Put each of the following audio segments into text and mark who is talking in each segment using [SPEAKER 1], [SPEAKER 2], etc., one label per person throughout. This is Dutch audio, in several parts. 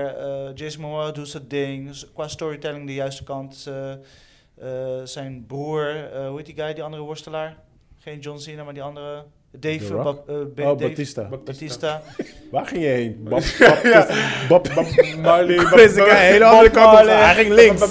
[SPEAKER 1] Eh, Jason Momoa doet zijn ding. Dus qua storytelling de juiste kant. eh, eh, zijn broer, eh, hoe heet die guy, die andere worstelaar? Geen John Cena, maar die andere. Dave,
[SPEAKER 2] The Rock?
[SPEAKER 1] Ba- eh, Ba-
[SPEAKER 2] Oh,
[SPEAKER 1] Dave
[SPEAKER 2] Batista.
[SPEAKER 1] Batista.
[SPEAKER 2] Waar ging je heen? Bab, bab, bab, bab,
[SPEAKER 3] Marley.
[SPEAKER 2] Chris, ik ga een hele andere kant op. Hij ging links.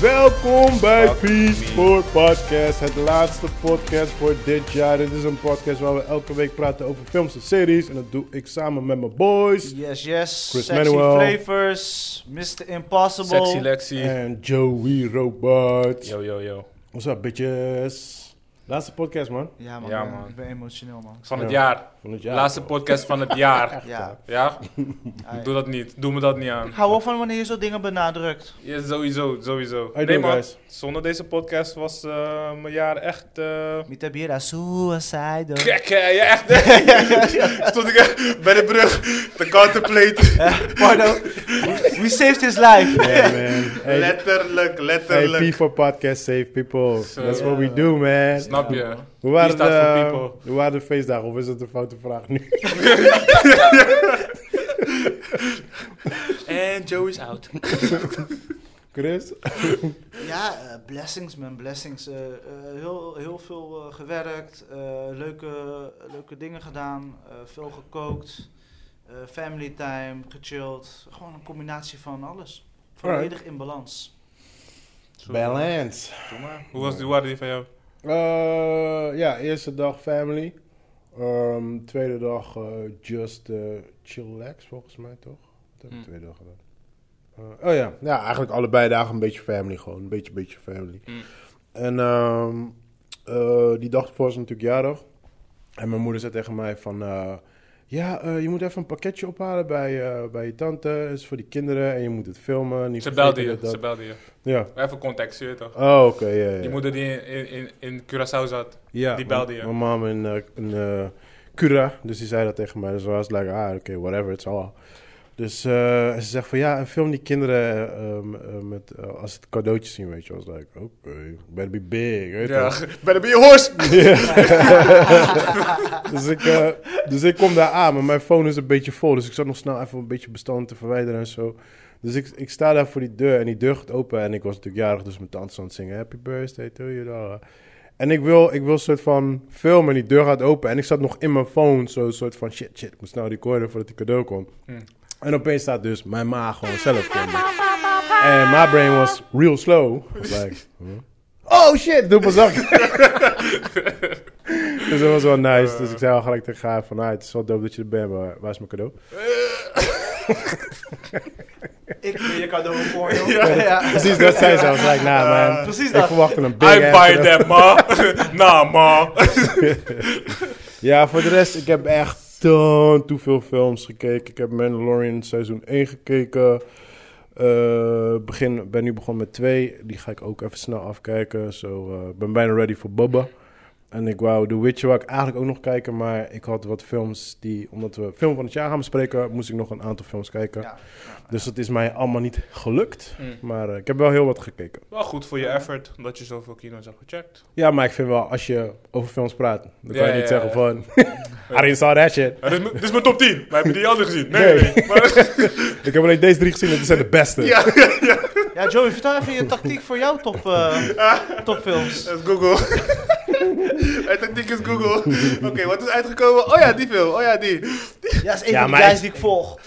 [SPEAKER 2] Welkom bij
[SPEAKER 3] Fuck
[SPEAKER 2] Peace
[SPEAKER 3] me.
[SPEAKER 2] for Podcast, het laatste podcast voor dit jaar. Dit is een podcast waar we elke week praten over films en series. En dat doe ik samen met mijn boys
[SPEAKER 1] Yes, yes.
[SPEAKER 2] Chris
[SPEAKER 1] Sexy
[SPEAKER 2] Manuel.
[SPEAKER 1] Flavors. Mr. Impossible.
[SPEAKER 3] Sexy Lexi.
[SPEAKER 2] en Joey Robot.
[SPEAKER 3] Yo, yo, yo.
[SPEAKER 2] What's up, bitches? Laatste podcast, man.
[SPEAKER 1] Ja man,
[SPEAKER 3] Ja,
[SPEAKER 1] ik ben-
[SPEAKER 3] man.
[SPEAKER 1] ik ben emotioneel man.
[SPEAKER 3] Van het
[SPEAKER 2] Ja.
[SPEAKER 3] jaar.
[SPEAKER 2] Van het jaar.
[SPEAKER 3] Laatste podcast van het jaar.
[SPEAKER 1] Ja.
[SPEAKER 3] Ja?
[SPEAKER 1] ai.
[SPEAKER 3] Doe dat niet. Doe me dat niet aan.
[SPEAKER 1] Ik hou wel van wanneer je zo dingen benadrukt.
[SPEAKER 3] Ja, sowieso, sowieso.
[SPEAKER 2] How you doing, guys?
[SPEAKER 3] Zonder deze podcast was eh, mijn jaar echt... eh,
[SPEAKER 1] Mitabira suicide.
[SPEAKER 3] Gek, hè? Ja, echt. hè? Stond ik echt bij de brug te contemplate.
[SPEAKER 1] Pardon. We saved his life.
[SPEAKER 2] Yeah, man. Hey,
[SPEAKER 3] Letterlijk,
[SPEAKER 2] hey, Peace
[SPEAKER 3] letterlijk.
[SPEAKER 2] for Podcast, save people.
[SPEAKER 3] Zo.
[SPEAKER 2] That's what we do, man.
[SPEAKER 3] Snap je?
[SPEAKER 2] Hoe waren, de,
[SPEAKER 3] Peace staat voor people.
[SPEAKER 2] hoe waren de feestdagen? Of is dat een foute vraag nu?
[SPEAKER 3] En Joe is out.
[SPEAKER 2] Chris?
[SPEAKER 1] Ja, eh, blessings man, blessings. Eh, eh, heel, heel veel eh, gewerkt, eh, leuke, leuke dingen gedaan, eh, veel gekookt, eh, family time, gechilled. Gewoon een combinatie van alles. Volledig in balans.
[SPEAKER 2] Balance.
[SPEAKER 3] Doe maar. Hoe, was, hoe waren die van jou?
[SPEAKER 2] Eh, ja, eerste dag family. Ehm, tweede dag eh, just eh, chillax, volgens mij toch? Wat heb ik
[SPEAKER 3] Hmm.
[SPEAKER 2] tweede dag gedaan? Eh, oh ja. ja, eigenlijk allebei dagen een beetje family gewoon. Een beetje, beetje family.
[SPEAKER 3] Hmm.
[SPEAKER 2] En ehm, eh, die dag ervoor was natuurlijk jarig. En mijn moeder zei tegen mij van... eh, ja, eh, je moet even een pakketje ophalen bij, eh, bij je tante. Het is voor die kinderen en je moet het filmen. Niet
[SPEAKER 3] Ze belde
[SPEAKER 2] vergeten
[SPEAKER 3] je,
[SPEAKER 2] dat-
[SPEAKER 3] ze belde je.
[SPEAKER 2] Ja.
[SPEAKER 3] Even context, je weet toch?
[SPEAKER 2] Oh, oké, ja, ja.
[SPEAKER 3] Die moeder die in, in, in Curaçao zat.
[SPEAKER 2] Ja,
[SPEAKER 3] Die belde je.
[SPEAKER 2] Mijn mama in, eh, in eh, Cura, dus die zei dat tegen mij. Dus I was like, ah, oké, whatever, it's all. Dus eh, en ze zegt van, ja, en film die kinderen eh, ehm, eh, met, eh, als het cadeautjes zien, weet je. I was like, oké, better be big, weet je.
[SPEAKER 3] Ja, better be a horse!
[SPEAKER 2] dus, ik, eh, dus ik kom daar aan, maar mijn phone is een beetje vol. Dus ik zat nog snel even een beetje bestanden te verwijderen en zo. Dus ik, ik sta daar voor die deur en die deur gaat open. En ik was natuurlijk jarig, dus mijn tante is aan het zingen. Happy birthday to you, Dora. En ik wil, ik wil een soort van filmen en die deur gaat open. En ik zat nog in mijn phone, zo een soort van shit, shit. Ik moet snel recorden voordat die cadeau komt.
[SPEAKER 3] Hmm.
[SPEAKER 2] En opeens staat dus mijn ma gewoon zelf voor me. En my brain was real slow. I was like, huh? oh shit, doe pas zakken. Dus dat was wel nice. Dus ik zei al gelijk tegen haar van... Ah, het is wel dope dat je er bent, maar waar is mijn cadeau?
[SPEAKER 1] Ik ben je cadeau voor jou.
[SPEAKER 2] Precies dat zei ze. I was like, nah man.
[SPEAKER 1] Precies
[SPEAKER 2] ik
[SPEAKER 1] dat.
[SPEAKER 2] verwachtte een big
[SPEAKER 3] I
[SPEAKER 2] ass
[SPEAKER 3] buy
[SPEAKER 2] cadeau.
[SPEAKER 3] that, ma. nah, ma.
[SPEAKER 2] Ja, voor de rest, ik heb echt ton te veel films gekeken. Ik heb Mandalorian seizoen 1 gekeken. Eh, begin, ben nu begonnen met 2. Die ga ik ook even snel afkijken. So, eh, ik ben bijna ready voor Bubba. En ik wou The Witcher wou ik eigenlijk ook nog kijken. Maar ik had wat films die... Omdat we film van het jaar gaan bespreken... moest ik nog een aantal films kijken.
[SPEAKER 1] Ja.
[SPEAKER 2] Dus dat is mij allemaal niet gelukt.
[SPEAKER 3] Mm.
[SPEAKER 2] Maar eh, ik heb wel heel wat gekeken.
[SPEAKER 3] Wel goed voor je effort, dat je zoveel kino's hebt gecheckt.
[SPEAKER 2] Ja, maar ik vind wel, als je over films praat... dan kan
[SPEAKER 3] Ja,
[SPEAKER 2] je niet
[SPEAKER 3] ja,
[SPEAKER 2] zeggen
[SPEAKER 3] ja.
[SPEAKER 2] van... I didn't saw that shit.
[SPEAKER 3] Ja, Eh, dit, is mijn- dit is mijn top 10, maar heb je die andere gezien? Nee, nee.
[SPEAKER 2] Nee.
[SPEAKER 3] nee. Maar-
[SPEAKER 2] Ik heb alleen deze drie gezien en die zijn de beste.
[SPEAKER 3] ja,
[SPEAKER 1] ja, Joey, vertel even je tactiek voor jouw top, eh, topfilms.
[SPEAKER 3] dat is Google. Mijn tactiek is Google. Oké, wat is uitgekomen? Oh ja, die film. Oh ja, die.
[SPEAKER 1] Ja, is een
[SPEAKER 2] Ja,
[SPEAKER 1] van de
[SPEAKER 2] maar
[SPEAKER 1] guys
[SPEAKER 2] ik-
[SPEAKER 1] die ik volg.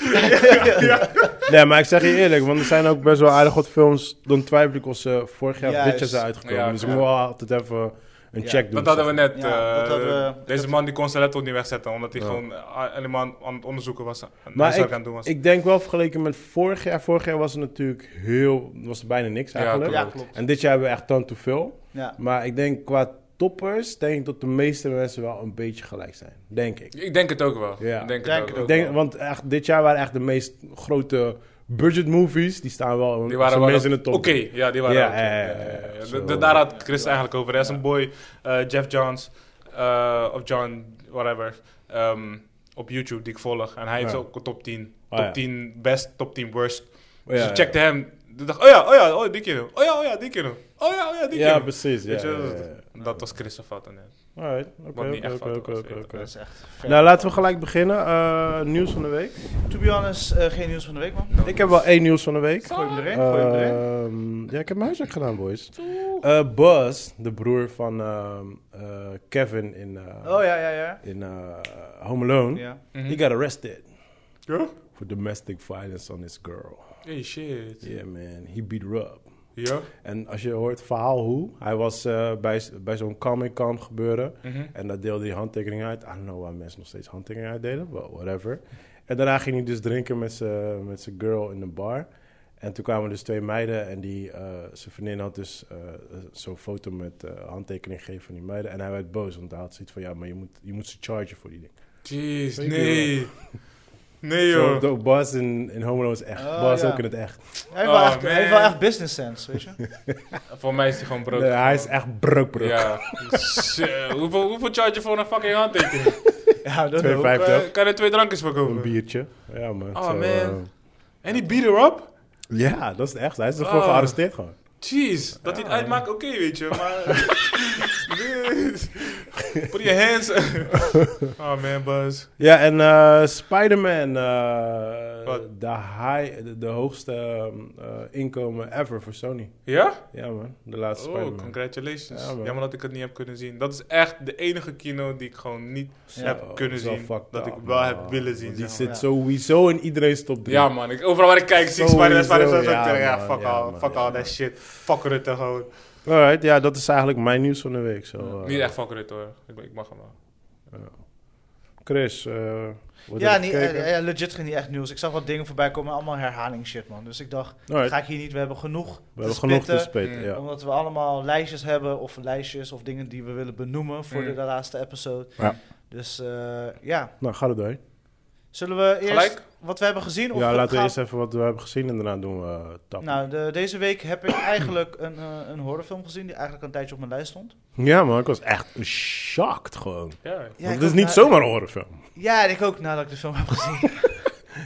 [SPEAKER 2] Nee, maar ik zeg je eerlijk, want er zijn ook best wel aardig wat films. Dan twijfel ik of ze vorig jaar of dit
[SPEAKER 1] Juist.
[SPEAKER 2] jaar zijn uitgekomen.
[SPEAKER 3] Ja,
[SPEAKER 2] dus ik
[SPEAKER 3] ja.
[SPEAKER 2] moet wel altijd even een
[SPEAKER 1] Ja.
[SPEAKER 2] check doen.
[SPEAKER 3] Dat hadden we net.
[SPEAKER 1] Ja,
[SPEAKER 3] eh,
[SPEAKER 1] dat hadden we-
[SPEAKER 3] deze man die kon zijn laptop niet wegzetten, omdat hij
[SPEAKER 2] Ja.
[SPEAKER 3] gewoon eh, helemaal aan het onderzoeken was. En
[SPEAKER 2] Maar
[SPEAKER 3] maar ik,
[SPEAKER 2] ik-
[SPEAKER 3] aan het doen was.
[SPEAKER 2] Ik denk wel vergeleken met vorig jaar. Vorig jaar was er natuurlijk heel, was er bijna niks
[SPEAKER 3] Ja,
[SPEAKER 2] eigenlijk.
[SPEAKER 1] Ja, klopt.
[SPEAKER 2] En dit jaar hebben we echt dan te veel.
[SPEAKER 1] Ja.
[SPEAKER 2] Maar ik denk qua toppers, denk ik dat de meeste mensen wel een beetje gelijk zijn. Denk ik.
[SPEAKER 3] Ik denk het ook wel.
[SPEAKER 2] Ja.
[SPEAKER 3] Ik denk,
[SPEAKER 1] Denk
[SPEAKER 3] het ook,
[SPEAKER 1] het
[SPEAKER 3] wel.
[SPEAKER 2] Ik denk, want echt, dit jaar waren echt de meest grote budget movies, die staan wel
[SPEAKER 3] Die
[SPEAKER 2] die
[SPEAKER 3] waren wel
[SPEAKER 2] mensen in
[SPEAKER 3] dat-
[SPEAKER 2] de top.
[SPEAKER 3] Oké, ja, die waren
[SPEAKER 2] Ja,
[SPEAKER 3] oké.
[SPEAKER 2] ja, ja, ja,
[SPEAKER 3] Ja, ja, ja.
[SPEAKER 2] zo.
[SPEAKER 3] Da- da- Daar had Chris eigenlijk over. Hij is een boy, eh, Jeff Johns, eh, of John, whatever, ehm, op YouTube die ik volg. En hij heeft
[SPEAKER 2] Ja.
[SPEAKER 3] ook een top 10.
[SPEAKER 2] Ah,
[SPEAKER 3] top
[SPEAKER 2] ja. Oh,
[SPEAKER 3] 10 best, top 10 worst.
[SPEAKER 2] Ja,
[SPEAKER 3] dus ik
[SPEAKER 2] ja.
[SPEAKER 3] checkte hem. Ik dacht, oh ja, oh ja, oh die keer. Oh ja, oh ja, die keer. Oh ja, oh ja, die keer.
[SPEAKER 2] Ja, precies. Ja,
[SPEAKER 3] Weet je,
[SPEAKER 2] ja,
[SPEAKER 3] dat-
[SPEAKER 2] ja,
[SPEAKER 3] Dat was Chris of wat dan net.
[SPEAKER 2] ja. Alright, oké,
[SPEAKER 3] Wat niet
[SPEAKER 2] oké,
[SPEAKER 3] echt
[SPEAKER 2] oké,
[SPEAKER 3] fout
[SPEAKER 2] oké,
[SPEAKER 3] was,
[SPEAKER 2] oké,
[SPEAKER 3] weet je.
[SPEAKER 2] oké.
[SPEAKER 1] Dat is echt ver.
[SPEAKER 2] Nou, laten we gelijk beginnen. Eh, nieuws van de week.
[SPEAKER 1] To be honest, eh, geen nieuws van de week, man.
[SPEAKER 2] Ik heb wel één nieuws van de week.
[SPEAKER 1] Gooi hem erin, gooi hem erin.
[SPEAKER 2] Ehm, ja, ik heb mijn huiswerk gedaan, boys. Eh Buzz, de broer van ehm, eh, Kevin in, eh,
[SPEAKER 1] Oh ja, ja, ja.
[SPEAKER 2] in eh, Home Alone,
[SPEAKER 1] ja.
[SPEAKER 3] Mhm.
[SPEAKER 2] he got arrested
[SPEAKER 3] Ja?
[SPEAKER 2] for domestic violence on his girl.
[SPEAKER 3] Hey, shit.
[SPEAKER 2] Yeah, man. He beat her up.
[SPEAKER 3] Ja?
[SPEAKER 2] En als je hoort het verhaal hoe, hij was eh, bij, bij zo'n Comic-Con gebeuren.
[SPEAKER 3] Mhm.
[SPEAKER 2] En daar deelde hij handtekeningen uit. I don't know waar mensen nog steeds handtekeningen uitdelen, but whatever. En daarna ging hij dus drinken met zijn met zijn girl in de bar. En toen kwamen dus twee meiden en die, eh, zijn vriendin had dus eh, zo'n foto met eh, handtekening gegeven van die meiden. En hij werd boos, want hij had zoiets van, ja, maar je moet, je moet ze chargen voor die dingen.
[SPEAKER 3] Jeez,
[SPEAKER 2] Weet
[SPEAKER 3] nee. Nee,
[SPEAKER 2] Zo,
[SPEAKER 3] joh.
[SPEAKER 2] de Bas in, in Home Alone is echt,
[SPEAKER 1] Oh,
[SPEAKER 2] Bas
[SPEAKER 1] ja.
[SPEAKER 2] ook in het echt.
[SPEAKER 1] Hij, heeft wel
[SPEAKER 3] Oh,
[SPEAKER 1] echt, hij heeft
[SPEAKER 3] man.
[SPEAKER 1] wel echt business sense, weet je.
[SPEAKER 3] Voor mij is hij gewoon brood.
[SPEAKER 2] Nee, hij is echt broek, broek.
[SPEAKER 3] Ja. Zo, hoeveel, hoeveel charge je voor een fucking handtekening?
[SPEAKER 1] ja, dat
[SPEAKER 2] Twee
[SPEAKER 1] ook.
[SPEAKER 2] vijf. Vijf,
[SPEAKER 3] Eh,
[SPEAKER 2] toch?
[SPEAKER 3] kan je twee drankjes voor
[SPEAKER 2] Een
[SPEAKER 3] kopen?
[SPEAKER 2] biertje. Ja, man.
[SPEAKER 3] Oh,
[SPEAKER 2] Zo,
[SPEAKER 3] man.
[SPEAKER 2] eh,
[SPEAKER 3] En die beat her up?
[SPEAKER 2] ja, dat is het echt. Hij is er
[SPEAKER 1] Ah.
[SPEAKER 2] gewoon
[SPEAKER 3] Oh.
[SPEAKER 2] gearresteerd gewoon.
[SPEAKER 3] Jeez, dat hij het uitmaakt, oké, weet je, maar... Put your hands... oh man, Buzz.
[SPEAKER 2] Ja, en eh, Spider-Man, eh,
[SPEAKER 3] Wat?
[SPEAKER 2] de, high, de, de hoogste ehm, eh, inkomen ever voor Sony.
[SPEAKER 3] Ja?
[SPEAKER 2] Ja man, de laatste
[SPEAKER 3] Oh,
[SPEAKER 2] Spider-Man.
[SPEAKER 3] congratulations.
[SPEAKER 2] Ja, man.
[SPEAKER 3] Jammer dat ik het niet heb kunnen zien. Dat is echt de enige kino die ik gewoon niet
[SPEAKER 1] Ja.
[SPEAKER 3] heb
[SPEAKER 2] Zo,
[SPEAKER 3] kunnen
[SPEAKER 2] zo
[SPEAKER 3] zien.
[SPEAKER 2] fucked
[SPEAKER 3] Dat
[SPEAKER 2] up,
[SPEAKER 3] ik wel
[SPEAKER 2] man.
[SPEAKER 3] heb willen zien.
[SPEAKER 2] Die
[SPEAKER 3] zeg
[SPEAKER 2] zit
[SPEAKER 1] maar.
[SPEAKER 2] sowieso in iedereen's top
[SPEAKER 3] maar.
[SPEAKER 2] 3.
[SPEAKER 3] Ja man, ik, overal waar ik kijk zie ik
[SPEAKER 2] Sowieso,
[SPEAKER 3] Spider-Man, Spider-Man,
[SPEAKER 2] ja,
[SPEAKER 3] Spider-Man. Ja,
[SPEAKER 2] man,
[SPEAKER 3] fuck
[SPEAKER 2] ja,
[SPEAKER 3] all,
[SPEAKER 2] man,
[SPEAKER 3] fuck
[SPEAKER 2] ja,
[SPEAKER 3] all
[SPEAKER 2] man.
[SPEAKER 3] that shit. Fuck Rutte gewoon.
[SPEAKER 2] Alright, ja, dat is eigenlijk mijn nieuws van de week. Zo, eh.
[SPEAKER 3] Niet echt fuck Rutte hoor, ik, ik mag hem wel.
[SPEAKER 2] Chris, eh wat
[SPEAKER 1] Ja,
[SPEAKER 2] heb je
[SPEAKER 1] niet,
[SPEAKER 2] gekeken?
[SPEAKER 1] eh, ja, legit geen niet echt nieuws. Ik zag wat dingen voorbij komen, allemaal herhaling shit, man. Dus ik dacht,
[SPEAKER 2] Alright,
[SPEAKER 1] ga ik hier niet, we hebben genoeg te
[SPEAKER 2] we hebben genoeg te
[SPEAKER 1] spitten.
[SPEAKER 2] spelen.
[SPEAKER 3] Mm.
[SPEAKER 2] Ja.
[SPEAKER 1] Omdat we allemaal lijstjes hebben, of lijstjes, of dingen die we willen benoemen voor
[SPEAKER 3] Mm.
[SPEAKER 1] de, de laatste episode.
[SPEAKER 2] Ja.
[SPEAKER 1] Dus eh, ja,
[SPEAKER 2] Nou, ga er doorheen.
[SPEAKER 1] zullen we eerst
[SPEAKER 3] Gelijk?
[SPEAKER 1] wat we hebben gezien? Of
[SPEAKER 2] Ja,
[SPEAKER 1] we
[SPEAKER 2] laten we
[SPEAKER 1] gaan-
[SPEAKER 2] eerst even wat we hebben gezien en daarna doen we eh, tap.
[SPEAKER 1] Nou, de- deze week heb ik eigenlijk een, eh, een horrorfilm gezien die eigenlijk een tijdje op mijn lijst stond.
[SPEAKER 2] Ja man, ik was echt shocked gewoon.
[SPEAKER 3] Ja.
[SPEAKER 1] Ja,
[SPEAKER 2] Want
[SPEAKER 1] ik
[SPEAKER 2] het is
[SPEAKER 1] ook,
[SPEAKER 2] niet
[SPEAKER 1] nou,
[SPEAKER 2] zomaar een horrorfilm.
[SPEAKER 1] Ja, en ik ook nadat ik de film heb gezien.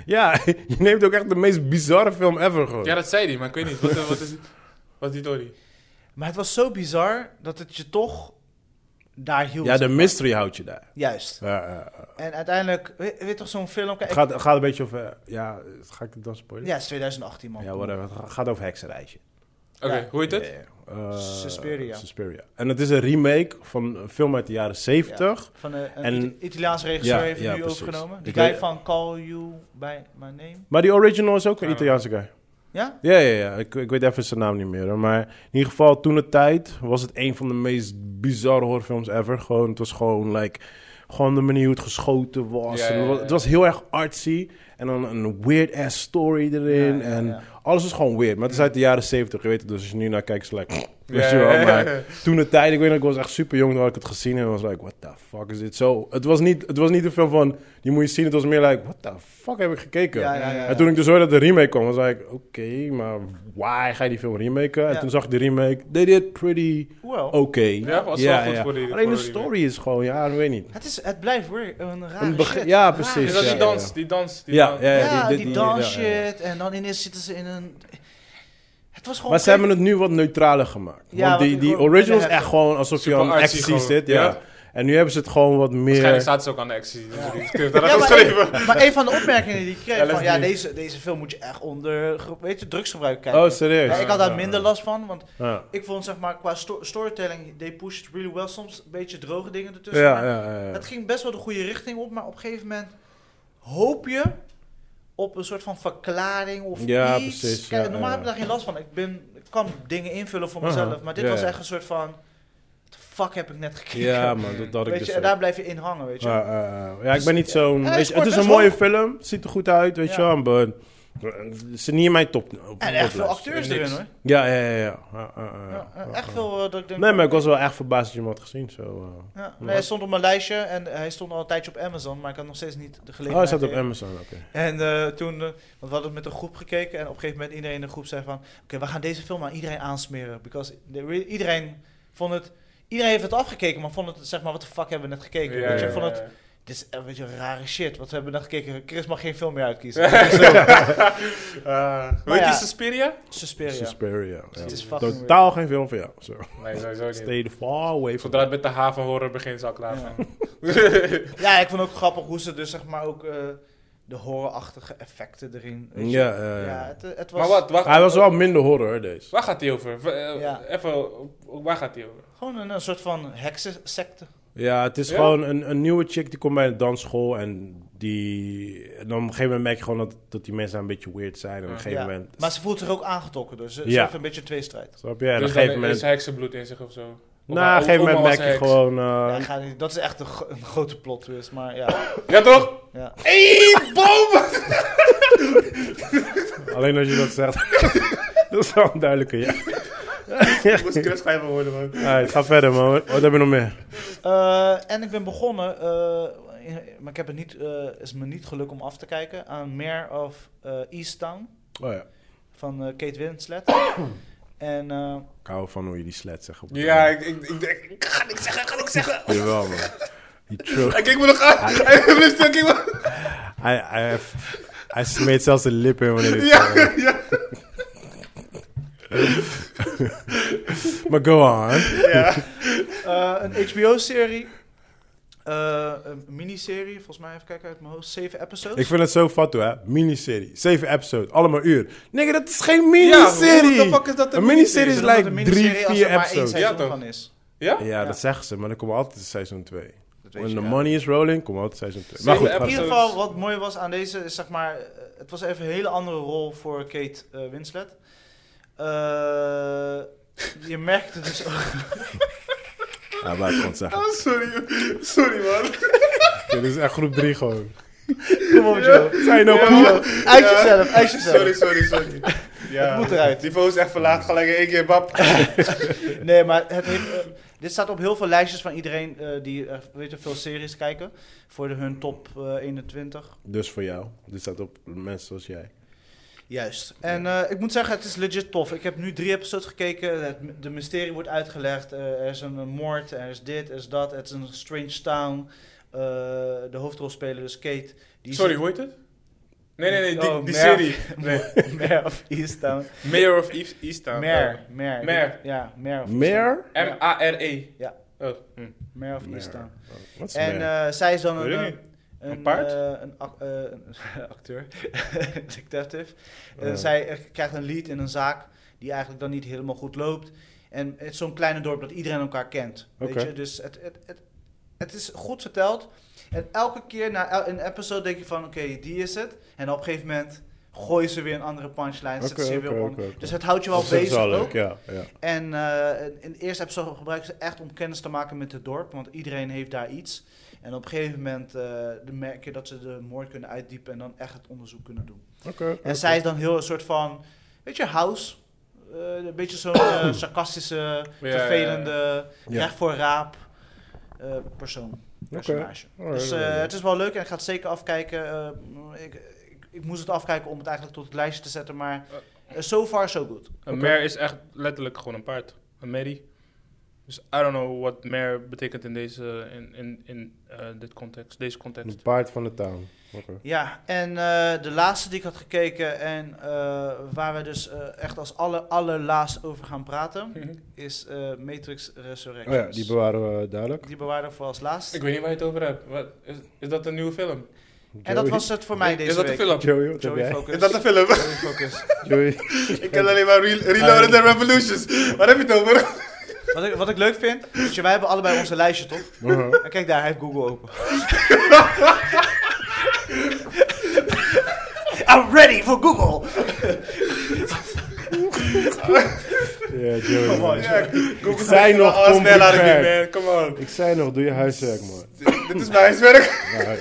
[SPEAKER 2] Ja, je neemt ook echt de meest bizarre film ever gewoon.
[SPEAKER 3] ja, dat zei hij, maar ik weet niet. Wat, eh, wat is, wat is die Dory?
[SPEAKER 1] maar het was zo bizar dat het je toch daar hield.
[SPEAKER 2] Ja,
[SPEAKER 1] zeg
[SPEAKER 2] de
[SPEAKER 1] maar.
[SPEAKER 2] mystery houdt je daar.
[SPEAKER 1] Juist.
[SPEAKER 2] Ja, ja, ja.
[SPEAKER 1] En uiteindelijk, weet, weet toch zo'n film? Kijk,
[SPEAKER 2] Het gaat, het gaat een beetje over... eh, Ja, ga ik het dan spoilen?
[SPEAKER 1] ja, het is 2018, man.
[SPEAKER 2] Ja, whatever. Het ga- gaat over heksenrijtje.
[SPEAKER 3] Oké,
[SPEAKER 1] Ja.
[SPEAKER 3] hoe heet het?
[SPEAKER 2] Ja, ja. Eh,
[SPEAKER 1] Suspiria.
[SPEAKER 2] Suspiria. En het is een remake van een film uit de jaren 70.
[SPEAKER 1] Van een, een
[SPEAKER 2] En-
[SPEAKER 1] Ita- Italiaanse regisseur
[SPEAKER 2] Ja,
[SPEAKER 1] heeft het
[SPEAKER 2] ja,
[SPEAKER 1] nu
[SPEAKER 2] precies.
[SPEAKER 1] overgenomen. Die
[SPEAKER 2] Ik
[SPEAKER 1] guy
[SPEAKER 2] weet-
[SPEAKER 1] van Call You By My Name.
[SPEAKER 2] Maar die original is ook een
[SPEAKER 3] Ah.
[SPEAKER 2] Italiaanse guy.
[SPEAKER 1] Ja?
[SPEAKER 2] Ja, ja, ja. Ik, ik weet even zijn naam niet meer. hoor. Maar in ieder geval, toen de tijd was het een van de meest bizarre horrorfilms ever. Gewoon, het was gewoon, like, gewoon de manier hoe het geschoten was.
[SPEAKER 3] Ja, ja,
[SPEAKER 2] En het was-
[SPEAKER 3] ja.
[SPEAKER 2] Het was heel erg artsy. En dan een weird-ass story erin.
[SPEAKER 1] Ja, ja,
[SPEAKER 2] en
[SPEAKER 1] ja.
[SPEAKER 2] alles is gewoon weird. Maar het is uit de jaren zeventig, je weet het. Dus als je nu naar kijkt, is het like... Weet je
[SPEAKER 3] Ja,
[SPEAKER 2] wel,
[SPEAKER 3] ja, ja.
[SPEAKER 2] maar toen de tijd, ik weet nog, ik was echt super jong, toen had ik het gezien en was like, what the fuck is dit zo? Het was niet, het was niet een film van, die moet je zien, het was meer like, what the fuck heb ik gekeken?
[SPEAKER 1] Ja, ja, ja, ja.
[SPEAKER 2] En toen ik dus hoorde dat de remake kwam, was ik, oké, maar waar ga je die film remaken? En
[SPEAKER 1] Ja.
[SPEAKER 2] toen zag ik de remake, they did pretty
[SPEAKER 1] Hoewel.
[SPEAKER 2] oké.
[SPEAKER 3] Ja, was wel goed voor die-
[SPEAKER 2] Alleen
[SPEAKER 3] voor
[SPEAKER 2] de
[SPEAKER 3] de
[SPEAKER 2] story is gewoon, ja, ik weet niet.
[SPEAKER 1] Het, is, het blijft weer een rare
[SPEAKER 2] Een begin-
[SPEAKER 1] shit.
[SPEAKER 2] ja,
[SPEAKER 1] Raar.
[SPEAKER 2] precies,
[SPEAKER 3] Is dat die
[SPEAKER 2] ja, ja,
[SPEAKER 3] dans? Die dans? Die
[SPEAKER 2] eh, Ja,
[SPEAKER 3] dans?
[SPEAKER 2] ja,
[SPEAKER 1] Ja,
[SPEAKER 2] dit-
[SPEAKER 1] die,
[SPEAKER 2] die-
[SPEAKER 1] dans
[SPEAKER 2] ja, ja.
[SPEAKER 1] shit. En dan ineens zitten ze in een... Het was gewoon...
[SPEAKER 2] Maar ze hebben het nu wat neutraler gemaakt.
[SPEAKER 1] Ja,
[SPEAKER 2] Want die,
[SPEAKER 1] want-
[SPEAKER 2] die
[SPEAKER 1] want-
[SPEAKER 2] original is
[SPEAKER 1] hebben-
[SPEAKER 2] echt gewoon alsof je
[SPEAKER 3] Super
[SPEAKER 2] aan
[SPEAKER 3] artsy
[SPEAKER 2] actie
[SPEAKER 3] gewoon,
[SPEAKER 2] zit, ja.
[SPEAKER 3] ja.
[SPEAKER 2] En nu hebben ze het gewoon wat
[SPEAKER 3] Waarschijnlijk
[SPEAKER 2] meer...
[SPEAKER 3] staat ze ook aan de actie. Dus die script had
[SPEAKER 1] Ja,
[SPEAKER 3] ik
[SPEAKER 1] maar,
[SPEAKER 3] geschreven.
[SPEAKER 1] een, maar een van de opmerkingen die ik kreeg,
[SPEAKER 3] Ja,
[SPEAKER 1] van
[SPEAKER 3] let's
[SPEAKER 1] ja,
[SPEAKER 3] do it.
[SPEAKER 1] deze, deze film moet je echt onder ge- weet je, drugsgebruik kijken.
[SPEAKER 2] Oh, serieus?
[SPEAKER 1] Ja, ik had daar
[SPEAKER 2] Ja.
[SPEAKER 1] minder last van, want
[SPEAKER 2] Ja.
[SPEAKER 1] ik vond zeg maar qua sto- storytelling, they pushed really well, soms een beetje droge dingen ertussen.
[SPEAKER 2] Ja,
[SPEAKER 1] maar
[SPEAKER 2] ja, ja, ja.
[SPEAKER 1] Het ging best wel de goede richting op, maar op een gegeven moment hoop je op een soort van verklaring of
[SPEAKER 2] Ja,
[SPEAKER 1] iets.
[SPEAKER 2] precies,
[SPEAKER 1] Kijk,
[SPEAKER 2] ja,
[SPEAKER 1] normaal
[SPEAKER 2] ja,
[SPEAKER 1] heb ik daar geen last van. Ik, ben, ik kan dingen invullen voor mezelf,
[SPEAKER 2] Aha,
[SPEAKER 1] maar dit
[SPEAKER 2] ja,
[SPEAKER 1] was
[SPEAKER 2] ja.
[SPEAKER 1] echt een soort van... What the fuck heb ik net gekeken?
[SPEAKER 2] Ja, man, dat had ik
[SPEAKER 1] weet
[SPEAKER 2] dus
[SPEAKER 1] je,
[SPEAKER 2] ook.
[SPEAKER 1] en daar blijf je in hangen, weet je.
[SPEAKER 2] eh,
[SPEAKER 1] Dus
[SPEAKER 2] Ja, ja, ja. ja, ik ben niet zo'n...
[SPEAKER 1] Ja, hij
[SPEAKER 2] weet je,
[SPEAKER 1] scoort
[SPEAKER 2] het is
[SPEAKER 1] best
[SPEAKER 2] een mooie
[SPEAKER 1] hoog.
[SPEAKER 2] film, ziet er goed uit,
[SPEAKER 1] Ja.
[SPEAKER 2] weet je wel. maar eh, Ze zijn niet in mijn top. op-
[SPEAKER 1] En echt veel
[SPEAKER 2] toplijst.
[SPEAKER 1] acteurs
[SPEAKER 3] Niks.
[SPEAKER 1] erin hoor.
[SPEAKER 2] Ja, ja, ja. ja. Ja, ja, ja,
[SPEAKER 1] Ja,
[SPEAKER 2] ja,
[SPEAKER 1] echt
[SPEAKER 2] ja.
[SPEAKER 1] veel eh, dat ik denk.
[SPEAKER 2] Nee, maar ik was wel echt verbaasd dat je hem had gezien. Zo, eh.
[SPEAKER 1] Ja, nee, hij stond op mijn lijstje en eh, hij stond al een tijdje op Amazon, maar ik had nog steeds niet de
[SPEAKER 2] Oh, hij
[SPEAKER 1] gelegenheid.
[SPEAKER 2] staat op
[SPEAKER 1] gegeven.
[SPEAKER 2] Amazon, oké.
[SPEAKER 1] En eh, toen, eh, want we hadden het met een groep gekeken en op een gegeven moment iedereen in de groep zei van, oké, we gaan deze film aan iedereen aansmeren, because the re- iedereen vond het, iedereen heeft het afgekeken, maar vond het, zeg maar, wat de fuck hebben we net gekeken? weet je,
[SPEAKER 2] ja,
[SPEAKER 1] vond het,
[SPEAKER 3] ja.
[SPEAKER 1] dit is een beetje rare shit, wat hebben we net gekeken? Chris mag geen film meer uitkiezen. Dus, Zo,
[SPEAKER 3] Eh,
[SPEAKER 1] Maar
[SPEAKER 3] Weet je
[SPEAKER 1] ja.
[SPEAKER 3] Suspiria?
[SPEAKER 1] Suspiria.
[SPEAKER 2] Suspiria. ja.
[SPEAKER 1] Het is fucking
[SPEAKER 2] Totaal geen film voor jou. Zo.
[SPEAKER 3] Nee, sowieso niet.
[SPEAKER 2] Stay the far away from
[SPEAKER 3] Zodra het met de haven horror begint, zou ik klaar
[SPEAKER 1] Ja.
[SPEAKER 3] zijn.
[SPEAKER 1] Ja, ik vond ook grappig hoe ze dus, zeg maar, ook eh, de horrorachtige effecten erin. weet je.
[SPEAKER 2] Ja, ja, ja.
[SPEAKER 1] ja het, het was
[SPEAKER 3] Maar wat, wacht.
[SPEAKER 2] Hij was wel minder horror, hè, deze.
[SPEAKER 3] Waar gaat hij over? V- eh,
[SPEAKER 1] Ja.
[SPEAKER 3] Even, op- op- waar gaat hij over?
[SPEAKER 1] gewoon een, een soort van heksensecte.
[SPEAKER 2] Ja, het is
[SPEAKER 3] Ja?
[SPEAKER 2] gewoon een, een nieuwe chick die komt bij een dansschool en die... En dan op een gegeven moment merk je gewoon dat, dat die mensen een beetje weird zijn. En op een
[SPEAKER 3] Ja.
[SPEAKER 2] gegeven
[SPEAKER 1] Ja.
[SPEAKER 2] moment...
[SPEAKER 1] Maar ze voelt zich ook aangetrokken, dus ze, ze
[SPEAKER 2] Ja.
[SPEAKER 1] heeft een beetje een tweestrijd.
[SPEAKER 2] Snap je? En op een
[SPEAKER 3] dus
[SPEAKER 2] gegeven
[SPEAKER 3] dan
[SPEAKER 2] moment...
[SPEAKER 3] is heksenbloed in zich of zo. Of
[SPEAKER 2] Nou, op
[SPEAKER 3] haar
[SPEAKER 2] een gegeven
[SPEAKER 3] oma
[SPEAKER 2] moment
[SPEAKER 3] was
[SPEAKER 2] merk je
[SPEAKER 3] heks.
[SPEAKER 2] gewoon...
[SPEAKER 1] Ja, ik
[SPEAKER 2] eh,
[SPEAKER 1] ga niet- dat is echt een, gro- een grote plot twist, maar ja.
[SPEAKER 3] Ja toch?
[SPEAKER 1] ja.
[SPEAKER 3] Eén boom!
[SPEAKER 2] alleen als je dat zegt... dat is wel een duidelijke, ja.
[SPEAKER 4] Ik moest Chris schrijven worden, man.
[SPEAKER 2] Alright, ga verder, man. Wat, wat heb je nog meer?
[SPEAKER 1] Eh, en ik ben begonnen, eh, in- maar ik heb het niet, eh, is me niet geluk om af te kijken, aan Mare of eh, Easttown
[SPEAKER 2] Oh ja.
[SPEAKER 1] van eh, Kate Winslet. en eh,
[SPEAKER 2] Ik hou van hoe je die slet zegt. op-
[SPEAKER 3] Ja, ik, ik, ik, ik- ik ga niks zeggen, ik ga niks zeggen.
[SPEAKER 2] Jawel, man. Die tro-
[SPEAKER 4] Hij keek me nog aan. Hij bleef stil, keek me-
[SPEAKER 2] Hij, hij, hij smeet zelfs de lippen in wanneer hij het zei.
[SPEAKER 4] Ja, ja.
[SPEAKER 2] Maar go on.
[SPEAKER 1] Eh, een HBO-serie. Eh, een miniserie, volgens mij even kijken uit mijn hoofd, zeven episodes.
[SPEAKER 2] Ik vind het zo fatu, hè. Miniserie. Zeven episodes. Allemaal uur. Nigga, dat is geen miniserie.
[SPEAKER 3] Ja, hoe de fuck is dat een
[SPEAKER 2] Een miniserie is
[SPEAKER 1] Ik bedoel,
[SPEAKER 2] like
[SPEAKER 1] een
[SPEAKER 2] drie,
[SPEAKER 1] miniserie als
[SPEAKER 2] vier
[SPEAKER 1] er maar één
[SPEAKER 2] episodes. Ja,
[SPEAKER 1] seizoen
[SPEAKER 3] Ja, toch?
[SPEAKER 1] van is.
[SPEAKER 3] Ja?
[SPEAKER 1] Ja.
[SPEAKER 2] dat zeggen ze. Maar dan komt altijd seizoen 2.
[SPEAKER 1] Dat weet
[SPEAKER 2] When
[SPEAKER 1] je,
[SPEAKER 2] the
[SPEAKER 1] ja.
[SPEAKER 2] money is rolling, komt altijd seizoen 2. Maar
[SPEAKER 3] Zeven
[SPEAKER 2] goed.
[SPEAKER 1] In
[SPEAKER 2] ga
[SPEAKER 1] ieder
[SPEAKER 2] verder.
[SPEAKER 3] episodes.
[SPEAKER 1] geval, wat mooi was aan deze, is zeg maar, eh, het was even een hele andere rol voor Kate eh, Winslet. Eh, je merkte dus ook,
[SPEAKER 2] Ja, maar ik kon het zeggen.
[SPEAKER 4] Oh, sorry. Sorry, man.
[SPEAKER 2] Dit is echt groep 3 gewoon.
[SPEAKER 1] kom op Joe,
[SPEAKER 2] Zijn ook
[SPEAKER 4] Ja.
[SPEAKER 1] uit jezelf, uit jezelf.
[SPEAKER 4] Sorry, sorry, sorry. Ja.
[SPEAKER 1] Het moet eruit.
[SPEAKER 4] Niveau is echt verlaagd, gelijk in één keer, bap.
[SPEAKER 1] Nee, maar het heeft, eh, dit staat op heel veel lijstjes van iedereen eh, die eh, weet je, veel series kijken. Voor de, hun top eh, 21.
[SPEAKER 2] Dus voor jou. Dit staat op mensen zoals jij.
[SPEAKER 1] Juist. En eh, ik moet zeggen, het is legit tof. Ik heb nu drie episodes gekeken. Het, de mysterie wordt uitgelegd. Eh, er is een, een moord, er is dit, er is dat. Het is een strange town. Eh, de hoofdrolspeler, dus Kate. Die is-
[SPEAKER 3] Sorry, hoe heet het? Nee, nee, nee, die,
[SPEAKER 1] Oh,
[SPEAKER 3] die
[SPEAKER 1] Mare.
[SPEAKER 3] serie. Nee.
[SPEAKER 1] Mare of Easttown.
[SPEAKER 3] Mayor of East, Easttown.
[SPEAKER 1] Mare, Mare.
[SPEAKER 3] Mare.
[SPEAKER 1] Ja, Mare of Easttown.
[SPEAKER 2] Meer?
[SPEAKER 1] Ja,
[SPEAKER 3] M-A-R-E.
[SPEAKER 1] Ja.
[SPEAKER 3] Oh, hm.
[SPEAKER 1] Mare of
[SPEAKER 2] Mare.
[SPEAKER 1] Easttown.
[SPEAKER 2] Wat is
[SPEAKER 1] En
[SPEAKER 2] meer?
[SPEAKER 1] eh, zij is dan
[SPEAKER 3] Weet
[SPEAKER 1] een,
[SPEAKER 3] ik
[SPEAKER 1] eh,
[SPEAKER 3] niet. Een paard?
[SPEAKER 1] eh, een ac- eh, een acteur, detective. En
[SPEAKER 2] Ja.
[SPEAKER 1] Zij eh, krijgt een lead in een zaak die eigenlijk dan niet helemaal goed loopt. En het is zo'n kleine dorp dat iedereen elkaar kent. Weet
[SPEAKER 2] Oké.
[SPEAKER 1] je? Dus het, het, het, het is goed verteld. En elke keer na el- een episode denk je van, oké, die is het. En op een gegeven moment gooien ze weer een andere punchline.
[SPEAKER 2] Oké,
[SPEAKER 1] zetten ze weer
[SPEAKER 2] oké,
[SPEAKER 1] op.
[SPEAKER 2] oké, oké.
[SPEAKER 1] Dus het houdt je wel
[SPEAKER 2] Dat is- dat is
[SPEAKER 1] bezig
[SPEAKER 2] wel
[SPEAKER 1] ook.
[SPEAKER 2] leuk, ja. ja.
[SPEAKER 1] En eh, in de eerste episode gebruiken ze echt om kennis te maken met het dorp, want iedereen heeft daar iets. En op een gegeven moment eh, dan merk je dat ze de moord kunnen uitdiepen en dan echt het onderzoek kunnen doen.
[SPEAKER 2] Oké, oké.
[SPEAKER 1] En zij is dan heel een soort van, weet je, house. Eh, een beetje zo'n eh, sarcastische,
[SPEAKER 3] Ja, ja, ja.
[SPEAKER 1] vervelende,
[SPEAKER 2] Ja.
[SPEAKER 1] recht voor raap eh, persoon. Personage.
[SPEAKER 2] Alright,
[SPEAKER 1] Dus eh,
[SPEAKER 2] alright.
[SPEAKER 1] het is wel leuk en ik ga het zeker afkijken. Eh, ik, ik, ik moest het afkijken om het eigenlijk tot het lijstje te zetten, maar eh, so far so good.
[SPEAKER 3] Een
[SPEAKER 2] Oké.
[SPEAKER 3] mare is echt letterlijk gewoon een paard. Een merrie. Dus I don't know what mare betekent in, deze, in, in, in eh, dit context, deze
[SPEAKER 2] Een
[SPEAKER 3] context.
[SPEAKER 2] paard van de town. Oké.
[SPEAKER 1] Ja, en eh, de laatste die ik had gekeken en eh, waar we dus eh, echt als aller, allerlaatst over gaan praten,
[SPEAKER 3] Mhm.
[SPEAKER 1] is eh, Matrix
[SPEAKER 2] Oh
[SPEAKER 1] Resurrections.
[SPEAKER 2] ja, die bewaren we duidelijk.
[SPEAKER 1] Die bewaarden we voor als laatst.
[SPEAKER 3] Ik weet niet waar je het over hebt. Wat, is, is dat een nieuwe film?
[SPEAKER 1] en dat was het voor mij
[SPEAKER 3] is
[SPEAKER 1] deze
[SPEAKER 3] dat
[SPEAKER 1] week.
[SPEAKER 3] een film?
[SPEAKER 2] Joey, wat heb
[SPEAKER 1] Joey
[SPEAKER 2] jij?
[SPEAKER 1] Focus.
[SPEAKER 4] Is dat de film?
[SPEAKER 1] Joey Focus.
[SPEAKER 2] Joey.
[SPEAKER 4] Ik ken alleen maar Re- Reloaded and Revolutions. Waar heb je het over?
[SPEAKER 1] wat, ik, wat ik leuk vind, is, wij hebben allebei onze lijstje, toch?
[SPEAKER 2] Uh-huh.
[SPEAKER 1] En kijk daar, hij heeft Google open. I'm ready for Google!
[SPEAKER 2] Ja, Joey.
[SPEAKER 3] Oh,
[SPEAKER 4] Come on,
[SPEAKER 2] man.
[SPEAKER 4] ja.
[SPEAKER 2] Ik zei nog,
[SPEAKER 4] Al
[SPEAKER 2] kom
[SPEAKER 4] snel aan
[SPEAKER 2] beperkt.
[SPEAKER 4] man. Come on.
[SPEAKER 2] Ik zei nog, doe je huiswerk, man. Nou,
[SPEAKER 4] Dit is mijn huiswerk.
[SPEAKER 2] Ja,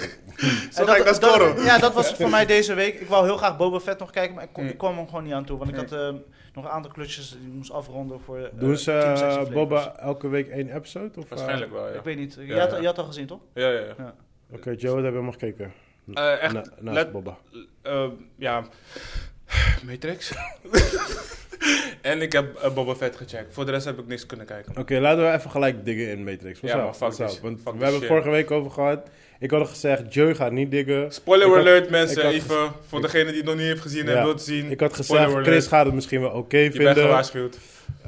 [SPEAKER 4] Zo ga ik naar scoren.
[SPEAKER 1] ja, dat was het voor mij deze week. Ik wou heel graag Boba Fett nog kijken, maar ik, kon,
[SPEAKER 3] Mm.
[SPEAKER 1] ik kwam hem gewoon niet aan toe. Want ik
[SPEAKER 3] Mm.
[SPEAKER 1] had eh, nog een aantal klusjes die ik moest afronden voor eh,
[SPEAKER 2] Doen ze
[SPEAKER 1] Team Sexy
[SPEAKER 2] eh,
[SPEAKER 1] Flavors.
[SPEAKER 2] Boba elke week één episode? Of, eh,
[SPEAKER 3] Waarschijnlijk wel, ja.
[SPEAKER 1] Ik weet niet. Je,
[SPEAKER 3] Ja,
[SPEAKER 1] had,
[SPEAKER 3] ja.
[SPEAKER 1] je had al gezien, toch?
[SPEAKER 3] Ja, ja, ja.
[SPEAKER 2] Oké, Joe, dat hebben we nog gekeken.
[SPEAKER 3] Eh, echt,
[SPEAKER 2] Na- naast
[SPEAKER 3] let-
[SPEAKER 2] Boba.
[SPEAKER 3] eh, ja, Matrix. en ik heb eh, Boba Fett gecheckt. Voor de rest heb ik niks kunnen kijken.
[SPEAKER 2] Oké, laten we even gelijk diggen in Matrix. What's
[SPEAKER 3] Ja,
[SPEAKER 2] up?
[SPEAKER 3] maar fuck
[SPEAKER 2] What's
[SPEAKER 3] this-
[SPEAKER 2] up? Want
[SPEAKER 3] fuck
[SPEAKER 2] we
[SPEAKER 3] this
[SPEAKER 2] hebben het
[SPEAKER 3] shit.
[SPEAKER 2] vorige week over gehad. Ik had al gezegd, Joe gaat niet diggen.
[SPEAKER 3] Spoiler
[SPEAKER 2] Ik had-
[SPEAKER 3] alert mensen,
[SPEAKER 2] ik had-
[SPEAKER 3] even. Voor
[SPEAKER 2] ik-
[SPEAKER 3] degene die het nog niet heeft gezien en
[SPEAKER 2] Ja.
[SPEAKER 3] wilt zien.
[SPEAKER 2] Ik had
[SPEAKER 3] Spoiler
[SPEAKER 2] gezegd,
[SPEAKER 3] alert.
[SPEAKER 2] Chris gaat het misschien wel oké
[SPEAKER 3] je bent
[SPEAKER 2] vinden.
[SPEAKER 3] gewaarschuwd.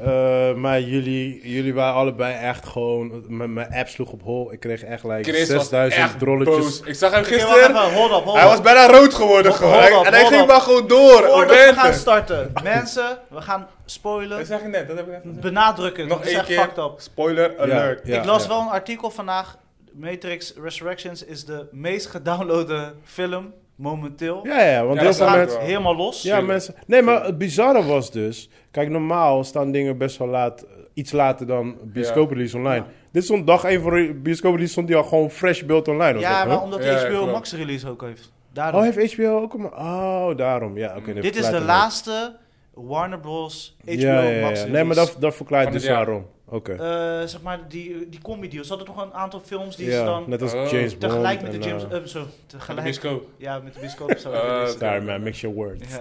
[SPEAKER 2] Eh, maar jullie, jullie waren allebei echt gewoon... Mijn mijn app sloeg op hol. Ik kreeg echt like
[SPEAKER 3] Chris was
[SPEAKER 2] 6000
[SPEAKER 3] echt
[SPEAKER 2] drolletjes.
[SPEAKER 3] boos. Ik zag hem
[SPEAKER 1] Oké, wacht
[SPEAKER 3] gisteren.
[SPEAKER 1] even, hold up, hold
[SPEAKER 4] Hij
[SPEAKER 1] up.
[SPEAKER 4] was bijna rood geworden
[SPEAKER 1] Ho-
[SPEAKER 4] gewoon.
[SPEAKER 1] hold
[SPEAKER 4] Hij-
[SPEAKER 1] up,
[SPEAKER 4] en hij
[SPEAKER 1] hold
[SPEAKER 4] ging
[SPEAKER 1] up.
[SPEAKER 4] maar gewoon door. op
[SPEAKER 1] Voordat we
[SPEAKER 4] rente.
[SPEAKER 1] gaan starten. Mensen, we gaan
[SPEAKER 3] Dat
[SPEAKER 1] spoilen.
[SPEAKER 3] zeg ik net, dat heb ik net gezegd.
[SPEAKER 1] Benadrukken.
[SPEAKER 3] Nog
[SPEAKER 1] dat is
[SPEAKER 3] één
[SPEAKER 1] echt
[SPEAKER 3] keer.
[SPEAKER 1] fucked up.
[SPEAKER 3] Spoiler alert.
[SPEAKER 2] Ja,
[SPEAKER 1] ik las
[SPEAKER 2] ja.
[SPEAKER 1] wel een artikel vandaag. Matrix Resurrections is de meest gedownloade film momenteel.
[SPEAKER 2] Ja, ja, want heel
[SPEAKER 3] Ja, dat
[SPEAKER 2] veel
[SPEAKER 3] snap ik
[SPEAKER 2] mensen...
[SPEAKER 1] Gaat
[SPEAKER 3] wel.
[SPEAKER 1] helemaal los.
[SPEAKER 2] Ja, mensen. Nee, maar het bizarre was dus. Kijk, normaal staan dingen best wel laat. Iets later dan bioscooprelease online.
[SPEAKER 1] Ja.
[SPEAKER 2] Dit stond dag één voor re- bioscooprelease. Stond die al gewoon fresh beeld online. of
[SPEAKER 1] Ja,
[SPEAKER 2] zo,
[SPEAKER 1] maar
[SPEAKER 2] hè?
[SPEAKER 1] omdat
[SPEAKER 3] Ja, ja,
[SPEAKER 1] HBO
[SPEAKER 3] klopt.
[SPEAKER 1] Max release ook heeft. Daarom.
[SPEAKER 2] Oh, heeft HBO ook een. Oh, daarom. Ja, oké. dan
[SPEAKER 1] Dit is
[SPEAKER 2] verklaart
[SPEAKER 1] de
[SPEAKER 2] het
[SPEAKER 1] laatste Warner Bros. HBO
[SPEAKER 2] wel. Ja, ja, ja,
[SPEAKER 1] Max
[SPEAKER 2] ja.
[SPEAKER 1] release.
[SPEAKER 2] Nee, maar dat, dat verklaart
[SPEAKER 3] Van
[SPEAKER 2] dus
[SPEAKER 3] dit jaar.
[SPEAKER 2] waarom. Oké.
[SPEAKER 1] Eh, zeg maar, die, die combi-deals. Ze hadden toch een aantal films die ze
[SPEAKER 2] Ja,
[SPEAKER 1] dan
[SPEAKER 2] net als
[SPEAKER 3] Oh.
[SPEAKER 2] James Bond.
[SPEAKER 1] tegelijk met de
[SPEAKER 2] en,
[SPEAKER 1] James...
[SPEAKER 2] eh,
[SPEAKER 1] eh, zo,
[SPEAKER 3] Aan de
[SPEAKER 1] tegelijk...
[SPEAKER 3] disco.
[SPEAKER 1] Ja, met de biscoop zo.
[SPEAKER 3] Eh,
[SPEAKER 1] release.
[SPEAKER 2] Oh, Daar, man, mix your words.
[SPEAKER 1] Ja,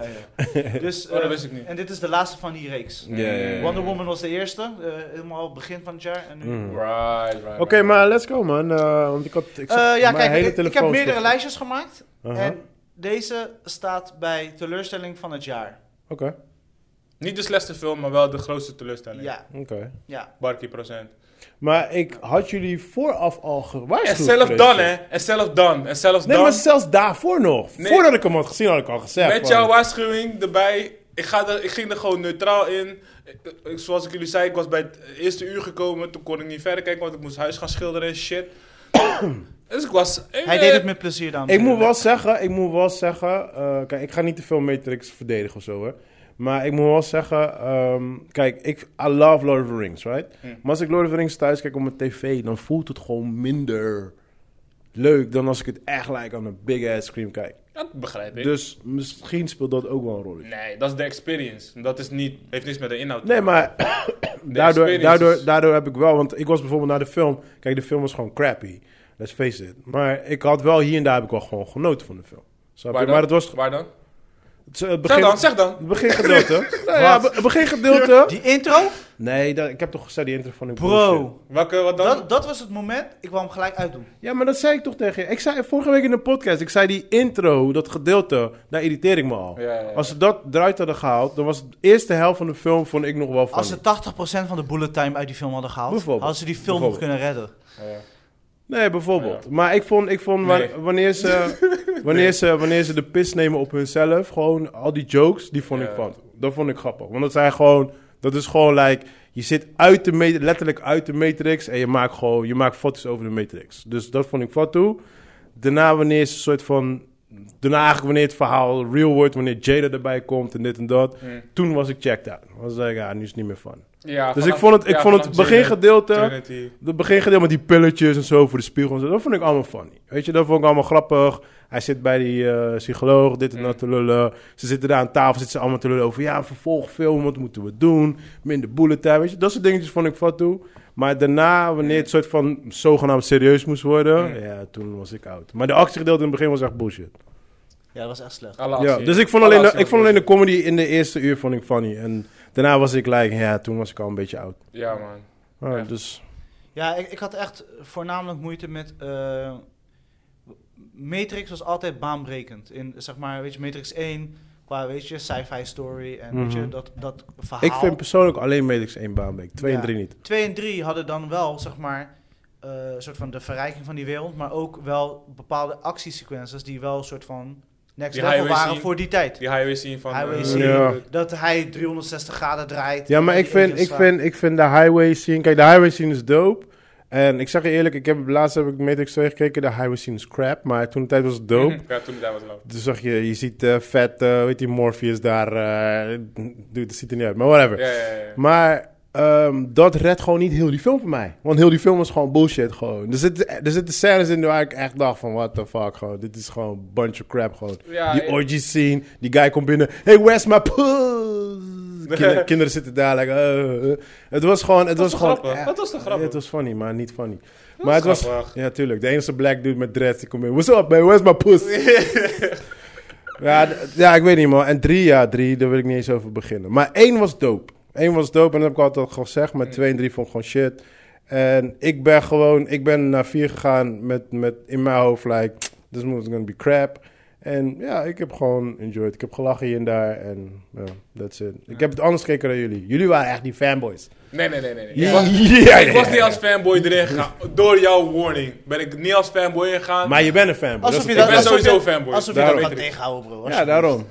[SPEAKER 1] ja. Dus,
[SPEAKER 3] Oh, dat
[SPEAKER 1] eh,
[SPEAKER 3] wist ik niet.
[SPEAKER 1] En dit is de laatste van die reeks.
[SPEAKER 2] Ja, ja, ja.
[SPEAKER 1] Wonder Woman was de eerste, eh, helemaal begin van het jaar. En nu...
[SPEAKER 2] Mm.
[SPEAKER 3] Right, right.
[SPEAKER 2] Oké, maar let's go, man. Eh, want ik had. Ik
[SPEAKER 1] Eh,
[SPEAKER 2] zag
[SPEAKER 1] ja,
[SPEAKER 2] mijn
[SPEAKER 1] kijk, ik,
[SPEAKER 2] hele
[SPEAKER 1] ik heb
[SPEAKER 2] telefoon Uh-huh.
[SPEAKER 1] meerdere
[SPEAKER 2] stuk.
[SPEAKER 1] lijstjes gemaakt.
[SPEAKER 2] Aha.
[SPEAKER 1] En deze staat bij teleurstelling van het jaar.
[SPEAKER 2] Oké,
[SPEAKER 3] Niet de slechtste film, maar wel de grootste teleurstelling.
[SPEAKER 1] Ja,
[SPEAKER 2] oké.
[SPEAKER 1] ja.
[SPEAKER 3] Barkie procent.
[SPEAKER 2] Maar ik had jullie vooraf al
[SPEAKER 3] En
[SPEAKER 2] gewaarschuwd.
[SPEAKER 3] zelf
[SPEAKER 2] Christian.
[SPEAKER 3] dan, hè. En zelf dan. En zelfs
[SPEAKER 2] Nee,
[SPEAKER 3] dan.
[SPEAKER 2] maar zelfs daarvoor nog.
[SPEAKER 3] Nee.
[SPEAKER 2] Voordat ik hem had gezien, had ik al gezegd.
[SPEAKER 3] Met
[SPEAKER 2] van-
[SPEAKER 3] jouw waarschuwing erbij. Ik, ga er, ik ging er gewoon neutraal in. Ik- ik- zoals ik jullie zei, ik was bij het eerste uur gekomen. Toen kon ik niet verder kijken, want ik moest huis gaan schilderen en shit. dus ik was...
[SPEAKER 1] Hij deed het met plezier, dames en
[SPEAKER 2] Ik moet
[SPEAKER 1] heren.
[SPEAKER 2] wel zeggen, ik moet wel zeggen... eh, kijk, ik ga niet te veel Matrix verdedigen of zo, hoor. Maar ik moet wel zeggen... ehm, kijk, ik, I love Lord of the Rings, right?
[SPEAKER 3] Hm.
[SPEAKER 2] Maar als ik Lord of the Rings thuis kijk op mijn tv... dan voelt het gewoon minder leuk... dan als ik het echt like aan een big-ass screen kijk.
[SPEAKER 3] Dat begrijp ik.
[SPEAKER 2] Dus misschien speelt dat ook wel een rol.
[SPEAKER 3] Nee, dat is de experience. Dat is niet, heeft niks met de inhoud te
[SPEAKER 2] Nee, maar daardoor,
[SPEAKER 3] experience
[SPEAKER 2] daardoor,
[SPEAKER 3] is-
[SPEAKER 2] daardoor heb ik wel... Want ik was bijvoorbeeld naar de film... Kijk, de film was gewoon crappy. Let's face it. Maar ik had wel hier en daar heb ik wel gewoon genoten van de film. Snap je?
[SPEAKER 3] Waar dan?
[SPEAKER 2] Maar het was...
[SPEAKER 3] Waar dan?
[SPEAKER 2] Het, eh, begin,
[SPEAKER 3] Zeg dan, zeg dan.
[SPEAKER 2] het begingedeelte. nou ja, be- het begingedeelte.
[SPEAKER 1] Die intro?
[SPEAKER 2] Nee, dat, ik heb toch gezegd die intro van die bullshit.
[SPEAKER 1] Bro,
[SPEAKER 3] Welke, wat dan?
[SPEAKER 1] dat, dat was het moment. Ik wou hem gelijk uitdoen.
[SPEAKER 2] Ja, maar dat zei ik toch tegen je. Ik zei vorige week in de podcast, ik zei die intro, dat gedeelte, daar irriteer ik me al.
[SPEAKER 3] Ja, ja, ja.
[SPEAKER 2] Als ze dat eruit hadden gehaald, dan was het eerste helft van de film vond ik nog wel van.
[SPEAKER 1] Als ze 80% van de bullet time uit die film hadden gehaald,
[SPEAKER 2] Bijvoorbeeld.
[SPEAKER 1] hadden ze die film nog kunnen
[SPEAKER 2] Bijvoorbeeld.
[SPEAKER 1] redden.
[SPEAKER 3] Ja.
[SPEAKER 2] Nee, bijvoorbeeld. Maar ik vond, ik vond wa-
[SPEAKER 3] Oh Nee.
[SPEAKER 2] wanneer, ze, wanneer, ze, wanneer ze de pis nemen op hunzelf, gewoon al die jokes, die vond
[SPEAKER 3] Ja.
[SPEAKER 2] ik van. Dat vond ik grappig. Want dat zijn gewoon, dat is gewoon like, je zit uit de ma- letterlijk uit de Matrix en je maakt gewoon, je maakt foto's over de Matrix. Dus dat vond ik van toe. Daarna wanneer ze een soort van, daarna eigenlijk wanneer het verhaal real wordt, wanneer Jada erbij komt en dit en dat.
[SPEAKER 3] Mm.
[SPEAKER 2] Toen was ik checked out. Dan was ik, ja, nu is het niet meer van.
[SPEAKER 3] Ja,
[SPEAKER 2] Dus
[SPEAKER 3] vanaf-
[SPEAKER 2] ik vond het, ik
[SPEAKER 3] ja,
[SPEAKER 2] vond het
[SPEAKER 3] vanaf Jane,
[SPEAKER 2] begingedeelte...
[SPEAKER 3] Trinity.
[SPEAKER 2] Het begingedeelte met die pilletjes en zo voor de spiegel en zo, dat vond ik allemaal funny. Weet je, dat vond ik allemaal grappig. Hij zit bij die eh, psycholoog, dit en
[SPEAKER 3] Mm.
[SPEAKER 2] dat te lullen. Ze zitten daar aan tafel, zitten ze allemaal te lullen over... ja, een vervolgfilm, wat moeten we doen? Minder bullet time, weet je. Dat soort dingetjes vond ik wat toe. Maar daarna, wanneer het soort van zogenaamd serieus moest worden...
[SPEAKER 3] Mm.
[SPEAKER 2] ja, toen was ik oud. Maar de actiegedeelte in het begin was echt bullshit.
[SPEAKER 1] Ja, dat was echt slecht.
[SPEAKER 3] Alle
[SPEAKER 2] Ja,
[SPEAKER 3] actie.
[SPEAKER 2] dus ik vond,
[SPEAKER 3] Alle
[SPEAKER 2] alleen de,
[SPEAKER 3] actie
[SPEAKER 2] ik
[SPEAKER 3] was
[SPEAKER 2] vond alleen de
[SPEAKER 3] bullshit.
[SPEAKER 2] comedy in de eerste uur vond ik funny. En daarna was ik like, ja, toen was ik al een beetje oud.
[SPEAKER 3] Ja, man.
[SPEAKER 2] Ah,
[SPEAKER 3] Ja.
[SPEAKER 2] Dus...
[SPEAKER 1] Ja, ik, ik had echt voornamelijk moeite met. eh, Matrix was altijd baanbrekend. In zeg maar, weet je, Matrix 1, qua weet je, sci-fi story en weet je,
[SPEAKER 2] Mhm.
[SPEAKER 1] dat, dat verhaal.
[SPEAKER 2] Ik vind persoonlijk alleen Matrix één baanbeek. Twee en
[SPEAKER 1] Ja.
[SPEAKER 2] drie niet.
[SPEAKER 1] 2 en 3 hadden dan wel, zeg maar, eh, een soort van de verrijking van die wereld, maar ook wel bepaalde actiesequences die wel een soort van next
[SPEAKER 3] Die
[SPEAKER 1] level
[SPEAKER 3] highway
[SPEAKER 1] waren
[SPEAKER 3] scene.
[SPEAKER 1] voor die tijd.
[SPEAKER 3] Die highway scene van...
[SPEAKER 1] Highway
[SPEAKER 3] eh,
[SPEAKER 1] scene.
[SPEAKER 2] Ja.
[SPEAKER 1] Dat hij 360 graden draait.
[SPEAKER 2] Ja, maar
[SPEAKER 1] en
[SPEAKER 2] ik
[SPEAKER 1] die
[SPEAKER 2] vind,
[SPEAKER 1] aliens
[SPEAKER 2] ik,
[SPEAKER 1] slaan.
[SPEAKER 2] vind, ik vind de highway scene... Kijk, de highway scene is dope. En ik zeg je eerlijk, ik heb, laatst heb ik Matrix 2 gekeken. De highway scene is crap. Maar toen de tijd was het dope.
[SPEAKER 3] Ja, toen daar was het wel.
[SPEAKER 2] Toen zag je, je ziet eh, vet, eh weet die Morpheus daar. eh dude, dat ziet er niet uit. Maar whatever.
[SPEAKER 3] Ja, ja, ja.
[SPEAKER 2] Maar eh, ehm, dat redt gewoon niet heel die film voor mij. Want heel die film is gewoon bullshit gewoon. Er zitten, er zitten scènes in waar ik echt dacht van, what the fuck gewoon. Dit is gewoon een bunch of crap gewoon.
[SPEAKER 3] Ja,
[SPEAKER 2] die
[SPEAKER 3] ik-
[SPEAKER 2] orgy scene, die guy komt binnen. Hey, where's my puss? Kinder- kinderen zitten daar, like, eh, eh. Het was gewoon... Het
[SPEAKER 3] Dat
[SPEAKER 2] was,
[SPEAKER 3] was
[SPEAKER 2] gewoon
[SPEAKER 3] grappig.
[SPEAKER 2] eh,
[SPEAKER 3] Dat was toch grappig?
[SPEAKER 2] Het was funny, maar niet funny. maar het was...
[SPEAKER 3] grappig.
[SPEAKER 2] Ja, tuurlijk. De enige black dude met dreads die komt in. What's up, man? Where's my puss? Ja, d- ja, ik weet niet, man. En drie, ja, drie, daar wil ik niet eens over beginnen. Maar één was dope. Eén was dope en dat heb ik altijd al gezegd. Maar twee en drie vond ik gewoon shit. En ik ben gewoon, ik ben naar vier gegaan met, met in mijn hoofd, like, this movie's gonna be crap. En ja, ik heb gewoon enjoyed. Ik heb gelachen hier en daar en ja, that's it. Ik heb het anders gekeken dan jullie. Jullie waren echt die fanboys.
[SPEAKER 3] Nee, nee, nee, nee. nee.
[SPEAKER 2] Ja,
[SPEAKER 3] Ik was-
[SPEAKER 2] ja,
[SPEAKER 3] Ik was
[SPEAKER 2] ja.
[SPEAKER 3] niet als fanboy erin gegaan. Door jouw warning ben ik niet als fanboy ingegaan.
[SPEAKER 2] Maar je bent een fanboy.
[SPEAKER 1] Alsof
[SPEAKER 2] is
[SPEAKER 1] je
[SPEAKER 2] het
[SPEAKER 1] dat,
[SPEAKER 3] ben
[SPEAKER 2] beste.
[SPEAKER 1] alsof
[SPEAKER 3] sowieso
[SPEAKER 1] je-
[SPEAKER 3] fanboy.
[SPEAKER 1] Alsof je
[SPEAKER 2] Daarom.
[SPEAKER 1] dat gaat tegenhouden, bro.
[SPEAKER 2] Ja, daarom.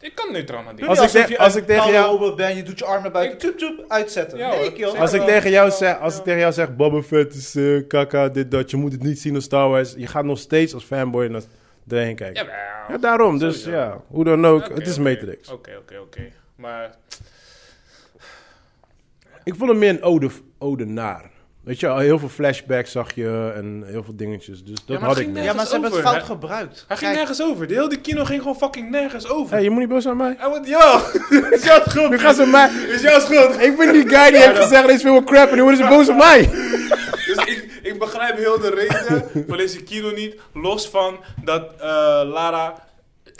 [SPEAKER 3] Ik kan neutraal naar dingen.
[SPEAKER 2] Als
[SPEAKER 1] Als
[SPEAKER 2] ik
[SPEAKER 1] ik,
[SPEAKER 2] te- als ik tegen
[SPEAKER 1] tegen
[SPEAKER 2] jou-
[SPEAKER 1] jou... ben, je doet je armen buiten. Tup, tup, uitzetten.
[SPEAKER 3] Ja,
[SPEAKER 1] nee,
[SPEAKER 3] hoor.
[SPEAKER 1] kill.
[SPEAKER 2] Als ik,
[SPEAKER 3] wel.
[SPEAKER 2] tegen jou zeg, als ik tegen jou zeg, Boba Fett is eh, kaka, dit, dat, je moet het niet zien als Star Wars. Je gaat nog steeds als fanboy naar erheen kijken. Ja,
[SPEAKER 3] Jawel.
[SPEAKER 2] daarom. Dus
[SPEAKER 3] Sowieso.
[SPEAKER 2] ja, hoe dan ook,
[SPEAKER 3] Oké,
[SPEAKER 2] het is
[SPEAKER 3] oké.
[SPEAKER 2] Matrix.
[SPEAKER 3] Oké, oké, oké. Maar
[SPEAKER 2] Ik vond hem meer een ode, ode naar. Weet je, wel, heel veel flashbacks zag je en heel veel dingetjes. Dus dat
[SPEAKER 3] maar het
[SPEAKER 2] had ik
[SPEAKER 3] ging
[SPEAKER 2] niet.
[SPEAKER 3] nergens
[SPEAKER 1] Ja, maar ze hebben het
[SPEAKER 3] over,
[SPEAKER 1] fout
[SPEAKER 3] hè?
[SPEAKER 1] gebruikt.
[SPEAKER 3] hij ging
[SPEAKER 1] Kijk,
[SPEAKER 3] nergens over. De hele die kino ging gewoon fucking nergens over.
[SPEAKER 2] Hey, je moet niet boos aan mij.
[SPEAKER 3] Hij wordt, jawel. Het is jouw schuld.
[SPEAKER 2] Nu gaan ze mij...
[SPEAKER 3] Het is jouw schuld.
[SPEAKER 2] Ik ben die guy die heeft gezegd, deze film is crap en nu worden ze boos op mij.
[SPEAKER 3] Dus ik, ik begrijp heel de reden van deze kino niet. Los van dat eh, Lara,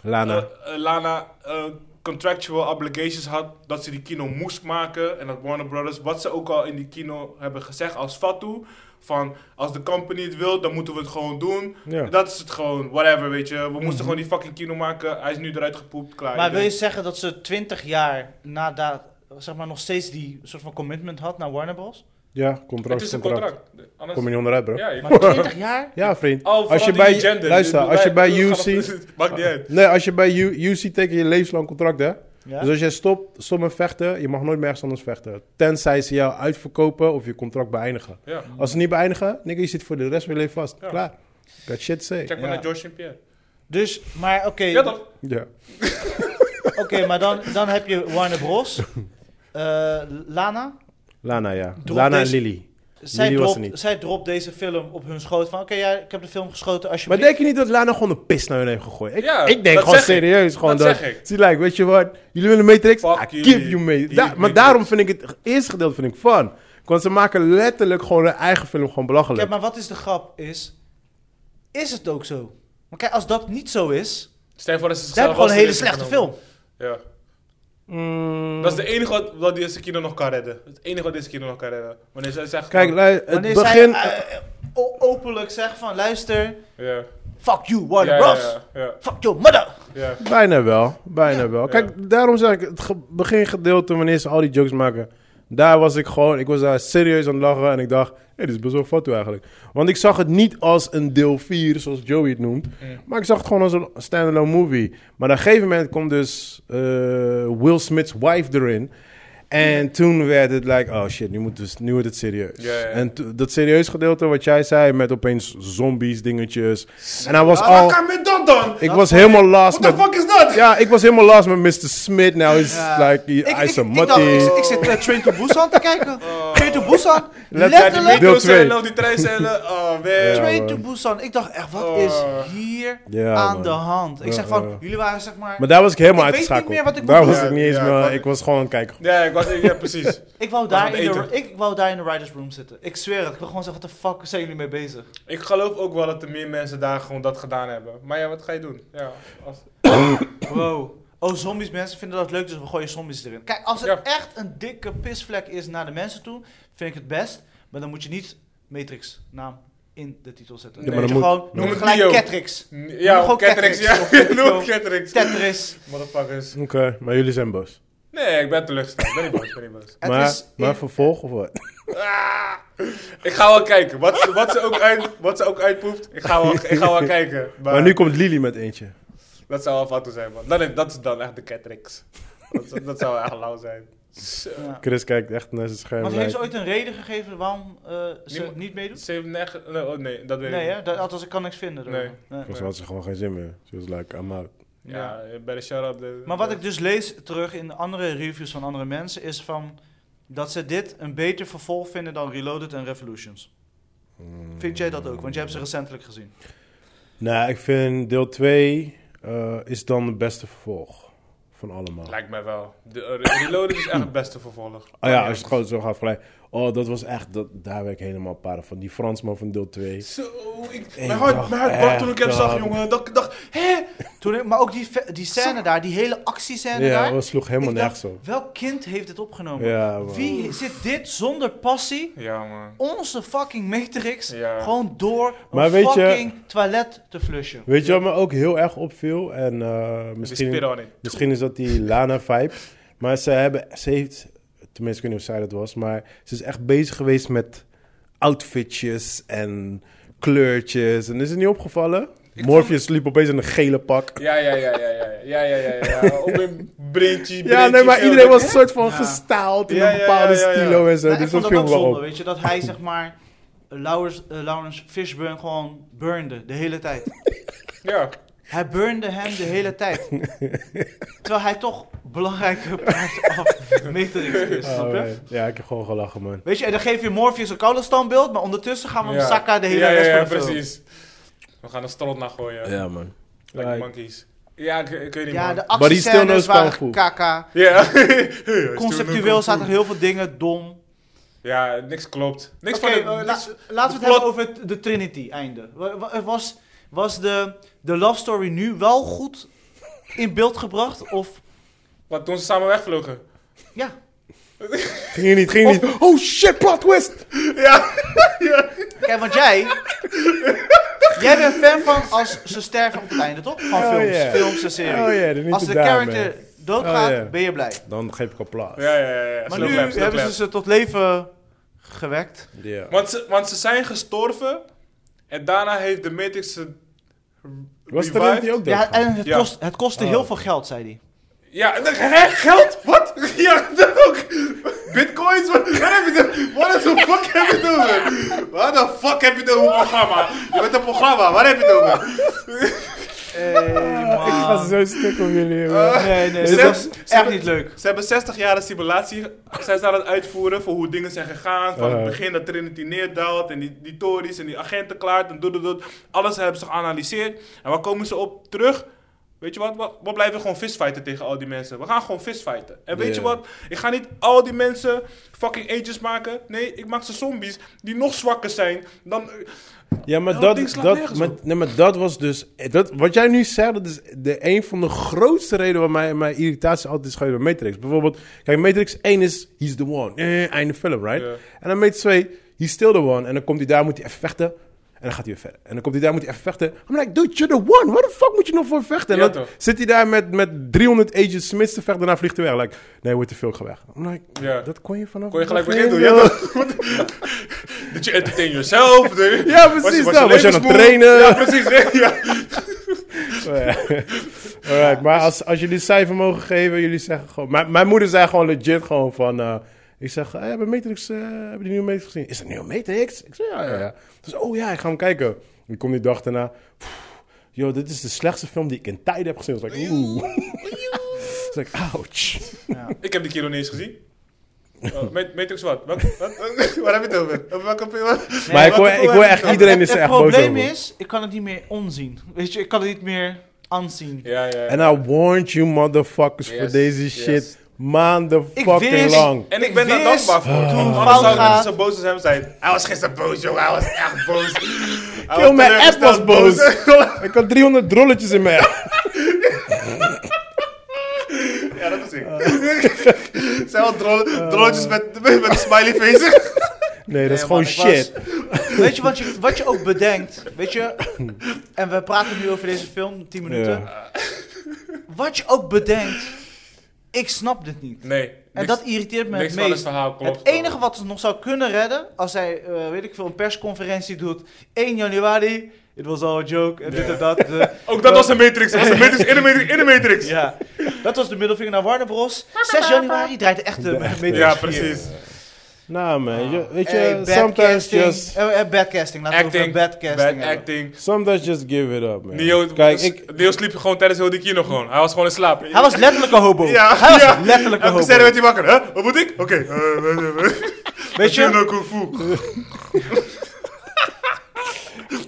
[SPEAKER 2] Lana.
[SPEAKER 3] eh, eh, Lana eh, contractual obligations had. Dat ze die kino moest maken. En dat Warner Brothers, wat ze ook al in die kino hebben gezegd als Fatu. Van als de company het wil, dan moeten we het gewoon doen.
[SPEAKER 2] Ja. Mhm.
[SPEAKER 3] Dat is het gewoon, whatever, weet je. We moesten gewoon die fucking kino maken. Hij is nu eruit gepoept, klaar.
[SPEAKER 1] Maar wil je
[SPEAKER 3] weet
[SPEAKER 1] zeggen dat ze 20 jaar na dat, zeg maar, nog steeds die soort van commitment had naar Warner Bros?
[SPEAKER 2] Ja,
[SPEAKER 3] Het
[SPEAKER 2] contract,
[SPEAKER 3] is een
[SPEAKER 2] contract.
[SPEAKER 3] contract. Anders-
[SPEAKER 2] Kom je niet onderuit, bro.
[SPEAKER 3] ja, je
[SPEAKER 1] Maar 20 jaar?
[SPEAKER 2] Ja, vriend.
[SPEAKER 3] Oh, vooral
[SPEAKER 2] als je
[SPEAKER 3] die
[SPEAKER 2] bij,
[SPEAKER 3] gender.
[SPEAKER 2] luister,
[SPEAKER 3] Dus
[SPEAKER 2] als je bij
[SPEAKER 3] wij-
[SPEAKER 2] UC...
[SPEAKER 3] Maakt niet uit.
[SPEAKER 2] Nee, als je bij U- UC teken je levenslang contract, hè?
[SPEAKER 1] Ja.
[SPEAKER 2] Dus als jij stopt, stopt met vechten, je mag nooit meer ergens anders vechten. Tenzij ze jou uitverkopen of je contract beëindigen.
[SPEAKER 3] Ja.
[SPEAKER 2] Als ze niet beëindigen, nigga, je zit voor de rest van je leven vast.
[SPEAKER 3] Ja.
[SPEAKER 2] Klaar. Got shit to say.
[SPEAKER 3] Kijk maar
[SPEAKER 1] Ja.
[SPEAKER 3] naar George en Pierre.
[SPEAKER 1] Dus, maar oké,
[SPEAKER 3] Ja toch?
[SPEAKER 2] Ja.
[SPEAKER 1] oké, maar dan, dan heb je Warner Bros. Eh, Lana,
[SPEAKER 2] Lana, ja.
[SPEAKER 1] Drop
[SPEAKER 2] Lana en
[SPEAKER 1] deze-
[SPEAKER 2] Lily.
[SPEAKER 1] zij
[SPEAKER 2] Jullie was er
[SPEAKER 1] dropt,
[SPEAKER 2] niet.
[SPEAKER 1] zij dropt deze film op hun schoot van, oké, ja, ik heb de film geschoten,
[SPEAKER 2] Maar
[SPEAKER 1] alsjeblieft.
[SPEAKER 2] denk je niet dat Lana gewoon een pis naar hun heeft gegooid? Ik,
[SPEAKER 3] Ja,
[SPEAKER 2] ik
[SPEAKER 3] dat
[SPEAKER 2] denk gewoon
[SPEAKER 3] zeg ik.
[SPEAKER 2] serieus. Gewoon
[SPEAKER 3] Dat
[SPEAKER 2] dat
[SPEAKER 3] zeg ik.
[SPEAKER 2] Ze lijkt, weet je wat? Jullie willen Matrix?
[SPEAKER 3] Fuck
[SPEAKER 2] I
[SPEAKER 3] jullie.
[SPEAKER 2] give you Matrix.
[SPEAKER 3] Die
[SPEAKER 2] Da- maar
[SPEAKER 3] Matrix.
[SPEAKER 2] daarom vind ik het eerste gedeelte vind ik fun. Want ze maken letterlijk gewoon hun eigen film gewoon belachelijk.
[SPEAKER 1] Kijk, maar wat is de grap is, is het ook zo? Want kijk, als dat niet zo is,
[SPEAKER 3] Stel je voor dat ze
[SPEAKER 1] dan heb
[SPEAKER 3] zichzelf
[SPEAKER 1] je gewoon een
[SPEAKER 3] als
[SPEAKER 1] hele
[SPEAKER 3] de eerste
[SPEAKER 1] slechte
[SPEAKER 3] genomen.
[SPEAKER 1] film.
[SPEAKER 3] Ja.
[SPEAKER 2] Mm.
[SPEAKER 3] Dat is de enige wat, wat deze kino nog kan redden. Het enige wat deze kino nog kan redden. Wanneer zij zegt...
[SPEAKER 2] Kijk,
[SPEAKER 3] van-
[SPEAKER 2] lui, het
[SPEAKER 1] Wanneer
[SPEAKER 2] begin...
[SPEAKER 1] zij eh, o- openlijk zegt van, luister,
[SPEAKER 3] Ja.
[SPEAKER 1] fuck you Warner
[SPEAKER 3] ja,
[SPEAKER 1] Bros.
[SPEAKER 3] ja, ja,
[SPEAKER 1] Fuck your mother.
[SPEAKER 3] ja.
[SPEAKER 2] Bijna wel, bijna wel. Kijk, daarom zeg ik, het ge- begingedeelte wanneer ze al die jokes maken, daar was ik gewoon, ik was daar serieus aan het lachen en ik dacht, hey, dit is best wel foto eigenlijk. Want ik zag het niet als een deel 4, zoals Joey het noemt, maar ik zag het gewoon als een standalone movie. Maar op een gegeven moment komt dus eh, Will Smith's wife erin. En toen werd het like, oh shit, nu, moet het, nu wordt het serieus.
[SPEAKER 3] Ja, ja, ja.
[SPEAKER 2] En to- dat serieus gedeelte wat jij zei, met opeens zombies, dingetjes. En hij was al...
[SPEAKER 3] kan met Ah, dat dan?
[SPEAKER 2] Oh. Ik was helemaal last
[SPEAKER 3] What the
[SPEAKER 2] met...
[SPEAKER 3] fuck is dat?
[SPEAKER 2] Ja, ik was helemaal last met Mr. Smith. Nou is
[SPEAKER 1] Ja.
[SPEAKER 2] like,
[SPEAKER 1] Ik,
[SPEAKER 2] hij
[SPEAKER 1] ik,
[SPEAKER 2] is een
[SPEAKER 1] ik, dacht, ik,
[SPEAKER 2] mattie.
[SPEAKER 1] ik zit eh, Train to Busan te kijken.
[SPEAKER 3] Oh.
[SPEAKER 1] Train to Busan.
[SPEAKER 2] Let-
[SPEAKER 3] Die
[SPEAKER 2] Deel
[SPEAKER 1] letterlijk
[SPEAKER 2] twee.
[SPEAKER 3] metrocellen of die treincellen. Oh, man.
[SPEAKER 1] Train
[SPEAKER 2] man.
[SPEAKER 1] to Busan. Ik dacht echt, wat
[SPEAKER 3] Oh.
[SPEAKER 1] is hier
[SPEAKER 2] Ja,
[SPEAKER 1] aan
[SPEAKER 2] man.
[SPEAKER 1] de hand? Ik
[SPEAKER 2] Ja,
[SPEAKER 1] zeg van,
[SPEAKER 2] ja.
[SPEAKER 1] jullie waren zeg maar...
[SPEAKER 2] Maar daar was ik helemaal
[SPEAKER 1] Ik weet niet
[SPEAKER 2] uitgeschakeld.
[SPEAKER 1] meer wat ik
[SPEAKER 2] daar
[SPEAKER 1] moet
[SPEAKER 2] was
[SPEAKER 3] doen.
[SPEAKER 2] ik niet eens,
[SPEAKER 3] Ja,
[SPEAKER 2] meer-
[SPEAKER 3] ja,
[SPEAKER 2] ik was gewoon aan het kijken.
[SPEAKER 3] Ja, ik was... Ja, precies.
[SPEAKER 1] ik, wou
[SPEAKER 3] aan
[SPEAKER 1] daar
[SPEAKER 3] het
[SPEAKER 1] in de,
[SPEAKER 3] eten.
[SPEAKER 1] ik wou daar in de writer's room zitten. Ik zweer het. Ik wil gewoon zeggen, wat de fuck zijn jullie mee bezig?
[SPEAKER 3] Ik geloof ook wel dat er meer mensen daar gewoon dat gedaan hebben. Maar ja, wat ga je doen? Ja, als...
[SPEAKER 1] Wow. Oh, zombies, mensen vinden dat leuk, dus we gooien zombies erin. Kijk, als het
[SPEAKER 3] Ja.
[SPEAKER 1] echt een dikke pisvlek is naar de mensen toe, vind ik het best. Maar dan moet je niet Matrix naam in de titel zetten.
[SPEAKER 3] Ja,
[SPEAKER 1] Dan
[SPEAKER 3] maar
[SPEAKER 1] moet je
[SPEAKER 2] dan moet-
[SPEAKER 1] gewoon,
[SPEAKER 2] noem
[SPEAKER 1] noem
[SPEAKER 3] het
[SPEAKER 1] het gelijk
[SPEAKER 3] Neo.
[SPEAKER 1] Catrix.
[SPEAKER 3] Ja,
[SPEAKER 1] gewoon
[SPEAKER 3] Catrix. Ja,
[SPEAKER 1] Catrix.
[SPEAKER 3] noem Catrix.
[SPEAKER 1] Tetris.
[SPEAKER 3] Motherfuckers.
[SPEAKER 2] Oké, maar jullie zijn boos.
[SPEAKER 3] Nee, ik ben teleurgesteld. Ben niet boos, ben niet boos.
[SPEAKER 1] Het
[SPEAKER 2] maar
[SPEAKER 1] is
[SPEAKER 2] maar
[SPEAKER 1] in-
[SPEAKER 2] vervolg of wat?
[SPEAKER 3] Ah, ik ga wel kijken. Wat, ze- wat, ze, ook uit, wat ze ook uitpoept, ik ga wel, ik ga wel kijken. Maar,
[SPEAKER 2] Maar nu komt Lily met eentje.
[SPEAKER 3] dat zou wel fout zijn, man. Dat is, dat is dan echt de Catrix. Dat, zou- dat zou echt lauw zijn. Zo.
[SPEAKER 1] Ja.
[SPEAKER 2] Chris kijkt echt naar zijn scherm.
[SPEAKER 1] Want heeft ze
[SPEAKER 2] like,
[SPEAKER 1] ooit een reden gegeven waarom eh, ze
[SPEAKER 3] Niemand-
[SPEAKER 1] niet meedoet?
[SPEAKER 3] 7, 9... Nee, oh, nee, dat weet
[SPEAKER 1] Nee,
[SPEAKER 3] ik
[SPEAKER 1] hè?
[SPEAKER 3] niet.
[SPEAKER 1] Dat, althans, ik kan niks vinden. erover. Nee.
[SPEAKER 2] Volgens mij had ze gewoon geen zin meer. Ze was like, I'm out.
[SPEAKER 3] Ja, eh, bij de eh, shut-up.
[SPEAKER 1] Maar wat ik dus lees terug in andere reviews van andere mensen is van... dat ze dit een beter vervolg vinden dan Reloaded en Revolutions. Vind jij dat ook? Want jij hebt
[SPEAKER 2] Hmm.
[SPEAKER 1] ze recentelijk gezien.
[SPEAKER 2] Nou, ik vind deel 2 is dan het beste vervolg van allemaal.
[SPEAKER 3] Lijkt mij wel. De, eh, Re- Reloaded is echt het beste vervolg.
[SPEAKER 2] Oh ja, als je het gewoon zo gaat vergelijken. Oh, dat was echt, dat, daar werd ik helemaal para van. Die Fransman van deel 2.
[SPEAKER 3] Zo, ik,
[SPEAKER 2] Ik
[SPEAKER 3] mijn hart,
[SPEAKER 2] dacht
[SPEAKER 3] mijn hart brak toen ik hem
[SPEAKER 2] echt
[SPEAKER 3] zag,
[SPEAKER 2] dat-
[SPEAKER 3] jongen. Dat ik dacht, hè?
[SPEAKER 1] Toen, ik- maar ook die, ve- die scène daar, die hele actiescène
[SPEAKER 2] Ja,
[SPEAKER 1] daar.
[SPEAKER 2] dat sloeg helemaal
[SPEAKER 1] Ik dacht,
[SPEAKER 2] nergens op.
[SPEAKER 1] Welk kind heeft dit opgenomen?
[SPEAKER 2] Ja, man.
[SPEAKER 1] Wie zit dit zonder passie?
[SPEAKER 3] Ja, man.
[SPEAKER 1] Onze fucking Matrix
[SPEAKER 3] Ja.
[SPEAKER 1] gewoon door een
[SPEAKER 2] Maar weet je-
[SPEAKER 1] fucking toilet te flushen.
[SPEAKER 2] Weet je wat me ook heel erg opviel? En eh,
[SPEAKER 3] Misschien...
[SPEAKER 2] misschien,
[SPEAKER 3] on it.
[SPEAKER 2] misschien is dat die Lana-vibe. Maar ze, hebben, ze heeft, tenminste ik weet niet of zij dat was, maar ze is echt bezig geweest met outfitjes en kleurtjes. En is het niet opgevallen? Morpheus liep opeens in een gele pak.
[SPEAKER 3] Ja, ja, ja, ja, ja, ja, ja, ja, ja, ja. Op een breedje,
[SPEAKER 2] Ja, nee, maar iedereen was een soort van
[SPEAKER 1] Ja.
[SPEAKER 2] gestaald in
[SPEAKER 3] Ja,
[SPEAKER 2] een
[SPEAKER 3] ja,
[SPEAKER 2] bepaalde
[SPEAKER 3] ja, ja, ja.
[SPEAKER 2] stilo en zo.
[SPEAKER 1] Nou, ik
[SPEAKER 2] dus
[SPEAKER 1] vond
[SPEAKER 2] dat
[SPEAKER 1] dat
[SPEAKER 2] viel
[SPEAKER 1] ook
[SPEAKER 2] me wel
[SPEAKER 1] zonde,
[SPEAKER 2] op.
[SPEAKER 1] weet je, dat hij zeg maar eh, Lawrence, eh, Lawrence Fishburne gewoon burnde de hele tijd.
[SPEAKER 3] Ja.
[SPEAKER 1] Hij burnde hem de hele tijd. Terwijl hij toch belangrijke part af Matrix is,
[SPEAKER 3] Oh,
[SPEAKER 1] snap je?
[SPEAKER 2] Alright. Oh, Ja, ik heb gewoon gelachen, man.
[SPEAKER 1] Weet je, en dan geef je Morpheus een koude standbeeld, maar ondertussen gaan we hem
[SPEAKER 3] Ja.
[SPEAKER 1] zakken de hele
[SPEAKER 3] ja, ja,
[SPEAKER 1] rest
[SPEAKER 3] ja,
[SPEAKER 1] van de film.
[SPEAKER 3] precies. We gaan een strot naar gooien.
[SPEAKER 2] Ja, man.
[SPEAKER 3] Like monkeys. Ja, ik, ik weet niet,
[SPEAKER 1] Ja,
[SPEAKER 3] man.
[SPEAKER 1] de
[SPEAKER 2] Maar die still knows
[SPEAKER 1] actiescènes waren
[SPEAKER 2] kung fu.
[SPEAKER 1] kaka.
[SPEAKER 3] Ja. Hey, hij is
[SPEAKER 1] Conceptueel
[SPEAKER 3] toen
[SPEAKER 1] zaten
[SPEAKER 3] een-
[SPEAKER 1] er heel veel dingen dom.
[SPEAKER 3] Ja, niks klopt. Niks
[SPEAKER 1] Oké,
[SPEAKER 3] van...
[SPEAKER 1] eh,
[SPEAKER 3] de- niks-
[SPEAKER 1] la- laten we het hebben
[SPEAKER 3] plot-
[SPEAKER 1] over het- de Trinity-einde. Wa- wa- Was, was de, de love story nu wel goed in beeld gebracht? Of,
[SPEAKER 3] Wat, toen ze samen wegvlogen.
[SPEAKER 1] ja,
[SPEAKER 2] Ging je niet, ging je niet. Oh shit, plot twist!
[SPEAKER 1] kijk, want jij... jij bent fan van als ze sterven op het einde, toch? Van
[SPEAKER 2] Oh,
[SPEAKER 1] films,
[SPEAKER 2] ja.
[SPEAKER 1] films en series.
[SPEAKER 2] Oh ja, dan niet
[SPEAKER 1] als
[SPEAKER 2] te
[SPEAKER 1] de
[SPEAKER 2] daar,
[SPEAKER 1] character
[SPEAKER 2] man.
[SPEAKER 1] doodgaat,
[SPEAKER 2] Oh, ja.
[SPEAKER 1] ben je blij.
[SPEAKER 2] Dan geef ik applaus.
[SPEAKER 3] Ja, ja, ja. ja.
[SPEAKER 1] Maar
[SPEAKER 3] Slow
[SPEAKER 1] nu
[SPEAKER 3] clap, slow
[SPEAKER 1] hebben ze
[SPEAKER 3] clap.
[SPEAKER 1] ze tot leven gewekt.
[SPEAKER 2] Ja.
[SPEAKER 3] Want ze, want ze zijn gestorven. En daarna heeft de Matrix ze
[SPEAKER 2] Was
[SPEAKER 3] revived.
[SPEAKER 2] Trinity ook
[SPEAKER 1] Ja,
[SPEAKER 2] doodgaan?
[SPEAKER 1] en het,
[SPEAKER 3] Ja.
[SPEAKER 1] kost, het kostte
[SPEAKER 2] Oh.
[SPEAKER 1] heel veel geld, zei hij.
[SPEAKER 3] Ja, en dan- hè, geld? Wat? Ja, dat ook. Bitcoins? Wat wat heb je de- What the fuck heb je het over? Waar de fuck heb je het over programma? Je bent een programma, waar heb je het over?
[SPEAKER 2] Ik ga zo stuk om jullie, eh, man.
[SPEAKER 1] Nee, nee,
[SPEAKER 3] Ze
[SPEAKER 1] dat was
[SPEAKER 3] hebben- ze
[SPEAKER 1] echt
[SPEAKER 3] hebben-
[SPEAKER 1] niet leuk.
[SPEAKER 3] Ze hebben 60 jaar de simulatie. Zijn ze aan het uitvoeren voor hoe dingen zijn gegaan. Van het
[SPEAKER 2] Eh.
[SPEAKER 3] begin dat Trinity neerdaalt. En die, die Tories en die agenten klaart. En doet, doet, doet. Alles hebben ze geanalyseerd. En waar komen ze op terug? Weet je wat? We, we blijven gewoon visfighten tegen al die mensen. We gaan gewoon visfighten. En weet je
[SPEAKER 2] Ja.
[SPEAKER 3] wat? Ik ga niet al die mensen fucking agents maken. Nee, ik maak ze zombies die nog zwakker zijn dan...
[SPEAKER 2] Ja, maar
[SPEAKER 3] Ja,
[SPEAKER 2] dat,
[SPEAKER 3] ding slaat
[SPEAKER 2] dat,
[SPEAKER 3] nergens
[SPEAKER 2] maar,
[SPEAKER 3] op.
[SPEAKER 2] nee, maar dat was dus... Dat, wat jij nu zegt, dat is de, een van de grootste redenen... waar mijn, mijn irritatie altijd is geweest bij Matrix. Bijvoorbeeld, kijk, Matrix 1 is... He's the one. Eh, einde film, right?
[SPEAKER 3] Ja.
[SPEAKER 2] En dan Matrix 2, he's still the one. En dan komt hij daar, moet hij even vechten... En dan gaat hij weer verder. En dan komt hij daar, moet hij even vechten. I'm like, dude, you're the one. What the fuck moet je nog voor vechten? En
[SPEAKER 3] Ja,
[SPEAKER 2] dan
[SPEAKER 3] toch.
[SPEAKER 2] zit hij daar met, met 300 Agent Smiths te vechten. Daarna vliegt hij weg. Like, nee, wordt te veel ga weg. I'm like,
[SPEAKER 3] Ja.
[SPEAKER 2] dat kon je vanaf...
[SPEAKER 3] Kon je
[SPEAKER 2] het
[SPEAKER 3] gelijk
[SPEAKER 2] begin,
[SPEAKER 3] beginnen doen. Ja,
[SPEAKER 2] joh.
[SPEAKER 3] toch? Dat je entertain yourself.
[SPEAKER 2] Ja, precies
[SPEAKER 3] Was je- was je
[SPEAKER 2] dat. Was je aan het
[SPEAKER 3] levensmoe?
[SPEAKER 2] trainen?
[SPEAKER 3] Ja, precies. Ja.
[SPEAKER 2] Oh ja. Alright, maar als, als jullie cijfer mogen geven, jullie zeggen gewoon... Mijn, mijn moeder zei gewoon legit gewoon van... eh, ik zeg, eh, hebben Matrix, eh, hebben die nieuwe Matrix gezien? Is dat een nieuwe Matrix? Ik zeg, ja, ja, ja. Dus, oh ja, ik ga hem kijken. Ik kom die dag daarna... "Pff, Yo, dit is de slechtste film die ik in tijden heb gezien. Ik was like, oeh. Ik was like, ouch.
[SPEAKER 3] Ik heb die keer nog niet eens gezien. Oh, Mat- Matrix wat? Wat? Wat? Waar heb je het over? Over welke film?
[SPEAKER 2] maar ik
[SPEAKER 3] wat-
[SPEAKER 2] hoor,
[SPEAKER 3] wat-
[SPEAKER 2] ik hoor echt, iedereen is
[SPEAKER 1] het
[SPEAKER 2] er echt boos
[SPEAKER 1] probleem
[SPEAKER 2] over.
[SPEAKER 1] is, ik kan het niet meer onzien. Weet je, ik kan het niet meer aanzien.
[SPEAKER 3] Ja, ja. ja.
[SPEAKER 2] And I warned you motherfuckers voor
[SPEAKER 3] Yes,
[SPEAKER 2] deze
[SPEAKER 3] yes.
[SPEAKER 2] shit maanden
[SPEAKER 1] Ik
[SPEAKER 2] fucking
[SPEAKER 1] wist-
[SPEAKER 2] lang.
[SPEAKER 3] En ik Oh.
[SPEAKER 1] Ik
[SPEAKER 3] ben daar
[SPEAKER 1] wist
[SPEAKER 3] dankbaar voor.
[SPEAKER 1] toen
[SPEAKER 3] Anders
[SPEAKER 1] fout
[SPEAKER 3] zou ik
[SPEAKER 1] gaat.
[SPEAKER 3] niet zo boos als hem zijn. Hij was gisteren boos, jongen. Hij was echt boos. Hij
[SPEAKER 2] Yo, mijn app
[SPEAKER 3] teleurgesteld
[SPEAKER 2] was boos. ik had 300 drolletjes in mijn app.
[SPEAKER 3] ja, dat Oh. is ik. Zijn wel drollen- drolletjes met, met, met een smiley face.
[SPEAKER 2] Nee,
[SPEAKER 1] Nee,
[SPEAKER 2] dat is gewoon
[SPEAKER 1] man, ik was-
[SPEAKER 2] shit.
[SPEAKER 1] Weet je wat, je wat je ook bedenkt? Weet je, en we praten nu over deze film, 10 minuten. Wat je ook bedenkt, ik snap dit niet.
[SPEAKER 3] Nee.
[SPEAKER 1] En dat irriteert me
[SPEAKER 3] niks
[SPEAKER 1] het
[SPEAKER 3] van het
[SPEAKER 1] meest.
[SPEAKER 3] verhaal klopt
[SPEAKER 1] Het enige wat ze nog zou kunnen redden, als hij, eh, weet ik veel, een persconferentie doet. 1 januari, it was all a joke, en dit en dat. eh,
[SPEAKER 3] Ook dat was een Matrix. Dat was een Matrix in de Matrix. In de matrix. Ja,
[SPEAKER 1] Ja, dat was de middelvinger naar Warner Bros. 6 januari draait de echte Matrix
[SPEAKER 3] precies.
[SPEAKER 2] Nah, Nou, man.
[SPEAKER 3] Ah.
[SPEAKER 2] Je- weet je,
[SPEAKER 1] Hey, bad
[SPEAKER 2] sometimes
[SPEAKER 1] casting.
[SPEAKER 2] just...
[SPEAKER 1] Eh, eh, bad casting. Laten we
[SPEAKER 3] Acting,
[SPEAKER 1] het over bad
[SPEAKER 3] Bad
[SPEAKER 1] casting hebben.
[SPEAKER 3] acting.
[SPEAKER 2] Sometimes just give it up, man.
[SPEAKER 3] Neo,
[SPEAKER 2] Kijk,
[SPEAKER 3] Kijk,
[SPEAKER 2] ik...
[SPEAKER 3] Neo sliep gewoon tijdens heel die kino gewoon. Hij was gewoon in slaap.
[SPEAKER 1] Hij was letterlijk een hobo.
[SPEAKER 3] Ja,
[SPEAKER 1] hij was
[SPEAKER 3] ja.
[SPEAKER 1] letterlijk een
[SPEAKER 3] Elke
[SPEAKER 1] hobo.
[SPEAKER 3] scène werd hij wakker, hè? Wat moet ik? Oké. eh, eh, eh,
[SPEAKER 1] Weet je,
[SPEAKER 3] Judo Kung Fu.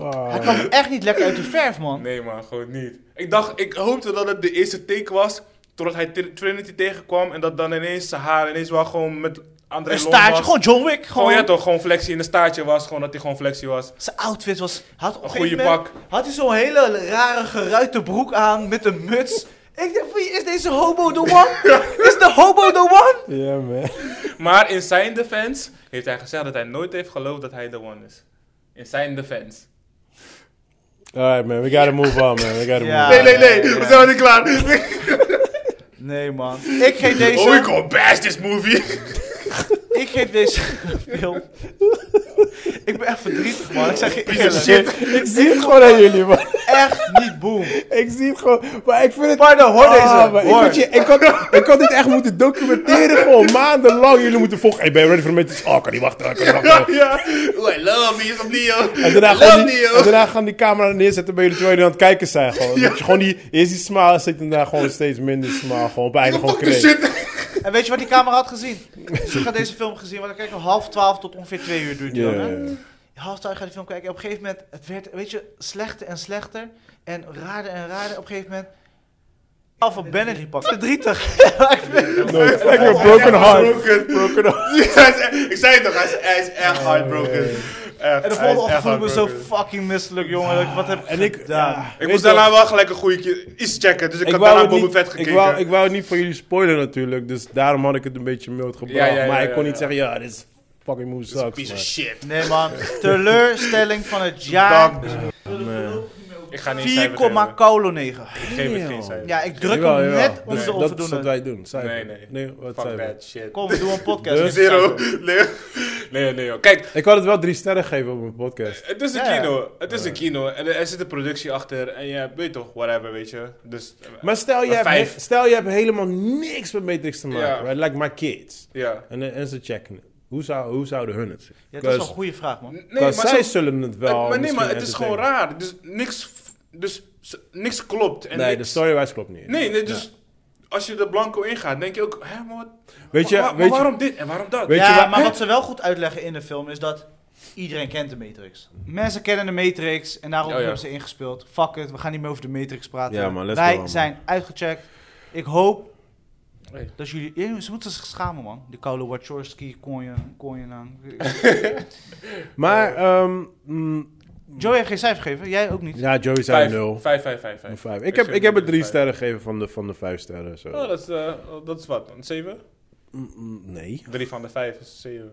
[SPEAKER 2] Ah.
[SPEAKER 1] hij kwam echt niet lekker uit de verf, man.
[SPEAKER 3] Nee, man, gewoon niet. Ik dacht, ik hoopte dat het de eerste take was. Totdat hij Tr- Trinity tegenkwam en dat dan ineens zijn haar ineens wel gewoon met André
[SPEAKER 1] Een
[SPEAKER 3] Long
[SPEAKER 1] staartje,
[SPEAKER 3] was.
[SPEAKER 1] gewoon John Wick. Gewoon.
[SPEAKER 3] Gewoon, ja toch, gewoon flexie in een staartje was. Gewoon dat hij gewoon flexie was.
[SPEAKER 1] Zijn outfit was... Had op een
[SPEAKER 3] Een
[SPEAKER 1] goede
[SPEAKER 3] goede
[SPEAKER 1] moment,
[SPEAKER 3] pak.
[SPEAKER 1] Had hij zo'n hele rare geruite broek aan met een muts. Ik dacht, wie is deze hobo the one? Is de hobo the one?
[SPEAKER 2] Ja, man.
[SPEAKER 3] Maar in zijn defense heeft hij gezegd dat hij nooit heeft geloofd dat hij de one is. In zijn defense.
[SPEAKER 2] Alright, man. We gotta move on, man. We gotta
[SPEAKER 1] Ja.
[SPEAKER 2] move
[SPEAKER 4] Nee,
[SPEAKER 2] on.
[SPEAKER 4] nee, nee.
[SPEAKER 1] Ja.
[SPEAKER 4] We zijn nog niet klaar.
[SPEAKER 1] Nee, man. Ik geef deze...
[SPEAKER 3] Oh, ik al bash this movie.
[SPEAKER 1] Ik geef deze film. ik ben echt verdrietig, man. Ik zeg je
[SPEAKER 3] Piece of
[SPEAKER 1] eerlijk.
[SPEAKER 3] shit.
[SPEAKER 2] Ik zie het gewoon aan jullie, man.
[SPEAKER 1] Echt niet boem.
[SPEAKER 2] Ik zie het gewoon. Maar ik vind het...
[SPEAKER 1] Pardon, hoor deze.
[SPEAKER 2] Ah, maar ik,
[SPEAKER 1] hoor.
[SPEAKER 2] weet je, ik, had, ik had dit echt moeten documenteren gewoon maandenlang. Jullie moeten volgen. Ik ben je ready voor de meetings. Oh, kan niet wachten, kan niet wachten.
[SPEAKER 3] ja.
[SPEAKER 4] Oh, I love me. Is op Neo.
[SPEAKER 2] En daarna,
[SPEAKER 4] Love
[SPEAKER 2] gewoon die,
[SPEAKER 4] Neo.
[SPEAKER 2] en daarna gaan die camera neerzetten bij jullie terwijl jullie aan het kijken zijn. Gewoon. Dat je gewoon die, eerst die smile zit en daarna gewoon steeds minder smile. Gewoon op het einde gewoon
[SPEAKER 4] Fuck the
[SPEAKER 2] kreeg.
[SPEAKER 4] shit.
[SPEAKER 1] En weet je wat die camera had gezien? Dus ik had deze film gezien, want dan kijk ik om half twaalf tot ongeveer twee uur duurt die
[SPEAKER 2] Ja,
[SPEAKER 1] dan,
[SPEAKER 2] ja,
[SPEAKER 1] hè?
[SPEAKER 2] ja.
[SPEAKER 1] Half twaalf ga je die film kijken. En op een gegeven moment, het werd, weet je, slechter en slechter. En raarder en raarder. Op een gegeven moment... Alpha Benedict pakken. Verdrietig.
[SPEAKER 2] No, it's like a broken heart. Broken heart.
[SPEAKER 4] Ja, hij is echt- Ik zei het toch, hij is, hij is echt heartbroken. Echt,
[SPEAKER 1] En de
[SPEAKER 4] hij is
[SPEAKER 1] volgende ochtend
[SPEAKER 4] echt
[SPEAKER 1] voelde ik me zo
[SPEAKER 4] heartbroken.
[SPEAKER 1] fucking misselijk, jongen. dat ik- Wat heb ik
[SPEAKER 2] En ik,
[SPEAKER 1] gedaan?
[SPEAKER 2] ja,
[SPEAKER 3] Ik
[SPEAKER 2] weet
[SPEAKER 3] moest
[SPEAKER 2] je
[SPEAKER 3] daarna wel gelijk een goede keer iets checken. Dus ik,
[SPEAKER 2] Ik
[SPEAKER 3] had
[SPEAKER 2] wou, het
[SPEAKER 3] daarna Boba
[SPEAKER 2] niet,
[SPEAKER 3] Vet
[SPEAKER 2] ik,
[SPEAKER 3] gekeken.
[SPEAKER 2] wou, ik wou het niet voor jullie spoilen natuurlijk, dus daarom had ik het een beetje mild gebracht.
[SPEAKER 3] Ja, ja, ja,
[SPEAKER 2] maar ik
[SPEAKER 3] ja,
[SPEAKER 2] kon
[SPEAKER 3] ja.
[SPEAKER 2] niet zeggen, ja, dit is fucking movie sucks.
[SPEAKER 4] Piece of
[SPEAKER 2] man.
[SPEAKER 4] shit.
[SPEAKER 1] Nee, man. Teleurstelling van het jaar.
[SPEAKER 2] eh,
[SPEAKER 3] Ik ga niet
[SPEAKER 1] 4,9.
[SPEAKER 3] Ik geef het geen cijfer.
[SPEAKER 1] Ja, ik druk
[SPEAKER 2] Jawel,
[SPEAKER 1] hem
[SPEAKER 2] jawel.
[SPEAKER 1] net om
[SPEAKER 2] Dat-
[SPEAKER 1] te
[SPEAKER 2] dat is wat
[SPEAKER 1] overdoen.
[SPEAKER 2] wij doen. Cijfer.
[SPEAKER 3] Nee, nee.
[SPEAKER 2] wat
[SPEAKER 3] Fuck
[SPEAKER 2] cijfer.
[SPEAKER 3] that shit.
[SPEAKER 1] Kom, we doen een podcast.
[SPEAKER 2] Dus?
[SPEAKER 4] Zero. Leo.
[SPEAKER 3] Nee, nee, joh. Kijk,
[SPEAKER 2] Ik had het wel drie sterren gegeven op mijn podcast.
[SPEAKER 3] het is een
[SPEAKER 1] Ja.
[SPEAKER 3] kino. Het is een kino. En er er zit een productie achter. En ja, weet je toch, whatever, weet je. Dus, eh,
[SPEAKER 2] Maar stel je,
[SPEAKER 3] Een
[SPEAKER 2] hebt,
[SPEAKER 3] vijf.
[SPEAKER 2] he- stel je hebt helemaal niks met Matrix te maken,
[SPEAKER 3] Ja.
[SPEAKER 2] right? like my kids.
[SPEAKER 3] ja.
[SPEAKER 2] En, eh, en ze checken het. Hoe, zou, hoe zouden hun het zien?
[SPEAKER 1] Ja, dat is wel een
[SPEAKER 2] Because-
[SPEAKER 1] goede vraag, man.
[SPEAKER 3] Nee, maar,
[SPEAKER 2] because zij
[SPEAKER 3] zo-
[SPEAKER 2] zullen het wel
[SPEAKER 3] maar nee,
[SPEAKER 2] misschien
[SPEAKER 3] maar het is gewoon
[SPEAKER 2] entertainen.
[SPEAKER 3] raar. Dus niks, f- dus, s- niks klopt. En
[SPEAKER 2] Nee, dus de
[SPEAKER 3] niks-
[SPEAKER 2] storywise klopt niet.
[SPEAKER 3] Nee, nee,
[SPEAKER 2] Ja.
[SPEAKER 3] dus als je er blanco ingaat, denk je ook, hè, maar, wat,
[SPEAKER 2] Weet je,
[SPEAKER 3] maar- maar
[SPEAKER 2] weet je-
[SPEAKER 3] waarom dit en waarom dat?
[SPEAKER 2] Weet je
[SPEAKER 1] ja,
[SPEAKER 2] waar-
[SPEAKER 1] maar
[SPEAKER 2] Hè?
[SPEAKER 1] wat ze wel goed uitleggen in de film is dat iedereen kent de Matrix.
[SPEAKER 2] Mhm.
[SPEAKER 1] Mensen kennen de Matrix en daarom
[SPEAKER 3] Ja, ja.
[SPEAKER 1] hebben ze ingespeeld. Fuck it, we gaan niet meer over de Matrix praten.
[SPEAKER 2] Ja, man, let's
[SPEAKER 1] Wij
[SPEAKER 2] go, man.
[SPEAKER 1] zijn uitgecheckt. Ik hoop
[SPEAKER 3] Hey.
[SPEAKER 1] dat jullie... Ja, ze moeten zich schamen, man. Die koude Wachowski, konjen, konjen aan.
[SPEAKER 2] Maar, ehm, mm,
[SPEAKER 1] Joey heeft geen cijfer gegeven, jij ook niet.
[SPEAKER 2] ja, Joey zei
[SPEAKER 3] Vijf,
[SPEAKER 2] nul.
[SPEAKER 3] vijf, vijf, vijf,
[SPEAKER 2] Een
[SPEAKER 3] vijf.
[SPEAKER 2] vijf. Ik, heb,
[SPEAKER 3] zeg
[SPEAKER 2] ik heb het drie
[SPEAKER 3] vijf.
[SPEAKER 2] sterren gegeven van de, van de vijf sterren. Zo.
[SPEAKER 3] Oh, dat is, eh, dat is wat, een zeven?
[SPEAKER 2] Mm, mm, Nee.
[SPEAKER 3] Drie van de vijf is zeven.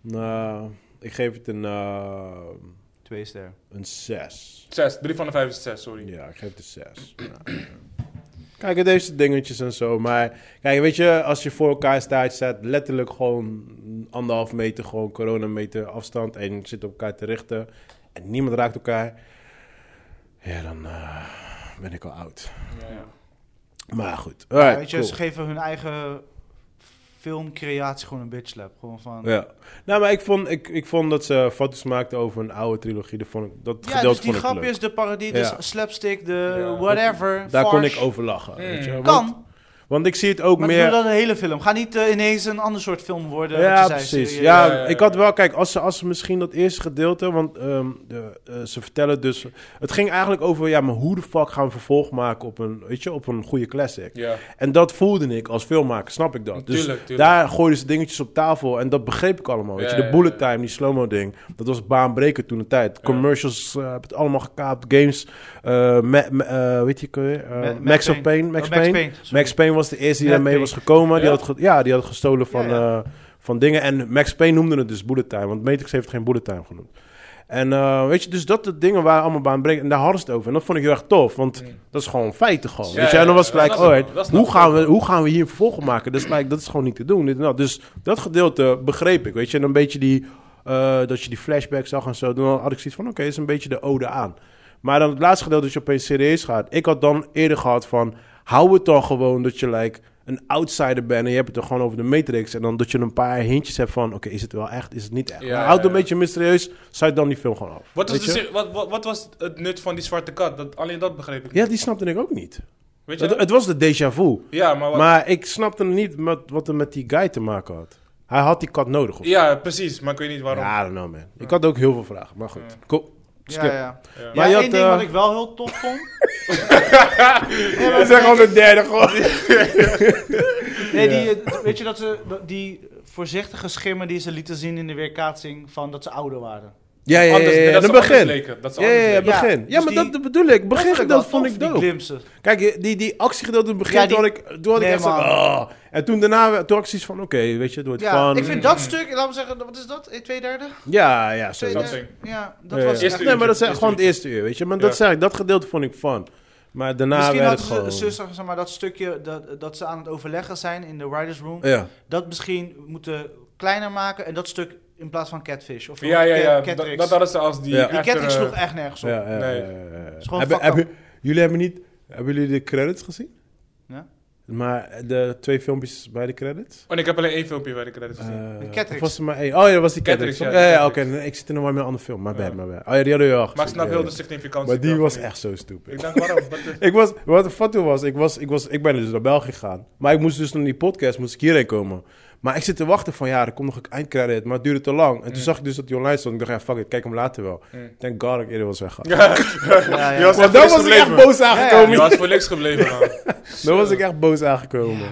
[SPEAKER 2] Nou, ik geef het een, eh,
[SPEAKER 1] Twee sterren.
[SPEAKER 2] een zes.
[SPEAKER 3] Zes, drie van de vijf is zes, sorry.
[SPEAKER 2] Ja, ik geef het een zes. Ja. Kijk, het heeft zijn dingetjes en zo. Maar kijk, weet je, als je voor elkaar staat, staat letterlijk gewoon anderhalf meter, gewoon coronameter afstand. En je zit op elkaar te richten. En niemand raakt elkaar. Ja, dan eh, ben ik al oud.
[SPEAKER 3] Ja.
[SPEAKER 2] Maar goed. Alright,
[SPEAKER 1] Ja, weet je,
[SPEAKER 2] cool.
[SPEAKER 1] ze geven hun eigen filmcreatie gewoon een bitch slap. Gewoon van...
[SPEAKER 2] Ja. Nou, maar ik vond, ik, ik vond dat ze foto's maakten over een oude trilogie. Dat, vond ik, dat
[SPEAKER 1] Ja,
[SPEAKER 2] gedeelte
[SPEAKER 1] dus die
[SPEAKER 2] vond ik leuk.
[SPEAKER 1] grapjes, de parodie, de
[SPEAKER 2] Ja.
[SPEAKER 1] slapstick, de
[SPEAKER 3] Ja.
[SPEAKER 1] whatever.
[SPEAKER 2] Daar kon
[SPEAKER 1] farce.
[SPEAKER 2] ik over lachen. weet je.
[SPEAKER 3] Mm.
[SPEAKER 2] Want,
[SPEAKER 1] Kan,
[SPEAKER 2] Want ik zie het ook
[SPEAKER 1] maar
[SPEAKER 2] meer...
[SPEAKER 1] doe dat een hele film. Ga niet eh, ineens een ander soort film worden. wat
[SPEAKER 2] Ja,
[SPEAKER 1] je zei,
[SPEAKER 2] precies.
[SPEAKER 1] serieus.
[SPEAKER 2] Ja,
[SPEAKER 3] Ja, ja, ja.
[SPEAKER 2] ik had wel, kijk, als ze, als ze misschien dat eerste gedeelte, want ehm, de, eh, ze vertellen dus, het ging eigenlijk over, ja, maar hoe de fuck gaan we vervolg maken op een, weet je, op een goede classic.
[SPEAKER 3] Ja.
[SPEAKER 2] En dat voelde ik als filmmaker, snap ik dat. Dus
[SPEAKER 3] Tuurlijk, tuurlijk.
[SPEAKER 2] daar gooiden ze dingetjes op tafel en dat begreep ik allemaal. Weet
[SPEAKER 3] Ja,
[SPEAKER 2] je, de
[SPEAKER 3] ja,
[SPEAKER 2] bullet
[SPEAKER 3] ja.
[SPEAKER 2] time, die slow-mo ding, dat was baanbreker toen de tijd. Commercials eh, hebben het allemaal gekaapt, games, eh, me- me- eh, weet je, eh,
[SPEAKER 1] Ma- Max
[SPEAKER 2] Max of
[SPEAKER 1] Payne.
[SPEAKER 2] Payne, Max
[SPEAKER 1] Oh, Max
[SPEAKER 2] Payne.
[SPEAKER 1] Payne, sorry.
[SPEAKER 2] Max Payne was de eerste die
[SPEAKER 1] Ja,
[SPEAKER 2] daarmee
[SPEAKER 1] Payne.
[SPEAKER 2] was gekomen. Die
[SPEAKER 3] Ja?
[SPEAKER 2] had ge- ja, die had gestolen van,
[SPEAKER 1] Ja, ja.
[SPEAKER 2] eh, van dingen. En Max Payne noemde het dus bullet time, want Matrix heeft geen bullet time genoemd. En eh, weet je, dus dat de dingen waren allemaal baanbrekend. En daar hadden ze het over. En dat vond ik heel erg tof, want dat is gewoon feiten gewoon.
[SPEAKER 3] Ja,
[SPEAKER 2] weet je, en dan
[SPEAKER 3] ja,
[SPEAKER 2] was het
[SPEAKER 3] dat
[SPEAKER 2] gelijk,
[SPEAKER 3] snap ik
[SPEAKER 2] alright,
[SPEAKER 3] wel, dat snap
[SPEAKER 2] hoe
[SPEAKER 3] ik
[SPEAKER 2] gaan, we, hoe gaan we hier een vervolg op maken? Dat is, like, dat is gewoon niet te doen. Dit en dat. Dus dat gedeelte begreep ik, weet je. En een beetje die, eh, dat je die flashback zag en zo. Dan had ik zoiets van, oké, is een beetje de ode aan. Maar dan het laatste gedeelte dat je opeens serieus gaat. Ik had dan eerder gehad van, hou het dan gewoon dat je, like... een outsider bent en je hebt het er gewoon over de Matrix. En dan dat je een paar hintjes hebt van, oké, is het wel echt, is het niet echt.
[SPEAKER 3] Ja,
[SPEAKER 2] Maar
[SPEAKER 3] ja,
[SPEAKER 2] houd het
[SPEAKER 3] ja.
[SPEAKER 2] een beetje mysterieus, sluit dan die film gewoon af.
[SPEAKER 3] Wat was,
[SPEAKER 2] Weet
[SPEAKER 3] de
[SPEAKER 2] je?
[SPEAKER 3] zin- wat, wat, wat was het nut van die zwarte kat? Dat, alleen dat begreep ik. niet.
[SPEAKER 2] Ja, die snapte ik ook niet.
[SPEAKER 3] Weet je?
[SPEAKER 2] Het, het was de déjà vu.
[SPEAKER 3] ja, maar, wat-
[SPEAKER 2] Maar ik snapte niet met, wat het met die guy te maken had. Hij had die kat nodig. Of...
[SPEAKER 3] ja, precies. Maar ik weet niet waarom.
[SPEAKER 2] Ja, I don't know, man. Ik had ook heel veel vragen, maar goed. Cool.
[SPEAKER 1] Ja, ja.
[SPEAKER 2] Skip.
[SPEAKER 3] Ja.
[SPEAKER 1] Maar
[SPEAKER 2] Maar je had,
[SPEAKER 1] één ding
[SPEAKER 2] eh,
[SPEAKER 1] wat ik wel heel tof vond. Nee, maar
[SPEAKER 2] We zijn gewoon de derde, gewoon.
[SPEAKER 1] Nee, die, eh, weet je dat ze dat- die voorzichtige schimmen die ze lieten zien in de weerkaatsing van dat ze ouder waren.
[SPEAKER 2] Ja, ja, ja,
[SPEAKER 3] Anders,
[SPEAKER 2] ja,
[SPEAKER 3] dat
[SPEAKER 2] dan
[SPEAKER 3] ze anders
[SPEAKER 2] begin.
[SPEAKER 3] leken. Dat ze
[SPEAKER 2] Ja, ja,
[SPEAKER 3] anders
[SPEAKER 2] ja,
[SPEAKER 3] leken.
[SPEAKER 1] Ja,
[SPEAKER 2] begin. Ja,
[SPEAKER 1] dus
[SPEAKER 2] maar
[SPEAKER 1] die-
[SPEAKER 2] dat bedoel ik.
[SPEAKER 1] Dat vond ik wel
[SPEAKER 2] Begingedeelte vond
[SPEAKER 1] tof,
[SPEAKER 2] ik
[SPEAKER 1] die
[SPEAKER 2] dope.
[SPEAKER 1] glimpsen.
[SPEAKER 2] Kijk, die, die actiegedeelte in het begin,
[SPEAKER 1] Ja, die-
[SPEAKER 2] toen had ik, toen had ik
[SPEAKER 1] Nee,
[SPEAKER 2] echt zo...
[SPEAKER 1] man.
[SPEAKER 2] Oh. En toen daarna, toen had ik zoiets van, oké, weet je, het wordt
[SPEAKER 1] Ja,
[SPEAKER 2] fun.
[SPEAKER 1] ik vind dat stuk, laten we zeggen, wat is dat? Een twee derde?
[SPEAKER 2] Ja, ja,
[SPEAKER 1] Twee
[SPEAKER 2] sowieso.
[SPEAKER 3] Something.
[SPEAKER 1] derde? Ja, dat was
[SPEAKER 2] Ja, ja.
[SPEAKER 1] echt...
[SPEAKER 3] Eerste
[SPEAKER 2] Nee, maar dat is
[SPEAKER 3] uurtje,
[SPEAKER 2] echt gewoon het
[SPEAKER 3] eerste
[SPEAKER 2] eerste uur, weet je. Maar
[SPEAKER 3] Ja.
[SPEAKER 2] dat zeg ik, dat gedeelte vond ik fun. Maar daarna
[SPEAKER 1] Misschien
[SPEAKER 2] werd het
[SPEAKER 1] hadden ze,
[SPEAKER 2] gewoon...
[SPEAKER 1] ze- zeg maar, dat stukje dat, dat ze aan het overleggen zijn in de writers room,
[SPEAKER 2] ja.
[SPEAKER 1] dat misschien moeten kleiner maken en dat stuk in plaats van Catfish. Of
[SPEAKER 3] Ja, ja,
[SPEAKER 1] Cat-
[SPEAKER 3] ja.
[SPEAKER 1] Catrix.
[SPEAKER 3] Dat, eh, dat hadden ze als die
[SPEAKER 2] Ja.
[SPEAKER 1] Die
[SPEAKER 3] echte-
[SPEAKER 1] Catrix sloeg echt nergens op.
[SPEAKER 2] Ja, ja,
[SPEAKER 3] Nee.
[SPEAKER 2] ja, ja, ja.
[SPEAKER 1] is gewoon
[SPEAKER 2] Hebben-
[SPEAKER 1] fucked up.
[SPEAKER 2] hebben- jullie hebben niet... Hebben jullie de credits gezien?
[SPEAKER 1] Ja.
[SPEAKER 2] Maar de twee filmpjes bij de credits?
[SPEAKER 3] Oh, nee, ik heb alleen één filmpje bij de credits gezien.
[SPEAKER 1] Die
[SPEAKER 2] Eh,
[SPEAKER 1] Catrix.
[SPEAKER 2] of was het maar één? Oh ja, dat was die Catrix.
[SPEAKER 3] Catrix, ja,
[SPEAKER 2] ja, ja,
[SPEAKER 3] die
[SPEAKER 2] oké.
[SPEAKER 3] Catrix.
[SPEAKER 2] nee, Ik zit er nog wel met een andere film. My bad,
[SPEAKER 3] Ja.
[SPEAKER 2] my bad. Oh ja, die hadden we al
[SPEAKER 3] maar
[SPEAKER 2] gezien,
[SPEAKER 3] ik snap
[SPEAKER 2] ja,
[SPEAKER 3] heel
[SPEAKER 2] ja.
[SPEAKER 3] de significantie.
[SPEAKER 2] Maar die
[SPEAKER 3] ervan.
[SPEAKER 2] was echt zo stupid.
[SPEAKER 3] Ik denk, waarom? Wat is-
[SPEAKER 2] Ik was, wat de fatu was, ik was, ik was, ik ben dus naar België gegaan. Maar ik moest dus naar die podcast, moest ik hierheen komen. Maar ik zit te wachten van, ja, er komt nog een eindcredit, maar het duurde te lang. En toen zag ik dus dat die online stond. Ik dacht, ja, fuck it, kijk hem later wel.
[SPEAKER 3] Mm.
[SPEAKER 2] Thank god dat ik eerder was
[SPEAKER 1] Ja,
[SPEAKER 2] weggegaan.
[SPEAKER 1] ja.
[SPEAKER 3] Je was
[SPEAKER 2] Want
[SPEAKER 3] echt
[SPEAKER 2] dan was
[SPEAKER 3] voor niks
[SPEAKER 2] ik echt
[SPEAKER 3] gebleven.
[SPEAKER 2] boos aangekomen.
[SPEAKER 3] Je was voor niks gebleven, man.
[SPEAKER 2] Dan was ik echt boos aangekomen.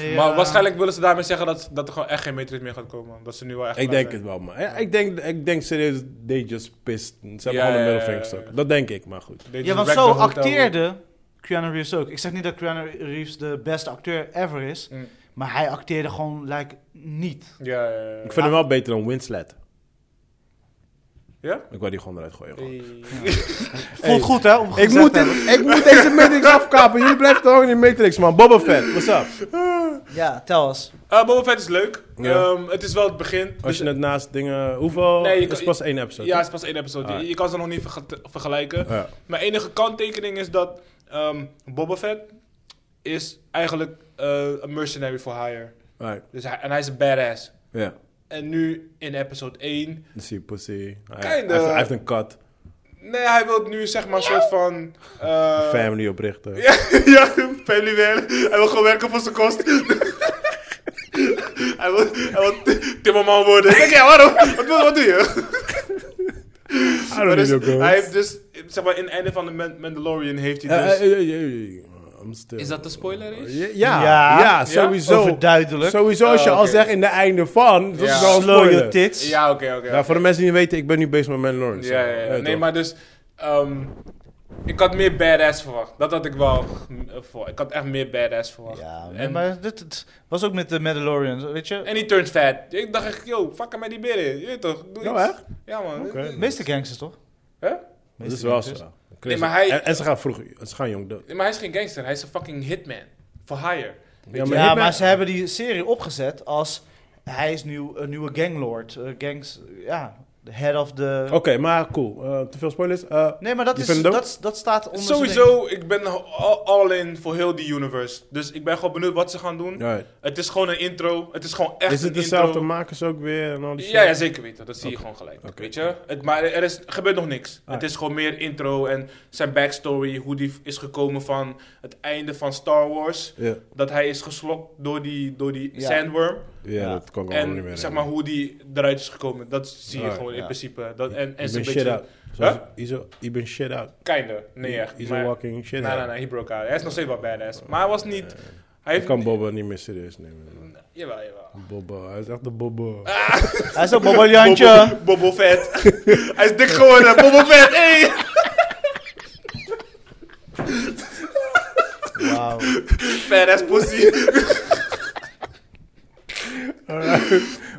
[SPEAKER 1] Nee,
[SPEAKER 3] Maar
[SPEAKER 1] eh,
[SPEAKER 3] waarschijnlijk willen ze daarmee zeggen dat, dat er gewoon echt geen Matrix meer gaat komen. Dat ze nu wel echt...
[SPEAKER 2] Ik
[SPEAKER 3] klaar
[SPEAKER 2] denk
[SPEAKER 3] zijn.
[SPEAKER 2] het wel, man. Ja, Ik denk, ik denk serieus, they just pissed. Ze hebben
[SPEAKER 3] Ja,
[SPEAKER 2] gewoon
[SPEAKER 3] ja,
[SPEAKER 2] een
[SPEAKER 3] ja,
[SPEAKER 2] middelvinger
[SPEAKER 3] ja.
[SPEAKER 2] gestoken. Dat denk ik, maar goed.
[SPEAKER 3] They
[SPEAKER 1] Ja,
[SPEAKER 3] just
[SPEAKER 1] want
[SPEAKER 3] wrecked
[SPEAKER 1] zo
[SPEAKER 3] the hotel.
[SPEAKER 1] acteerde Keanu Reeves ook. Ik zeg niet dat Keanu Reeves de beste acteur ever is,
[SPEAKER 3] Mm.
[SPEAKER 1] maar hij acteerde gewoon like, niet.
[SPEAKER 3] Ja, ja, ja.
[SPEAKER 2] Ik vind hem wel beter dan Winslet.
[SPEAKER 3] Ja?
[SPEAKER 2] Ik wou die gewoon eruit gooien. gewoon.
[SPEAKER 1] Voelt goed hè? Om
[SPEAKER 2] Ik,
[SPEAKER 1] gezegd
[SPEAKER 2] moet
[SPEAKER 1] te
[SPEAKER 2] dit,
[SPEAKER 1] hebben.
[SPEAKER 2] ik moet deze Matrix afkapen. Jullie blijven toch in de Matrix, man. Boba Fett, what's up?
[SPEAKER 1] Ja, tel eens.
[SPEAKER 3] Eh, Boba Fett is leuk.
[SPEAKER 2] Ja.
[SPEAKER 3] Ehm, het is wel het begin.
[SPEAKER 2] Als
[SPEAKER 3] Dus-
[SPEAKER 2] je het naast dingen... Hoeveel?
[SPEAKER 3] Nee, je
[SPEAKER 2] dat is
[SPEAKER 3] kan-
[SPEAKER 2] pas één episode.
[SPEAKER 3] Ja,
[SPEAKER 2] hè?
[SPEAKER 3] het is pas één episode. Je-
[SPEAKER 2] Ah.
[SPEAKER 3] Je kan ze nog niet verge- vergelijken.
[SPEAKER 2] Ja.
[SPEAKER 3] Mijn enige kanttekening is dat ehm Boba Fett is eigenlijk eh, een mercenary for hire.
[SPEAKER 2] Alright,
[SPEAKER 3] Dus hij, en hij is een badass.
[SPEAKER 2] ja.
[SPEAKER 3] En nu in episode 1...
[SPEAKER 2] Dan zie je pussy. Hij,
[SPEAKER 3] Kinda.
[SPEAKER 2] hij heeft, hij heeft een kat.
[SPEAKER 3] Nee, hij wil nu zeg maar een soort van... eh,
[SPEAKER 2] Family oprichten.
[SPEAKER 3] Ja, ja, family man. Hij wil gewoon werken voor zijn kost. hij wil, hij wil t- timmerman worden. Kijk, ja, waarom? Wat, doe- wat doe je?
[SPEAKER 2] I don't
[SPEAKER 3] Maar dus,
[SPEAKER 2] need your
[SPEAKER 3] hij
[SPEAKER 2] girls.
[SPEAKER 3] heeft dus, zeg maar, in het einde van de Man- Mandalorian heeft hij
[SPEAKER 2] Eh,
[SPEAKER 3] dus...
[SPEAKER 2] eh, eh, eh, eh, I'm still-
[SPEAKER 3] Is dat de spoiler is?
[SPEAKER 2] Ja, ja,
[SPEAKER 1] Ja.
[SPEAKER 2] ja, sowieso.
[SPEAKER 1] Overduidelijk.
[SPEAKER 2] Sowieso, als je
[SPEAKER 3] Oh,
[SPEAKER 2] al
[SPEAKER 3] oké.
[SPEAKER 2] zegt in de einde van, dat
[SPEAKER 3] Ja.
[SPEAKER 2] is al een
[SPEAKER 1] Slow your
[SPEAKER 2] spoiler.
[SPEAKER 1] tits.
[SPEAKER 3] Ja, oké, oké.
[SPEAKER 2] Ja, voor de mensen die niet weten, ik ben nu bezig met Mandalorian.
[SPEAKER 3] Ja, ja, ja.
[SPEAKER 2] toch?
[SPEAKER 3] Nee, maar dus... ehm, ik had meer badass verwacht. Dat had ik wel eh, voor. Ik had echt meer badass verwacht.
[SPEAKER 1] Ja,
[SPEAKER 3] en,
[SPEAKER 1] maar dit, dit was ook met de Mandalorian, weet je?
[SPEAKER 3] en die turns fat. Ik dacht echt, yo, fuck hem met die beren. Je weet toch? Doe
[SPEAKER 2] Oh,
[SPEAKER 3] iets.
[SPEAKER 2] echt?
[SPEAKER 3] Ja, man.
[SPEAKER 2] Oké.
[SPEAKER 1] De meeste gangsters toch?
[SPEAKER 3] Hè?
[SPEAKER 2] Dat is
[SPEAKER 1] Meeste
[SPEAKER 2] wel zo.
[SPEAKER 1] gangsters.
[SPEAKER 3] Nee, maar hij-
[SPEAKER 2] en, en ze gaan vroeg, ze gaan jong dood.
[SPEAKER 3] Ja, Maar hij is geen gangster, hij is een fucking hitman. For hire.
[SPEAKER 2] Ja,
[SPEAKER 1] Ja,
[SPEAKER 2] Hitman-
[SPEAKER 1] maar ze hebben die serie opgezet als hij is nu een nieuwe ganglord. eh, gangs, ja, de head of the...
[SPEAKER 2] Oké, maar cool. Eh, te veel spoilers. Eh,
[SPEAKER 1] Nee, maar dat,
[SPEAKER 2] Oh. Je
[SPEAKER 1] is,
[SPEAKER 2] vindt het ook?
[SPEAKER 1] dat, dat staat onder zijn ding.
[SPEAKER 3] Sowieso, ik ben all, all in voor heel die universe. Dus ik ben gewoon benieuwd wat ze gaan doen.
[SPEAKER 2] alright.
[SPEAKER 3] Het is gewoon een intro. Het is gewoon echt
[SPEAKER 2] Is het
[SPEAKER 3] een
[SPEAKER 2] dezelfde
[SPEAKER 3] intro.
[SPEAKER 2] makers ook weer en al die shit?
[SPEAKER 3] Ja, ja, zeker weten. Dat zie je gewoon gelijk.
[SPEAKER 2] Oké.
[SPEAKER 3] Weet je? Het, maar er is, gebeurt nog niks.
[SPEAKER 2] Ah.
[SPEAKER 3] Het is gewoon meer intro en zijn backstory. Hoe die is gekomen van het einde van Star Wars.
[SPEAKER 2] Ja,
[SPEAKER 3] Dat hij is geslokt door die, door die
[SPEAKER 1] Ja.
[SPEAKER 3] sandworm.
[SPEAKER 2] Ja,
[SPEAKER 1] Ja.
[SPEAKER 2] dat kan ik allemaal niet meer.
[SPEAKER 3] En zeg maar hoe die eruit is gekomen. Dat zie je
[SPEAKER 2] Ah,
[SPEAKER 3] gewoon in
[SPEAKER 1] ja.
[SPEAKER 3] principe. Dat, en en
[SPEAKER 2] Ik
[SPEAKER 3] zo'n
[SPEAKER 2] ben shit
[SPEAKER 3] beetje...
[SPEAKER 2] out. Zoals- Is er- Je bent shit out.
[SPEAKER 3] Kinder. Nee, echt.
[SPEAKER 2] Is
[SPEAKER 3] maar-
[SPEAKER 2] a walking shit
[SPEAKER 3] Nee, nee,
[SPEAKER 2] out.
[SPEAKER 3] nee, hij broke out. Hij is nog steeds wel badass. Maar hij was niet... Hij
[SPEAKER 2] Ik
[SPEAKER 3] heeft...
[SPEAKER 2] kan Boba niet meer serieus nemen. man.
[SPEAKER 3] Jawel, jawel.
[SPEAKER 2] Boba, hij is echt de
[SPEAKER 3] Ah,
[SPEAKER 2] Boba.
[SPEAKER 1] Hij is een bobbeljantje.
[SPEAKER 3] Bobo, Bobo Vet. hij is dik geworden. Bobo Vet, hey!
[SPEAKER 1] Wauw.
[SPEAKER 3] Badass pussy.
[SPEAKER 2] Wat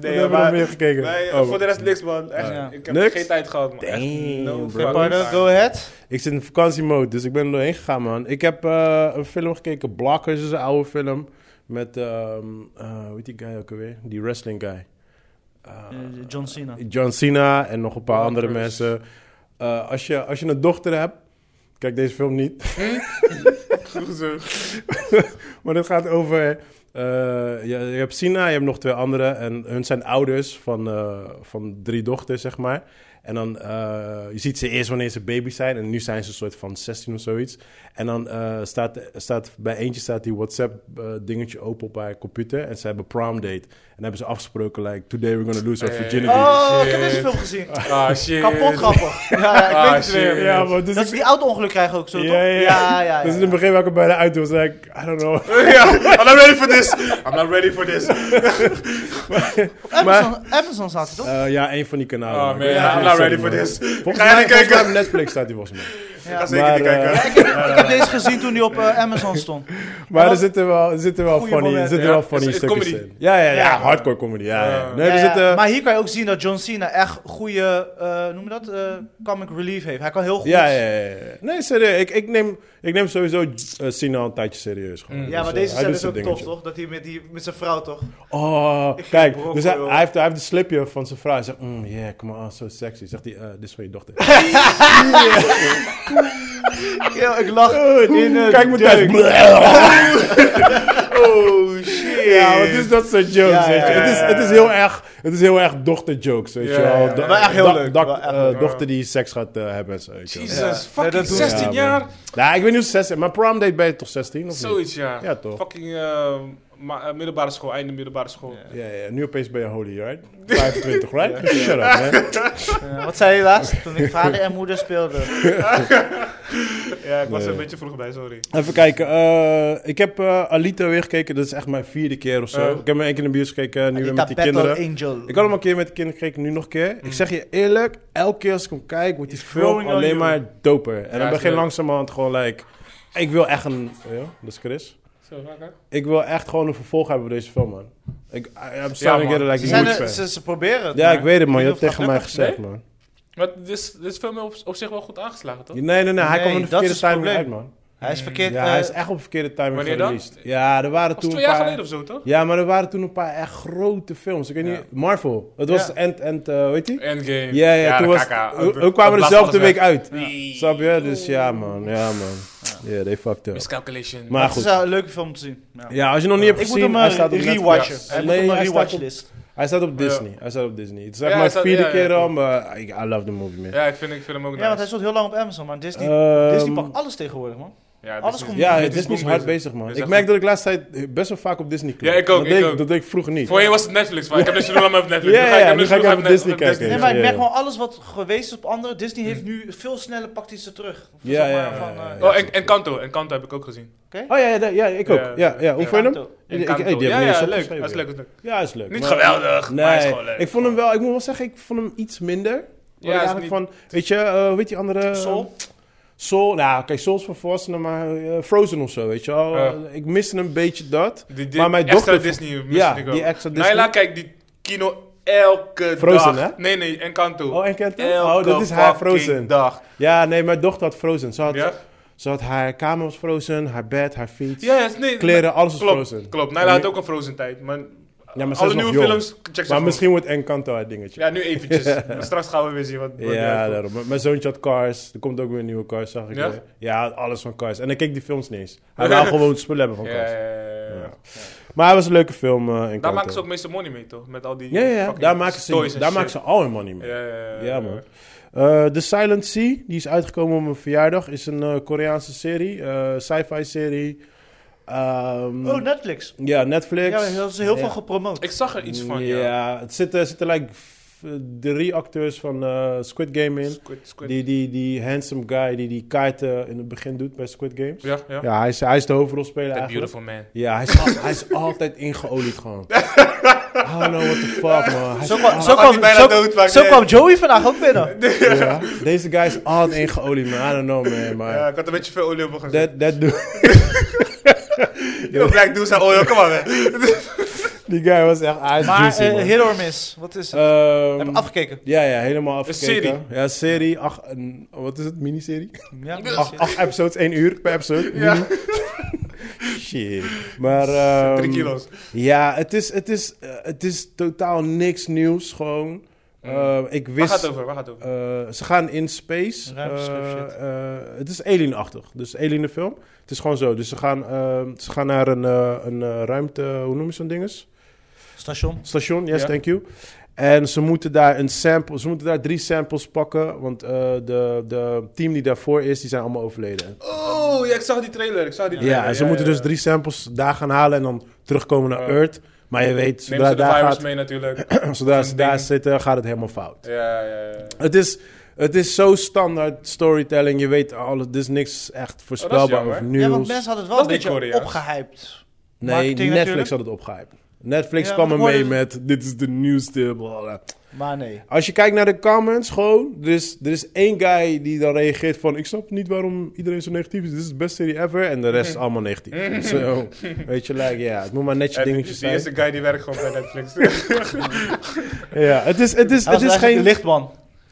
[SPEAKER 2] hebben we nog meer gekeken?
[SPEAKER 3] wij, eh,
[SPEAKER 2] Oh,
[SPEAKER 3] voor de rest niks, man. Echt,
[SPEAKER 1] Ja.
[SPEAKER 3] Ik heb
[SPEAKER 2] Niks?
[SPEAKER 3] geen tijd gehad, man. Echt,
[SPEAKER 2] Damn,
[SPEAKER 3] no
[SPEAKER 2] bro.
[SPEAKER 3] fucking
[SPEAKER 1] Pardon,
[SPEAKER 3] time.
[SPEAKER 1] go ahead.
[SPEAKER 2] Ik zit in vakantiemode, dus ik ben er doorheen gegaan, man. Ik heb eh, een film gekeken, Blockers is een oude film. Met, ehm eh, hoe heet die guy ook alweer? Die wrestling guy. Eh,
[SPEAKER 1] Eh, John Cena.
[SPEAKER 2] John Cena en nog een paar andere
[SPEAKER 3] Blockers.
[SPEAKER 2] mensen. Eh, als, je, als je een dochter hebt, kijk deze film niet.
[SPEAKER 4] Hoezo?
[SPEAKER 2] Maar dit gaat over. eh, je, je hebt Sina, je hebt nog twee anderen. En hun zijn ouders van, eh, van drie dochters, zeg maar. En dan, eh, je ziet ze eerst wanneer ze baby zijn. En nu zijn ze een soort van 16 of zoiets. En dan eh, staat, staat bij eentje staat die WhatsApp-dingetje open op haar computer. En ze hebben prom date. En dan hebben ze afgesproken, like, today we're gonna lose our
[SPEAKER 3] Hey.
[SPEAKER 2] virginity.
[SPEAKER 1] Oh, ik heb
[SPEAKER 3] Shit.
[SPEAKER 1] deze film gezien.
[SPEAKER 3] Ah, shit.
[SPEAKER 1] Kapot grappig. Ja, ja, ik
[SPEAKER 3] Ah,
[SPEAKER 1] weet het weer.
[SPEAKER 3] shit.
[SPEAKER 2] Ja, maar dus
[SPEAKER 1] Dat is
[SPEAKER 2] ik-
[SPEAKER 1] die auto-ongeluk krijgen ook zo,
[SPEAKER 2] Ja,
[SPEAKER 1] toch?
[SPEAKER 2] ja, ja.
[SPEAKER 1] ja. ja,
[SPEAKER 2] dus in
[SPEAKER 1] ja.
[SPEAKER 2] het begin waar ik er bijna uit was, like, I don't know.
[SPEAKER 3] ja, I'm not ready for this. I'm not ready for this.
[SPEAKER 2] Oh,
[SPEAKER 1] Op Amazon, Amazon staat hij, toch?
[SPEAKER 2] Eh, ja, een van die kanalen. Ik
[SPEAKER 3] Oh, man,
[SPEAKER 2] weet niet
[SPEAKER 3] I'm
[SPEAKER 2] of
[SPEAKER 3] not
[SPEAKER 2] je
[SPEAKER 3] ready
[SPEAKER 2] ze
[SPEAKER 3] for
[SPEAKER 2] noemen.
[SPEAKER 3] this.
[SPEAKER 2] Volgens
[SPEAKER 3] Ga je
[SPEAKER 2] mij,
[SPEAKER 3] niet
[SPEAKER 2] volgens mij
[SPEAKER 3] kijken?
[SPEAKER 2] op Netflix staat die volgens mij.
[SPEAKER 1] Ja.
[SPEAKER 3] Ga zeker niet
[SPEAKER 2] Maar, eh,
[SPEAKER 3] kijken.
[SPEAKER 1] Ja, ik, heb, ik heb deze gezien toen die op eh, Amazon stond.
[SPEAKER 2] Maar er
[SPEAKER 1] Wat?
[SPEAKER 2] zitten wel, er zitten wel
[SPEAKER 1] Goeie
[SPEAKER 2] funny, er
[SPEAKER 1] momenten.
[SPEAKER 2] zitten
[SPEAKER 3] Ja,
[SPEAKER 2] wel funny
[SPEAKER 3] is- is
[SPEAKER 2] stukjes
[SPEAKER 3] comedy.
[SPEAKER 2] in. Ja, ja, ja,
[SPEAKER 1] Ja.
[SPEAKER 2] hardcore comedy. Ja, ja.
[SPEAKER 3] Ja.
[SPEAKER 2] Nee,
[SPEAKER 1] Ja,
[SPEAKER 2] er
[SPEAKER 1] ja.
[SPEAKER 2] zitten...
[SPEAKER 1] Maar hier kan je ook zien dat John Cena echt goede, eh noem je dat, eh, comic relief heeft. Hij kan heel goed.
[SPEAKER 2] Ja, ja, ja, ja. Nee, serieus. Ik, ik, neem, ik neem sowieso eh, Sina al een tijdje serieus. Gewoon.
[SPEAKER 3] Mm.
[SPEAKER 2] Dus,
[SPEAKER 1] Ja, maar
[SPEAKER 2] eh,
[SPEAKER 1] deze
[SPEAKER 2] hij
[SPEAKER 1] scène
[SPEAKER 2] doet
[SPEAKER 1] is ook
[SPEAKER 2] zijn
[SPEAKER 1] tof,
[SPEAKER 2] dingetje.
[SPEAKER 1] toch? Dat hij met, die, met zijn vrouw, toch?
[SPEAKER 2] Oh,
[SPEAKER 1] Ik eh,
[SPEAKER 2] kijk.
[SPEAKER 1] ging
[SPEAKER 2] Dus hij,
[SPEAKER 1] brokken,
[SPEAKER 2] hij heeft, hij heeft een slipje van zijn vrouw. Hij zegt, mm, yeah, come on, so sexy. Zegt hij, eh, dit is van je dochter.
[SPEAKER 1] Ik, ik lach in eh,
[SPEAKER 2] Kijk mijn
[SPEAKER 1] deuk.
[SPEAKER 2] tijd.
[SPEAKER 4] Oh shit.
[SPEAKER 2] Ja, want het is dat soort jokes,
[SPEAKER 1] Ja, ja,
[SPEAKER 2] weet je.
[SPEAKER 1] ja,
[SPEAKER 2] Het, is,
[SPEAKER 3] ja,
[SPEAKER 2] het, is
[SPEAKER 3] ja.
[SPEAKER 2] heel erg, het is heel erg dochterjokes, weet
[SPEAKER 3] Ja,
[SPEAKER 2] je wel.
[SPEAKER 3] ja,
[SPEAKER 2] Do-
[SPEAKER 3] wel
[SPEAKER 1] echt heel
[SPEAKER 2] do-
[SPEAKER 1] leuk,
[SPEAKER 2] dak-
[SPEAKER 1] wel echt
[SPEAKER 2] eh,
[SPEAKER 1] leuk.
[SPEAKER 2] dochter die seks gaat eh, hebben. zo, weet je wel.
[SPEAKER 3] Jesus,
[SPEAKER 1] Ja. Nee,
[SPEAKER 3] fucking
[SPEAKER 1] dat doen ze.
[SPEAKER 3] 16
[SPEAKER 2] Ja,
[SPEAKER 3] jaar.
[SPEAKER 2] Nou, ik weet niet of 16, maar prom date ben je toch 16 of niet?
[SPEAKER 3] Zoiets, ja.
[SPEAKER 2] Ja, toch?
[SPEAKER 3] Fucking eh, ma- eh, middelbare school, einde middelbare school.
[SPEAKER 1] Ja.
[SPEAKER 2] Ja, ja, nu opeens ben je holy, right? 25, right? Dus Shut up, man.
[SPEAKER 1] Ja, wat zei je laatst? Toen ik vader en moeder speelden.
[SPEAKER 3] Ja, ik was er
[SPEAKER 2] Nee.
[SPEAKER 3] een beetje vroeg bij, sorry.
[SPEAKER 2] Even kijken. eh, ik heb eh, Alita weer gekeken. Dat is echt mijn vierde keer of zo.
[SPEAKER 1] Oh.
[SPEAKER 3] Eh.
[SPEAKER 2] Ik heb hem één keer in de bios gekeken, nu weer
[SPEAKER 1] Alita
[SPEAKER 2] met die
[SPEAKER 1] Battle
[SPEAKER 2] kinderen.
[SPEAKER 1] Angel.
[SPEAKER 2] Ik had hem al een keer met de kinderen gekeken, nu nog een keer.
[SPEAKER 3] Mhm.
[SPEAKER 2] Ik zeg je eerlijk, elke keer als ik hem kijk, wordt die
[SPEAKER 3] He's
[SPEAKER 2] film
[SPEAKER 3] growing on
[SPEAKER 2] alleen
[SPEAKER 3] you.
[SPEAKER 2] maar doper. En
[SPEAKER 3] Ja,
[SPEAKER 2] dan
[SPEAKER 3] is
[SPEAKER 2] begin je
[SPEAKER 3] leuk.
[SPEAKER 2] langzamerhand gewoon, like, ik wil echt een... Ja, dat is Chris.
[SPEAKER 3] Zo, oké.
[SPEAKER 2] Ik wil echt gewoon een vervolg hebben op deze film, man. Ik, I- I'm starting
[SPEAKER 3] man.
[SPEAKER 2] to get it
[SPEAKER 1] ze,
[SPEAKER 2] like a
[SPEAKER 1] zijn
[SPEAKER 2] huge
[SPEAKER 1] er-
[SPEAKER 2] fan.
[SPEAKER 1] ze, ze proberen het.
[SPEAKER 2] Ja,
[SPEAKER 1] maar
[SPEAKER 2] ik weet het, man.
[SPEAKER 1] ik
[SPEAKER 2] Je
[SPEAKER 1] weet
[SPEAKER 2] hebt
[SPEAKER 1] niet of
[SPEAKER 2] tegen mij
[SPEAKER 1] het gaat
[SPEAKER 2] gezegd, man.
[SPEAKER 3] Maar dit is, dit is film op, op zich wel goed aangeslagen, toch?
[SPEAKER 2] Nee, nee, nee. hij
[SPEAKER 1] Nee,
[SPEAKER 2] kwam in de
[SPEAKER 1] dat is
[SPEAKER 2] verkeerde
[SPEAKER 1] het
[SPEAKER 2] timing
[SPEAKER 1] probleem.
[SPEAKER 2] uit, man.
[SPEAKER 1] Hij is verkeerd.
[SPEAKER 2] Ja,
[SPEAKER 1] eh,
[SPEAKER 2] hij is echt op verkeerde timing
[SPEAKER 3] Wanneer dan?
[SPEAKER 2] gereleased. Ja, er waren
[SPEAKER 3] Dat
[SPEAKER 2] toen
[SPEAKER 3] was twee
[SPEAKER 2] een
[SPEAKER 3] jaar
[SPEAKER 2] paar-
[SPEAKER 3] geleden of zo, toch?
[SPEAKER 2] Ja, maar er waren toen een paar echt grote films. Ik weet
[SPEAKER 3] Ja.
[SPEAKER 2] niet... Marvel. Het was
[SPEAKER 1] Ja.
[SPEAKER 2] End... End eh, hoe heet die?
[SPEAKER 3] Endgame.
[SPEAKER 2] Ja, ja, toen
[SPEAKER 3] de
[SPEAKER 2] was...
[SPEAKER 3] kaka.
[SPEAKER 2] Hoe
[SPEAKER 3] Dat
[SPEAKER 2] hoe kwamen we
[SPEAKER 3] blaast
[SPEAKER 2] dezelfde
[SPEAKER 3] alles
[SPEAKER 2] week
[SPEAKER 3] weg.
[SPEAKER 2] uit?
[SPEAKER 3] Nee.
[SPEAKER 2] Snap je? Dus ja, man. Ja, man. Ja, they fucked up.
[SPEAKER 3] Miscalculation.
[SPEAKER 2] Maar
[SPEAKER 1] het
[SPEAKER 2] goed.
[SPEAKER 1] is een leuke film om te zien. Ja.
[SPEAKER 2] Ja, als je nog niet hebt
[SPEAKER 1] Ik moet
[SPEAKER 2] gezien,
[SPEAKER 1] hem
[SPEAKER 2] hij
[SPEAKER 1] eh,
[SPEAKER 2] staat op
[SPEAKER 1] rewatchen.
[SPEAKER 2] Netflix.
[SPEAKER 1] Hij moet
[SPEAKER 2] Nee,
[SPEAKER 1] op mijn
[SPEAKER 2] hij staat op-
[SPEAKER 1] rewatchlist.
[SPEAKER 2] Hij staat op Disney. Hij staat op Disney. Het is echt
[SPEAKER 3] Ja, hij
[SPEAKER 2] mijn
[SPEAKER 3] staat-
[SPEAKER 2] vierde
[SPEAKER 3] ja, ja,
[SPEAKER 2] keer
[SPEAKER 3] ja.
[SPEAKER 2] al, maar I, I love the movie, man.
[SPEAKER 3] Ja, ik vind, ik vind hem ook
[SPEAKER 1] Ja, want hij
[SPEAKER 3] nice.
[SPEAKER 1] stond heel lang op Amazon, maar Disney,
[SPEAKER 2] Ehm,
[SPEAKER 1] Disney pakt alles tegenwoordig, man.
[SPEAKER 3] Ja,
[SPEAKER 1] alles
[SPEAKER 3] Disney-
[SPEAKER 1] komt-
[SPEAKER 2] Ja,
[SPEAKER 3] Disney
[SPEAKER 2] Disney is
[SPEAKER 3] goed
[SPEAKER 2] hard
[SPEAKER 3] bezig.
[SPEAKER 2] bezig, man.
[SPEAKER 3] Is
[SPEAKER 2] Ik
[SPEAKER 3] echt
[SPEAKER 2] merk
[SPEAKER 3] goed.
[SPEAKER 2] dat ik laatst tijd best wel vaak op Disney klik.
[SPEAKER 3] Ja, ik ook,
[SPEAKER 2] Dat
[SPEAKER 3] ik
[SPEAKER 2] deed
[SPEAKER 3] ook.
[SPEAKER 2] Dat deed ik vroeger niet.
[SPEAKER 3] Voorheen was het Netflix, maar ik heb dus net zo lang even Netflix.
[SPEAKER 2] Ja,
[SPEAKER 3] Nu
[SPEAKER 2] ja,
[SPEAKER 3] heb
[SPEAKER 2] nu
[SPEAKER 3] net
[SPEAKER 2] ga ik
[SPEAKER 3] zo lang
[SPEAKER 2] even
[SPEAKER 3] net-
[SPEAKER 2] Disney
[SPEAKER 3] dus op
[SPEAKER 2] kijken.
[SPEAKER 1] Nee,
[SPEAKER 2] Ja,
[SPEAKER 1] maar ik
[SPEAKER 2] ja,
[SPEAKER 1] merk
[SPEAKER 2] ja.
[SPEAKER 1] gewoon alles wat geweest is op anderen. Disney heeft nu veel sneller pakt hij ze terug. Of
[SPEAKER 2] Ja,
[SPEAKER 1] zeg maar
[SPEAKER 2] ja,
[SPEAKER 1] van,
[SPEAKER 2] ja, ja,
[SPEAKER 1] eh,
[SPEAKER 2] ja.
[SPEAKER 3] Oh, en, en Kanto. En Kanto heb ik ook gezien.
[SPEAKER 2] Oh ja, ja, ja, ja, ik ook.
[SPEAKER 3] Ja,
[SPEAKER 2] Ja, ja. Hoe vond je hem?
[SPEAKER 1] Encanto.
[SPEAKER 2] Ik-
[SPEAKER 3] En
[SPEAKER 2] ik-
[SPEAKER 3] Kanto.
[SPEAKER 2] hey, die
[SPEAKER 3] ja,
[SPEAKER 2] hebben we
[SPEAKER 3] ja,
[SPEAKER 2] eens
[SPEAKER 3] leuk.
[SPEAKER 2] opgeschreven.
[SPEAKER 3] Dat is leuk. dat is leuk.
[SPEAKER 2] Ja, is leuk.
[SPEAKER 3] Niet
[SPEAKER 2] maar-
[SPEAKER 3] geweldig,
[SPEAKER 2] Nee,
[SPEAKER 3] maar hij is gewoon leuk.
[SPEAKER 2] ik vond hem wel, ik moet wel zeggen, ik vond hem iets minder.
[SPEAKER 3] Ja,
[SPEAKER 2] Ja,
[SPEAKER 3] is
[SPEAKER 2] eigenlijk
[SPEAKER 3] niet-
[SPEAKER 2] van, weet je, eh, hoe heet die andere?
[SPEAKER 1] Soul?
[SPEAKER 2] Soul, nou oké, Soul is voor volwassenen, maar eh, Frozen of zo, weet je wel. Eh,
[SPEAKER 3] Ja.
[SPEAKER 2] Ik miste een beetje dat.
[SPEAKER 3] Die, die
[SPEAKER 2] Maar mijn
[SPEAKER 3] extra
[SPEAKER 2] dochter-
[SPEAKER 3] Disney moest
[SPEAKER 2] ja,
[SPEAKER 3] ik ook.
[SPEAKER 2] die extra Disney.
[SPEAKER 3] Naila kijkt die kino elke
[SPEAKER 2] Frozen,
[SPEAKER 3] dag.
[SPEAKER 2] hè?
[SPEAKER 3] Nee, nee, en Kanto.
[SPEAKER 2] Oh, en kent hem?
[SPEAKER 3] elke
[SPEAKER 2] Oh, dat is haar
[SPEAKER 3] fucking
[SPEAKER 2] Frozen.
[SPEAKER 3] dag.
[SPEAKER 2] Ja, nee, mijn dochter had Frozen. Ze had,
[SPEAKER 3] Ja?
[SPEAKER 2] ze had haar kamer was Frozen, haar bed, haar fiets,
[SPEAKER 3] Ja, yes, nee.
[SPEAKER 2] kleren, alles was
[SPEAKER 3] Klopt,
[SPEAKER 2] Frozen.
[SPEAKER 3] klopt. Naila had ook een Frozen tijd. Maar
[SPEAKER 2] Ja, maar ze
[SPEAKER 3] alle
[SPEAKER 2] is nog
[SPEAKER 3] nieuwe
[SPEAKER 2] jong.
[SPEAKER 3] films, check ze
[SPEAKER 2] Maar
[SPEAKER 3] gewoon.
[SPEAKER 2] misschien wordt Encanto haar dingetje.
[SPEAKER 3] Ja, nu eventjes. maar straks gaan we weer zien wat...
[SPEAKER 2] Ja,
[SPEAKER 3] wat eruit komt.
[SPEAKER 2] daarom. M- Mijn zoontje had Cars. Er komt ook weer een nieuwe Cars, zag ik.
[SPEAKER 3] Ja?
[SPEAKER 2] weer. Ja, alles van Cars. En ik keek die films niet eens. Hij wou gewoon spullen hebben van
[SPEAKER 3] Ja,
[SPEAKER 2] Cars.
[SPEAKER 3] ja, ja, ja.
[SPEAKER 2] Ja. Maar het was een leuke film. eh Encanto.
[SPEAKER 3] Daar maken ze ook meeste money mee, toch? Met al die
[SPEAKER 2] Ja, ja, ja.
[SPEAKER 3] fucking
[SPEAKER 2] daar maken
[SPEAKER 3] toys
[SPEAKER 2] ze,
[SPEAKER 3] en
[SPEAKER 2] daar
[SPEAKER 3] shit.
[SPEAKER 2] maken ze al hun money mee.
[SPEAKER 3] Ja, ja, ja.
[SPEAKER 2] Ja, man. Eh, The Silent Sea, die is uitgekomen op mijn verjaardag, is een eh, Koreaanse serie, eh, sci-fi serie. Ehm,
[SPEAKER 1] Oh, Netflix.
[SPEAKER 2] ja, Netflix.
[SPEAKER 1] Ja, daar is heel
[SPEAKER 2] Ja.
[SPEAKER 1] veel gepromoot.
[SPEAKER 3] Ik zag er iets van, ja.
[SPEAKER 2] Ja, het zitten, zitten like f- drie acteurs van eh, Squid Game in.
[SPEAKER 3] Squid, squid.
[SPEAKER 2] Die, die, die handsome guy die die kaarten in het begin doet bij Squid Games.
[SPEAKER 3] Ja, ja.
[SPEAKER 2] Ja, hij is, hij is de hoofdrolspeler
[SPEAKER 3] That
[SPEAKER 2] eigenlijk.
[SPEAKER 3] beautiful man.
[SPEAKER 2] Ja, hij is, al- hij is altijd ingeolied gewoon. I don't know what the fuck, man. Hij is
[SPEAKER 1] Zo kwam,
[SPEAKER 2] al-
[SPEAKER 1] zo
[SPEAKER 3] Had
[SPEAKER 1] kwam,
[SPEAKER 3] hij bijna
[SPEAKER 1] zo,
[SPEAKER 3] dood, maar ik
[SPEAKER 1] zo
[SPEAKER 3] denk-
[SPEAKER 1] kwam Joey vandaag ook binnen.
[SPEAKER 2] Ja, Deze guy is altijd ingeolied, man. I don't know, man. Maar
[SPEAKER 3] Ja, ik had een beetje veel olie op me
[SPEAKER 2] that,
[SPEAKER 3] gezet.
[SPEAKER 2] that dude,
[SPEAKER 3] Yo, Black Deuce en oil, kom maar man.
[SPEAKER 2] die guy was echt hij is
[SPEAKER 1] Maar
[SPEAKER 2] juicy,
[SPEAKER 1] eh,
[SPEAKER 2] man.
[SPEAKER 1] hit or miss, wat is het?
[SPEAKER 2] Ehm,
[SPEAKER 1] Heb je afgekeken?
[SPEAKER 2] ja, ja, helemaal afgekeken.
[SPEAKER 3] serie.
[SPEAKER 2] Ja, serie. Acht, een- wat is het? Miniserie?
[SPEAKER 1] Ja,
[SPEAKER 2] Acht, acht episodes, één uur per episode.
[SPEAKER 3] Ja.
[SPEAKER 2] Shit. Maar... ehm,
[SPEAKER 3] Drie kilo's.
[SPEAKER 2] Ja, het is, het, is, eh, het is totaal niks nieuws gewoon. Eh, ik
[SPEAKER 3] Mm. Waar gaat
[SPEAKER 2] wist...
[SPEAKER 3] het over? Waar gaat het over?
[SPEAKER 2] eh, ze gaan in space.
[SPEAKER 1] Ruimteschip
[SPEAKER 2] Eh,
[SPEAKER 1] shit.
[SPEAKER 2] eh, het is alienachtig. Dus alien de film. Het is gewoon zo. Dus ze gaan, eh, ze gaan naar een, eh, een eh, ruimte... Hoe noem je zo'n ding eens?
[SPEAKER 1] Station.
[SPEAKER 2] Station, yes,
[SPEAKER 3] Ja.
[SPEAKER 2] thank you. En ze moeten daar een sample, ze moeten daar drie samples pakken, want eh, de, de team die daarvoor is, die zijn allemaal overleden.
[SPEAKER 3] Oh, ja, ik zag die trailer. Ik zag die
[SPEAKER 2] Ja,
[SPEAKER 3] trailer.
[SPEAKER 2] en ze moeten
[SPEAKER 3] ja.
[SPEAKER 2] dus drie samples daar gaan halen en dan terugkomen naar
[SPEAKER 3] Ja.
[SPEAKER 2] Earth. Maar je weet,
[SPEAKER 3] Neem ze
[SPEAKER 2] zodra,
[SPEAKER 3] de
[SPEAKER 2] daar,
[SPEAKER 3] virus
[SPEAKER 2] gaat,
[SPEAKER 3] mee natuurlijk.
[SPEAKER 2] Nou, zodra ze
[SPEAKER 3] zo'n
[SPEAKER 2] daar
[SPEAKER 3] ding.
[SPEAKER 2] zitten, gaat het helemaal fout.
[SPEAKER 3] ja, ja, ja.
[SPEAKER 2] Het is, het is zo standaard storytelling, je weet alles, er is niks echt
[SPEAKER 1] Oh,
[SPEAKER 2] voorspelbaar
[SPEAKER 3] jammer.
[SPEAKER 2] of
[SPEAKER 3] Ja,
[SPEAKER 2] nieuws.
[SPEAKER 1] Ja, want mensen hadden het wel
[SPEAKER 3] Dat
[SPEAKER 1] een
[SPEAKER 3] is niet
[SPEAKER 1] beetje
[SPEAKER 3] Koreaans.
[SPEAKER 1] opgehyped.
[SPEAKER 2] nee,
[SPEAKER 1] marketing
[SPEAKER 2] Netflix
[SPEAKER 1] natuurlijk.
[SPEAKER 2] had het opgehyped. Netflix
[SPEAKER 1] Ja,
[SPEAKER 2] kwam
[SPEAKER 1] want
[SPEAKER 2] er
[SPEAKER 1] ik
[SPEAKER 2] mee
[SPEAKER 1] hoorde-
[SPEAKER 2] met, dit is de nieuwste, blablabla.
[SPEAKER 1] Maar nee.
[SPEAKER 2] Als je kijkt naar de comments, gewoon. Er is, er is één guy die dan reageert van... Ik snap niet waarom iedereen zo negatief is. Dit is de beste serie ever. En de rest is allemaal negatief. Zo, weet je, like, ja. Het moet maar net je
[SPEAKER 3] En die-
[SPEAKER 2] dingetjes
[SPEAKER 3] die
[SPEAKER 2] zijn.
[SPEAKER 3] eerste guy die werkt gewoon bij Netflix.
[SPEAKER 2] Ja, het is, het is,
[SPEAKER 1] Hij
[SPEAKER 2] het
[SPEAKER 1] was eigenlijk
[SPEAKER 2] is geen... Oh.
[SPEAKER 1] de lichtman.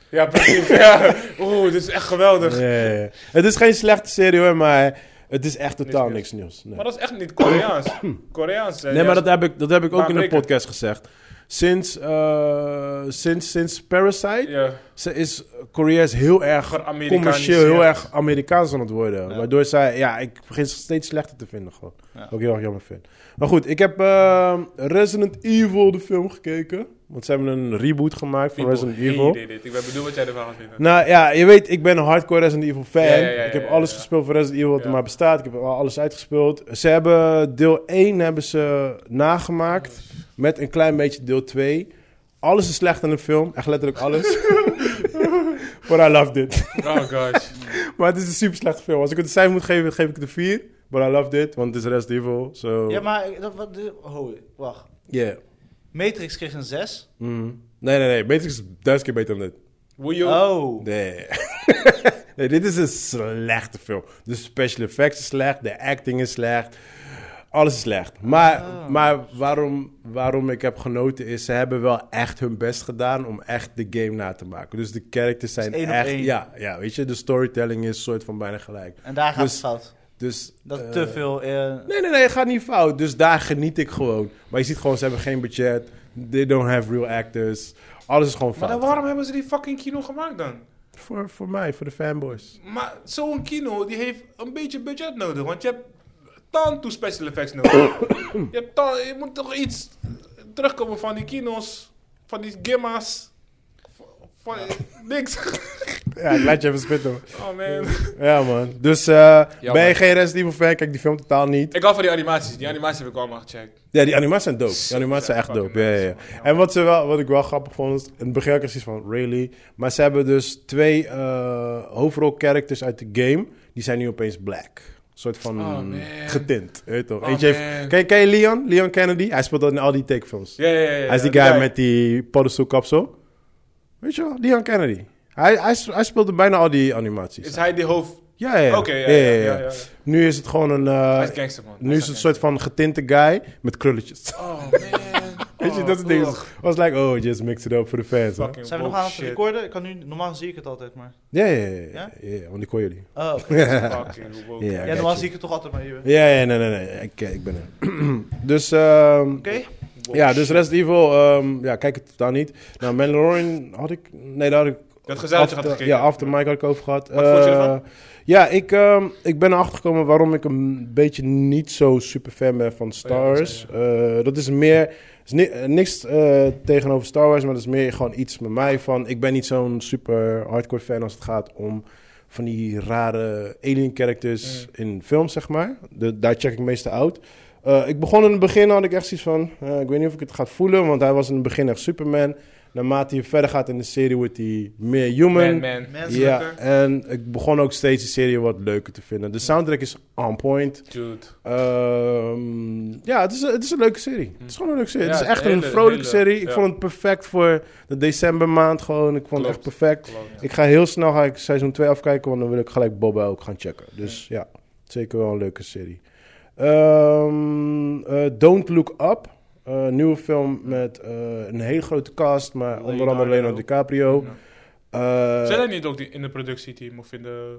[SPEAKER 3] ja, precies. Ja. Oeh, dit is echt geweldig.
[SPEAKER 2] Ja, ja, ja. Het is geen slechte serie, hoor. Maar het is echt totaal niks
[SPEAKER 3] Niks
[SPEAKER 2] nieuws. Nee,
[SPEAKER 3] Maar dat is echt niet Koreaans. Koreaans. hè,
[SPEAKER 2] nee maar
[SPEAKER 3] juist.
[SPEAKER 2] dat heb ik, dat heb ik ook
[SPEAKER 3] Maar
[SPEAKER 2] in de
[SPEAKER 3] Rick-
[SPEAKER 2] podcast gezegd. Sinds, eh, sinds, sinds Parasite
[SPEAKER 3] Ja,
[SPEAKER 2] ze is, Korea is heel erg
[SPEAKER 3] geamerikaniseerd.
[SPEAKER 2] commercieel heel erg Amerikaans aan het worden.
[SPEAKER 1] Ja.
[SPEAKER 2] Waardoor zij, ja, ik begin ze steeds slechter te vinden gewoon.
[SPEAKER 1] Ja.
[SPEAKER 2] Wat ik heel erg jammer vind. Maar goed, ik heb ehm, Resident Evil, de film, gekeken. Want ze hebben een reboot gemaakt van
[SPEAKER 3] People
[SPEAKER 2] Resident
[SPEAKER 3] hate
[SPEAKER 2] Evil.
[SPEAKER 3] it. Ik ben bedoel wat jij ervan gaat vinden.
[SPEAKER 2] Nou ja, je weet, ik ben een hardcore Resident Evil fan.
[SPEAKER 3] Ja, ja, ja, ja,
[SPEAKER 2] ik heb
[SPEAKER 3] ja,
[SPEAKER 2] alles
[SPEAKER 3] ja.
[SPEAKER 2] gespeeld van Resident Evil wat er
[SPEAKER 3] Ja.
[SPEAKER 2] maar bestaat. Ik heb al alles uitgespeeld. Ze hebben deel 1 hebben ze nagemaakt met een klein beetje deel 2. Alles is slecht aan de film, echt letterlijk alles. But I loved it.
[SPEAKER 3] Oh gosh.
[SPEAKER 2] Maar het is een super slechte film. Als ik het een cijfer moet geven, geef ik het een 4. But I love it, want het is Resident Evil. So,
[SPEAKER 1] Ja,
[SPEAKER 2] ja,
[SPEAKER 1] maar... eh, Dat, wat, de- oh, wacht. Matrix kreeg een 6.
[SPEAKER 2] Mm. Nee, nee, nee. Matrix is duizend keer beter dan dit.
[SPEAKER 3] Will you?
[SPEAKER 1] Oh.
[SPEAKER 2] Nee. nee, dit is een slechte film. De special effects is slecht, de acting is slecht. Alles is slecht. Maar,
[SPEAKER 1] Ah.
[SPEAKER 2] maar waarom, waarom ik heb genoten is, ze hebben wel echt hun best gedaan om echt de game na te maken. Dus de characters zijn
[SPEAKER 1] één op
[SPEAKER 2] echt...
[SPEAKER 1] één.
[SPEAKER 2] Ja, ja, weet je, de storytelling is soort van bijna gelijk.
[SPEAKER 1] En daar gaat
[SPEAKER 2] Dus-
[SPEAKER 1] het fout.
[SPEAKER 2] Dus,
[SPEAKER 1] Dat
[SPEAKER 2] eh,
[SPEAKER 1] te veel... eh,
[SPEAKER 2] Nee, nee, nee, het gaat niet fout. Dus daar geniet ik gewoon. Maar je ziet gewoon, ze hebben geen budget. They don't have real actors. Alles is gewoon
[SPEAKER 3] Maar
[SPEAKER 2] fout.
[SPEAKER 3] dan waarom hebben ze die fucking kino gemaakt dan?
[SPEAKER 2] Voor, voor mij, voor de fanboys.
[SPEAKER 3] Maar zo'n kino die heeft een beetje budget nodig, want je hebt tant toe special effects nodig. je, hebt tan, je moet toch iets terugkomen van die kino's, van die gimma's, van, van- niks.
[SPEAKER 2] Ja, ik laat je even spitten. hoor.
[SPEAKER 3] oh man.
[SPEAKER 2] Ja, man. Dus eh, ben je geen Resident Evil fan? Kijk die film totaal niet.
[SPEAKER 3] Ik hou van die animaties, die animaties heb ik allemaal gecheckt.
[SPEAKER 2] Ja, die animaties zijn dope. Die animaties zijn echt
[SPEAKER 3] Fucking
[SPEAKER 2] dope. Ja, ja, ja.
[SPEAKER 3] nice, man.
[SPEAKER 2] En wat, ze wel, wat ik wel grappig vond, is, in het begin had ik zoiets van, really? Maar ze hebben dus twee eh hoofdrolcharacters uit de game, die zijn nu opeens black. Een soort van
[SPEAKER 3] Oh, man.
[SPEAKER 2] getint, weet je toch?
[SPEAKER 3] Oh,
[SPEAKER 2] Eentje heeft,
[SPEAKER 3] man.
[SPEAKER 2] ken, ken je Leon? Leon Kennedy? Hij speelt dat in al die takefilms.
[SPEAKER 3] Ja, ja, ja, ja.
[SPEAKER 2] hij is die
[SPEAKER 3] die
[SPEAKER 2] guy met die paddenstoelkapsel. Weet je wel? Leon Kennedy. Hij, hij, sp- hij speelde bijna al die animaties.
[SPEAKER 3] Is hij die hoofd?
[SPEAKER 2] Ja, ja, ja.
[SPEAKER 3] Oké, ja, ja, ja, ja, ja.
[SPEAKER 2] Nu is het gewoon een... eh,
[SPEAKER 3] Hij is gangster, man.
[SPEAKER 2] nu is het een soort van getinte guy met krulletjes.
[SPEAKER 3] Oh man.
[SPEAKER 2] Weet je,
[SPEAKER 3] Oh,
[SPEAKER 2] dat soort dingen.
[SPEAKER 3] ugh.
[SPEAKER 2] was like, oh, just mix it up for the fans. hè?
[SPEAKER 3] Fucking
[SPEAKER 1] Zijn we nog aan het
[SPEAKER 3] bullshit.
[SPEAKER 1] recorden? Ik kan nu, normaal zie ik het altijd maar.
[SPEAKER 2] Ja, ja, ja, ja,
[SPEAKER 1] Ja?
[SPEAKER 2] ja, ja, want ik hoor jullie.
[SPEAKER 1] Oh, oké.
[SPEAKER 3] Fucking woke.
[SPEAKER 2] Ja,
[SPEAKER 1] ja,
[SPEAKER 2] kijk,
[SPEAKER 1] normaal
[SPEAKER 2] je.
[SPEAKER 1] zie ik het toch altijd maar hier. Oké.
[SPEAKER 2] Ja, ja, nee, nee, nee, ik, ik ben er. dus, ehm, ja, dus Resident Evil, ehm, ja, kijk het daar niet. Nou, Mandalorian had ik, nee, daar had ik...
[SPEAKER 3] Dat gezellig
[SPEAKER 2] after-
[SPEAKER 3] had gekeken.
[SPEAKER 2] Ja, after mic had ik over gehad.
[SPEAKER 3] Wat vond je
[SPEAKER 2] Eh,
[SPEAKER 3] ervan?
[SPEAKER 2] Ja, ik, ehm, ik ben erachter gekomen waarom ik een beetje niet zo super fan ben van Star
[SPEAKER 3] Oh dat
[SPEAKER 2] Wars. Eh, dat is meer, is ni- eh, niks eh, tegenover Star Wars, maar dat is meer gewoon iets met mij van... Ik ben niet zo'n super hardcore fan als het gaat om van die rare alien characters in films, zeg maar. De, daar check ik meestal out. Eh, ik begon in het begin, had ik echt zoiets van... eh, ik weet niet of ik het ga voelen, want hij was in het begin echt Superman. Naarmate je verder gaat in de serie wordt hij meer human.
[SPEAKER 3] Man, man.
[SPEAKER 1] Man.
[SPEAKER 2] Ja,
[SPEAKER 3] Menselijker.
[SPEAKER 2] en ik begon ook steeds de serie wat leuker te vinden. De soundtrack is on point.
[SPEAKER 3] Dude.
[SPEAKER 2] Ehm, ja, het is, het is een leuke serie. Het is gewoon een leuke serie.
[SPEAKER 3] Ja,
[SPEAKER 2] het is
[SPEAKER 3] het
[SPEAKER 2] echt
[SPEAKER 3] hele-
[SPEAKER 2] een vrolijke
[SPEAKER 3] hele-
[SPEAKER 2] serie. Ik
[SPEAKER 3] ja.
[SPEAKER 2] vond het perfect voor de decembermaand gewoon. Ik vond het echt
[SPEAKER 3] Klopt.
[SPEAKER 2] perfect.
[SPEAKER 3] Klopt.
[SPEAKER 2] Ik ga heel snel ga ik seizoen 2 afkijken, want dan wil ik gelijk Boba ook gaan checken. Dus ja, zeker wel een leuke serie. Ehm, eh, Don't Look Up. Eh, nieuwe film met eh, een hele grote cast, maar onder
[SPEAKER 3] Leonardo.
[SPEAKER 2] andere Leonardo DiCaprio.
[SPEAKER 3] Ja.
[SPEAKER 2] Eh,
[SPEAKER 3] Zijn dat niet ook die in de productieteam of in de...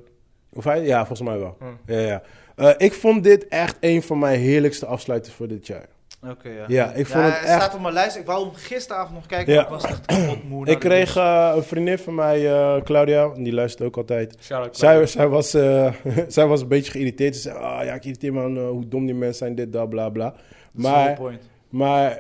[SPEAKER 2] of hij? Ja, volgens mij wel.
[SPEAKER 3] Hmm.
[SPEAKER 2] Ja, ja. Eh, ik vond dit echt een van mijn heerlijkste afsluiters voor dit jaar.
[SPEAKER 1] Oké, ja.
[SPEAKER 2] Ja, ik vond
[SPEAKER 1] Ja,
[SPEAKER 2] het
[SPEAKER 1] hij
[SPEAKER 2] echt...
[SPEAKER 1] staat op mijn lijst. Ik wou hem gisteravond nog kijken,
[SPEAKER 2] Ja.
[SPEAKER 1] maar ik was echt kapot moe.
[SPEAKER 2] Ik
[SPEAKER 3] nou
[SPEAKER 1] na de
[SPEAKER 2] kreeg eh, een vriendin van mij, eh, Claudia, die luistert ook altijd.
[SPEAKER 3] Shout-out,
[SPEAKER 2] Zij, zij, was, eh, zij was een beetje geïrriteerd. Ze zei, ah ja, ik irriteer me aan eh, hoe dom die mensen zijn, dit, dat, bla, bla. Maar,
[SPEAKER 1] Snowpoint.
[SPEAKER 2] maar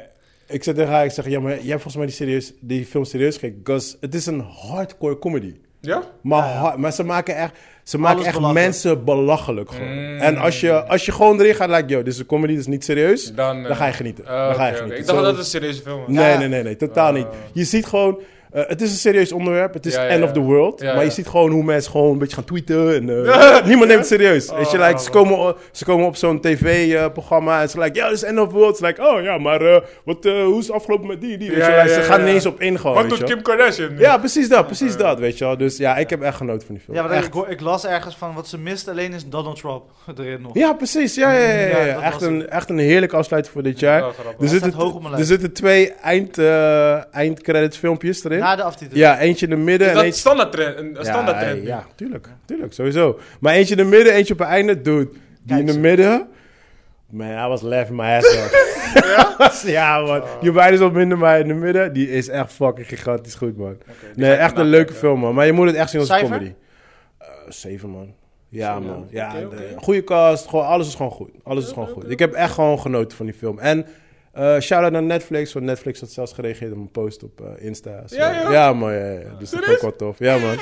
[SPEAKER 2] ik zei tegen haar, ik zeg, ja, maar jij hebt volgens mij die, serieus, die film serieus gekeken. Because het is een hardcore comedy.
[SPEAKER 3] Ja?
[SPEAKER 2] Maar, ha- maar ze maken echt, ze maken
[SPEAKER 1] Alles
[SPEAKER 2] echt
[SPEAKER 1] belachelijk.
[SPEAKER 2] mensen belachelijk gewoon.
[SPEAKER 3] Mm.
[SPEAKER 2] En als je, als je gewoon erin gaat, like, yo, dit is een comedy, dit is niet serieus.
[SPEAKER 3] Dan, eh,
[SPEAKER 2] Dan ga je genieten.
[SPEAKER 3] eh,
[SPEAKER 2] dan
[SPEAKER 3] oké,
[SPEAKER 2] ga je
[SPEAKER 3] oké.
[SPEAKER 2] genieten.
[SPEAKER 3] Ik dacht
[SPEAKER 2] Zo-
[SPEAKER 3] dat het een serieuze film was.
[SPEAKER 2] Nee,
[SPEAKER 1] Ja.
[SPEAKER 2] nee, nee, nee, totaal
[SPEAKER 3] Ah.
[SPEAKER 2] niet. Je ziet gewoon, eh, het is een serieus onderwerp, het is
[SPEAKER 3] Ja, ja,
[SPEAKER 2] end
[SPEAKER 3] ja.
[SPEAKER 2] of the world.
[SPEAKER 3] Ja,
[SPEAKER 2] maar je
[SPEAKER 3] ja.
[SPEAKER 2] ziet gewoon hoe mensen gewoon een beetje gaan tweeten en eh, niemand neemt het serieus. Weet je,
[SPEAKER 3] Oh,
[SPEAKER 2] like, ze,
[SPEAKER 3] grappig.
[SPEAKER 2] komen, o- ze komen op zo'n tv-programma en ze like, ja, dit is end of the world. Ze like, oh ja, maar eh, wat, eh, hoe is het afgelopen met die, die? Weet
[SPEAKER 3] Ja,
[SPEAKER 2] je, like,
[SPEAKER 3] ja,
[SPEAKER 2] ze
[SPEAKER 3] ja,
[SPEAKER 2] gaan
[SPEAKER 3] ja.
[SPEAKER 2] ineens op in gewoon,
[SPEAKER 3] Wat
[SPEAKER 2] weet
[SPEAKER 3] doet
[SPEAKER 2] je.
[SPEAKER 3] Kim Kardashian? nu?
[SPEAKER 2] Ja, precies dat, precies dat, weet je wel. Dus ja, ik heb echt genoten van die film.
[SPEAKER 1] Ja, maar
[SPEAKER 2] Echt.
[SPEAKER 1] ik, ik las ergens van wat ze mist alleen is Donald Trump erin nog.
[SPEAKER 2] Ja, precies. Ja, ja, ja, ja,
[SPEAKER 1] Ja,
[SPEAKER 2] ja.
[SPEAKER 1] dat
[SPEAKER 2] Echt,
[SPEAKER 1] was
[SPEAKER 2] een, echt een heerlijke afsluiting voor dit jaar.
[SPEAKER 3] Wel grappig.
[SPEAKER 2] Er zitten,
[SPEAKER 1] staat hoog op mijn
[SPEAKER 2] er
[SPEAKER 1] lijst.
[SPEAKER 2] zitten twee eind, eh eindcredits filmpjes erin.
[SPEAKER 1] Na de aftiteling.
[SPEAKER 2] Ja, eentje in het midden
[SPEAKER 3] Is
[SPEAKER 2] en
[SPEAKER 3] dat
[SPEAKER 2] eentje...
[SPEAKER 3] standaard trend? Een een standaard
[SPEAKER 2] ja,
[SPEAKER 3] trend?
[SPEAKER 2] ja, tuurlijk. Tuurlijk, sowieso. Maar eentje in het midden, eentje op het einde. Dude, die in het
[SPEAKER 1] ze.
[SPEAKER 2] midden... Man, I was laughing my ass off. ja? man. Je beide is wat minder, maar in het midden... Die is echt fucking gigantisch goed, man. nee, echt een leuke film, man. Maar je moet het echt zien als een
[SPEAKER 1] Cijfer?
[SPEAKER 2] comedy. Eh, Zeven, man. Ja,
[SPEAKER 3] Zeven,
[SPEAKER 2] man.
[SPEAKER 3] ja.
[SPEAKER 2] Ja,
[SPEAKER 3] Oké,
[SPEAKER 2] de-
[SPEAKER 3] oké.
[SPEAKER 2] goede cast. Gewoon, alles is gewoon goed. Alles is gewoon goed. Ik heb echt gewoon genoten van die film. En... eh shout-out naar Netflix, want Netflix had zelfs gereageerd op een post op eh, Insta. So,
[SPEAKER 3] Ja, joh.
[SPEAKER 2] ja, man. Ja, ja. Dus dat vond ik wel tof. Ja, man.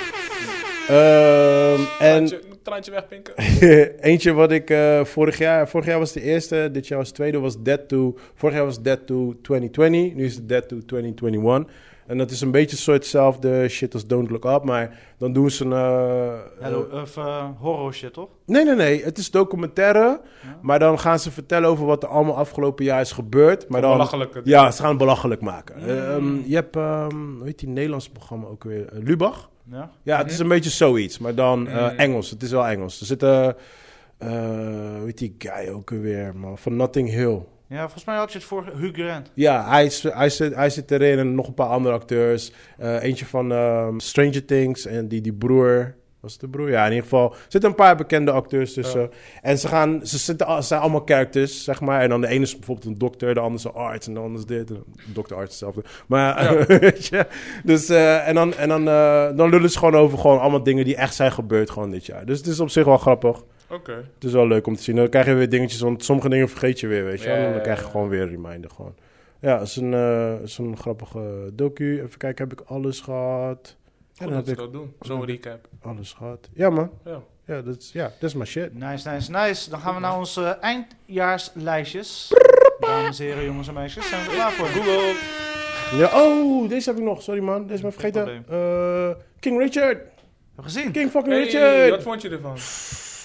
[SPEAKER 2] Ehm, en
[SPEAKER 3] Traantje, traantje wegpinken.
[SPEAKER 2] eentje wat ik eh, vorig jaar... Vorig jaar was de eerste, dit jaar was de tweede, was Dead to... Vorig jaar was Dead to 2020, nu is het Dead to 2021. En dat is een beetje soort hetzelfde shit als Don't Look Up, maar dan doen ze een... eh,
[SPEAKER 1] Hello, of eh, horror shit, toch?
[SPEAKER 2] Nee, nee, nee. Het is documentaire. Maar dan gaan ze vertellen over wat er allemaal afgelopen jaar is gebeurd. Maar dan,
[SPEAKER 3] Belachelijke dingen.
[SPEAKER 2] Ja, ze gaan het belachelijk maken. Ehm, je hebt, ehm, hoe heet die Nederlandse programma ook weer? Eh, Lubach?
[SPEAKER 1] Ja.
[SPEAKER 2] Ja, het is een beetje zoiets. Maar dan eh,
[SPEAKER 3] Mhm.
[SPEAKER 2] Engels. Het is wel Engels. Er zit, eh eh, hoe heet die guy ook weer, man? Van Notting Hill.
[SPEAKER 1] Ja, volgens mij had je het vorige... Hugh Grant.
[SPEAKER 2] Ja, hij, is- hij, zit, hij zit erin en nog een paar andere acteurs. Eh, eentje van ehm, Stranger Things en die, die broer. Was het de broer? Ja, in ieder geval. Er zitten een paar bekende acteurs tussen. En ze, gaan, ze, zitten, al- ze zijn allemaal characters, zeg maar. En dan de ene is bijvoorbeeld een dokter, de ander is een arts en de ander is dit. En dokter, arts, hetzelfde. Maar, weet je. Dus, eh, en dan, en dan, eh, dan lullen ze gewoon over gewoon allemaal dingen die echt zijn gebeurd gewoon dit jaar. Dus het is op zich wel grappig.
[SPEAKER 3] Oké.
[SPEAKER 2] Het is wel leuk om te zien. Dan krijg je weer dingetjes, want sommige dingen vergeet je weer, weet je.
[SPEAKER 3] Ja,
[SPEAKER 2] wel.
[SPEAKER 3] ja,
[SPEAKER 2] dan
[SPEAKER 3] ja,
[SPEAKER 2] krijg je
[SPEAKER 3] ja.
[SPEAKER 2] gewoon weer een reminder gewoon. Ja, het is een, eh, is een grappige docu. Even kijken, heb ik alles gehad? Ja,
[SPEAKER 3] Goed
[SPEAKER 2] dan heb
[SPEAKER 3] dat ze
[SPEAKER 2] ik
[SPEAKER 3] dat doen. Zo'n recap.
[SPEAKER 2] alles gehad. Ja, man.
[SPEAKER 3] Ja.
[SPEAKER 2] Ja, dat is, ja, dat is mijn shit.
[SPEAKER 1] Nice, nice, nice. Dan gaan we naar onze eindjaarslijstjes. Dames en heren, jongens en meisjes, zijn we er klaar voor.
[SPEAKER 3] Google.
[SPEAKER 2] Ja, oh, deze heb ik nog. Sorry, man. Deze is me
[SPEAKER 1] Geen
[SPEAKER 2] vergeten. Eh, King Richard.
[SPEAKER 1] Heb je gezien?
[SPEAKER 2] King fucking
[SPEAKER 3] Hey, wat
[SPEAKER 2] Richard.
[SPEAKER 3] vond je ervan?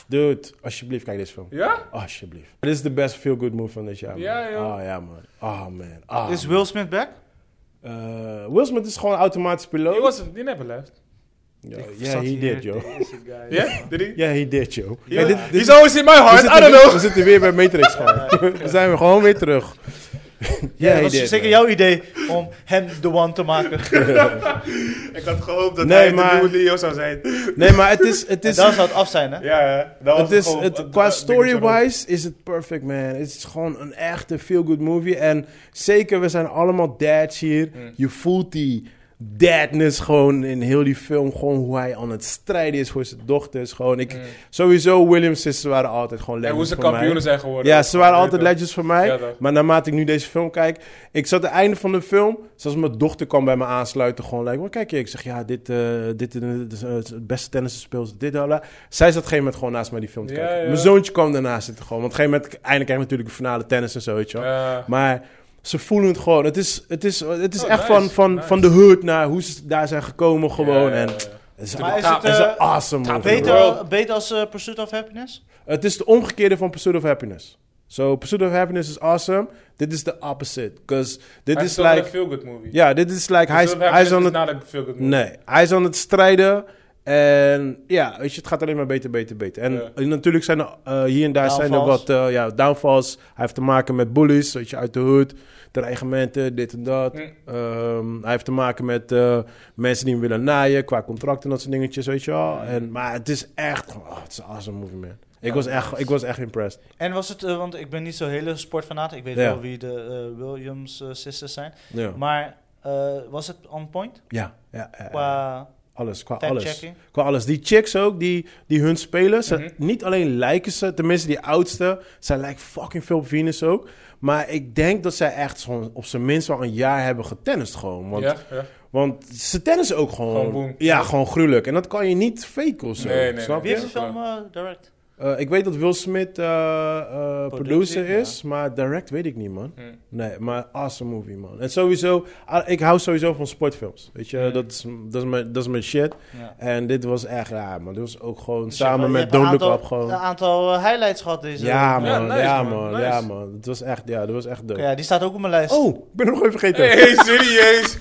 [SPEAKER 2] Dude, alsjeblieft, kijk deze film.
[SPEAKER 3] Ja?
[SPEAKER 2] Alsjeblieft. Dit is de best feel-good movie van dit jaar, man.
[SPEAKER 3] Ja, joh.
[SPEAKER 2] Ah, ja, man. Ah, man. Ah,
[SPEAKER 1] Is
[SPEAKER 2] man.
[SPEAKER 1] Will Smith back?
[SPEAKER 2] Eh, Will Smith is gewoon automatisch piloot.
[SPEAKER 3] He wasn't, he never left.
[SPEAKER 2] Ja,
[SPEAKER 1] Ik
[SPEAKER 2] yeah,
[SPEAKER 1] zat
[SPEAKER 2] he
[SPEAKER 1] hier,
[SPEAKER 2] did, joh.
[SPEAKER 1] deze guy.
[SPEAKER 3] Yeah? Did he?
[SPEAKER 2] Ja, Oh, hij deed, joh.
[SPEAKER 3] Ja.
[SPEAKER 2] Hey, dit- dit-
[SPEAKER 3] He's always in my
[SPEAKER 2] we,
[SPEAKER 3] heart,
[SPEAKER 2] zitten
[SPEAKER 3] I don't
[SPEAKER 2] weer-
[SPEAKER 3] know.
[SPEAKER 2] we zitten weer bij Matrix gewoon. We zijn weer gewoon weer terug.
[SPEAKER 1] Ja,
[SPEAKER 2] hij
[SPEAKER 1] dat
[SPEAKER 2] deed,
[SPEAKER 1] was zeker
[SPEAKER 2] man.
[SPEAKER 1] jouw idee om hem de one te maken.
[SPEAKER 3] Ik had gehoopt dat
[SPEAKER 2] Nee,
[SPEAKER 3] hij
[SPEAKER 2] maar-
[SPEAKER 3] de nieuwe Leo zou zijn.
[SPEAKER 2] Nee, maar het is... Het
[SPEAKER 1] En
[SPEAKER 2] is,
[SPEAKER 1] dan zou het af zijn, hè?
[SPEAKER 3] Ja, ja. Dat
[SPEAKER 2] het
[SPEAKER 3] was
[SPEAKER 2] is
[SPEAKER 3] gewoon-
[SPEAKER 2] het,
[SPEAKER 3] Oh, dat-
[SPEAKER 2] qua
[SPEAKER 3] dat-
[SPEAKER 2] story-wise is het perfect, man. Het is gewoon een echte feel-good movie. En zeker, we zijn allemaal dads hier.
[SPEAKER 3] Mm.
[SPEAKER 2] Je voelt die dadness gewoon in heel die film. Gewoon hoe hij aan het strijden is voor zijn dochters. Gewoon, ik, Sowieso, Williams sisters waren altijd gewoon
[SPEAKER 3] Mm. En
[SPEAKER 2] lekker
[SPEAKER 3] hoe ze kampioenen zijn geworden.
[SPEAKER 2] Ja, ze waren altijd
[SPEAKER 3] Weet je
[SPEAKER 2] legends voor mij.
[SPEAKER 3] Ja, toch.
[SPEAKER 2] maar naarmate ik nu deze film kijk... Ik zat aan het einde van de film... Zelfs mijn dochter kwam bij me aansluiten. Gewoon like, wat kijk je? Ik zeg, ja, dit, eh, dit, eh, dit is eh, het beste tennisspel. Dit, bla, bla. Zij zat op een gegeven moment gewoon naast mij die film te
[SPEAKER 3] Ja,
[SPEAKER 2] kijken.
[SPEAKER 3] ja.
[SPEAKER 2] Mijn zoontje kwam daarnaast zitten gewoon. Want op een gegeven moment... Eindelijk krijg je natuurlijk een finale tennis en zo, weet je wel.
[SPEAKER 3] wel. Ja.
[SPEAKER 2] Maar ze voelen het gewoon. Het is, het is, het is
[SPEAKER 3] Oh,
[SPEAKER 2] echt
[SPEAKER 3] nice,
[SPEAKER 2] van, van,
[SPEAKER 3] nice.
[SPEAKER 2] van de hood naar hoe ze daar zijn gekomen gewoon.
[SPEAKER 3] Ja, ja,
[SPEAKER 2] En
[SPEAKER 3] ja.
[SPEAKER 2] het is,
[SPEAKER 1] Maar is
[SPEAKER 2] het
[SPEAKER 1] het,
[SPEAKER 2] is
[SPEAKER 1] eh,
[SPEAKER 2] een awesome movie, bro.
[SPEAKER 1] Beter, beter als eh, Pursuit of Happiness?
[SPEAKER 2] Het is de omgekeerde van Pursuit of Happiness. So, Pursuit of Happiness is awesome. Dit is de opposite. Because dit
[SPEAKER 3] Hij
[SPEAKER 2] is
[SPEAKER 3] still had
[SPEAKER 2] like...
[SPEAKER 3] a feel-good movie.
[SPEAKER 2] Ja, dit is like... Hij is,
[SPEAKER 3] Zullen we
[SPEAKER 2] hij is aan
[SPEAKER 3] even-
[SPEAKER 2] het...
[SPEAKER 3] Not a feel-good movie.
[SPEAKER 2] Nee, hij is aan het strijden. En ja, weet je, het gaat alleen maar beter, beter, beter. En
[SPEAKER 3] Ja.
[SPEAKER 2] en natuurlijk zijn er eh, hier en daar zijn er
[SPEAKER 1] Downfalls.
[SPEAKER 2] wat eh, ja, downfalls. Hij heeft te maken met bullies, weet je, uit de hood. Dreigementen, dit en dat.
[SPEAKER 3] Hm.
[SPEAKER 2] Ehm, hij heeft te maken met eh, mensen die hem willen naaien qua contracten en dat soort dingetjes, weet je wel. En, maar het is echt... gewoon- Oh, het is een awesome movie, man. Ik, was echt, ik was echt impressed.
[SPEAKER 1] En was het, eh, want ik ben niet zo'n hele sportfanaat. Ik weet
[SPEAKER 2] Ja.
[SPEAKER 1] wel wie de eh, Williams eh, sisters zijn.
[SPEAKER 2] Ja,
[SPEAKER 1] Maar eh, was het on point
[SPEAKER 2] ja, ja, ja, ja.
[SPEAKER 1] qua
[SPEAKER 2] Eh, alles, qua alles.
[SPEAKER 1] fact-checking?
[SPEAKER 2] Qua alles. Die chicks ook, die, die hun spelen. Ze,
[SPEAKER 3] Mhm.
[SPEAKER 2] Niet alleen lijken ze, tenminste die oudste. Zij lijkt fucking veel op Venus ook. Maar ik denk dat zij echt zo'n- op zijn minst wel een jaar hebben getennist gewoon. Want,
[SPEAKER 3] ja, ja.
[SPEAKER 2] want ze tennissen ook gewoon.
[SPEAKER 3] Gewoon boem.
[SPEAKER 2] ja, gewoon gruwelijk. En dat kan je niet faken of zo.
[SPEAKER 3] Nee, nee,
[SPEAKER 2] snap
[SPEAKER 3] nee.
[SPEAKER 1] Wie
[SPEAKER 2] je?
[SPEAKER 1] heeft de film eh, direct?
[SPEAKER 2] Eh, ik weet dat Will Smith eh, eh, producer
[SPEAKER 1] Producer,
[SPEAKER 2] is, maar direct weet ik niet, man.
[SPEAKER 3] Hmm.
[SPEAKER 2] Nee, maar awesome movie, man. En sowieso, ah, ik hou sowieso van sportfilms. Weet je,
[SPEAKER 3] Hmm.
[SPEAKER 2] dat, is, dat, is mijn, dat is mijn shit.
[SPEAKER 1] Ja.
[SPEAKER 2] En dit was echt raar, man. Dit was ook gewoon
[SPEAKER 1] Dus je hebt-
[SPEAKER 2] samen
[SPEAKER 1] je
[SPEAKER 2] met
[SPEAKER 1] hebt een
[SPEAKER 2] Don't Look
[SPEAKER 1] aantal-
[SPEAKER 2] Up gewoon.
[SPEAKER 1] Een aantal eh, highlights gehad deze
[SPEAKER 2] Ja, man.
[SPEAKER 1] week.
[SPEAKER 2] Ja,
[SPEAKER 3] Ja, nice,
[SPEAKER 2] man.
[SPEAKER 3] man,
[SPEAKER 2] Ja,
[SPEAKER 3] nice.
[SPEAKER 2] man. Het was echt, ja, dat was echt dope.
[SPEAKER 1] Oké, ja, die staat ook op mijn lijst.
[SPEAKER 2] Oh, ik ben er nog even vergeten.
[SPEAKER 3] Hey, serieus!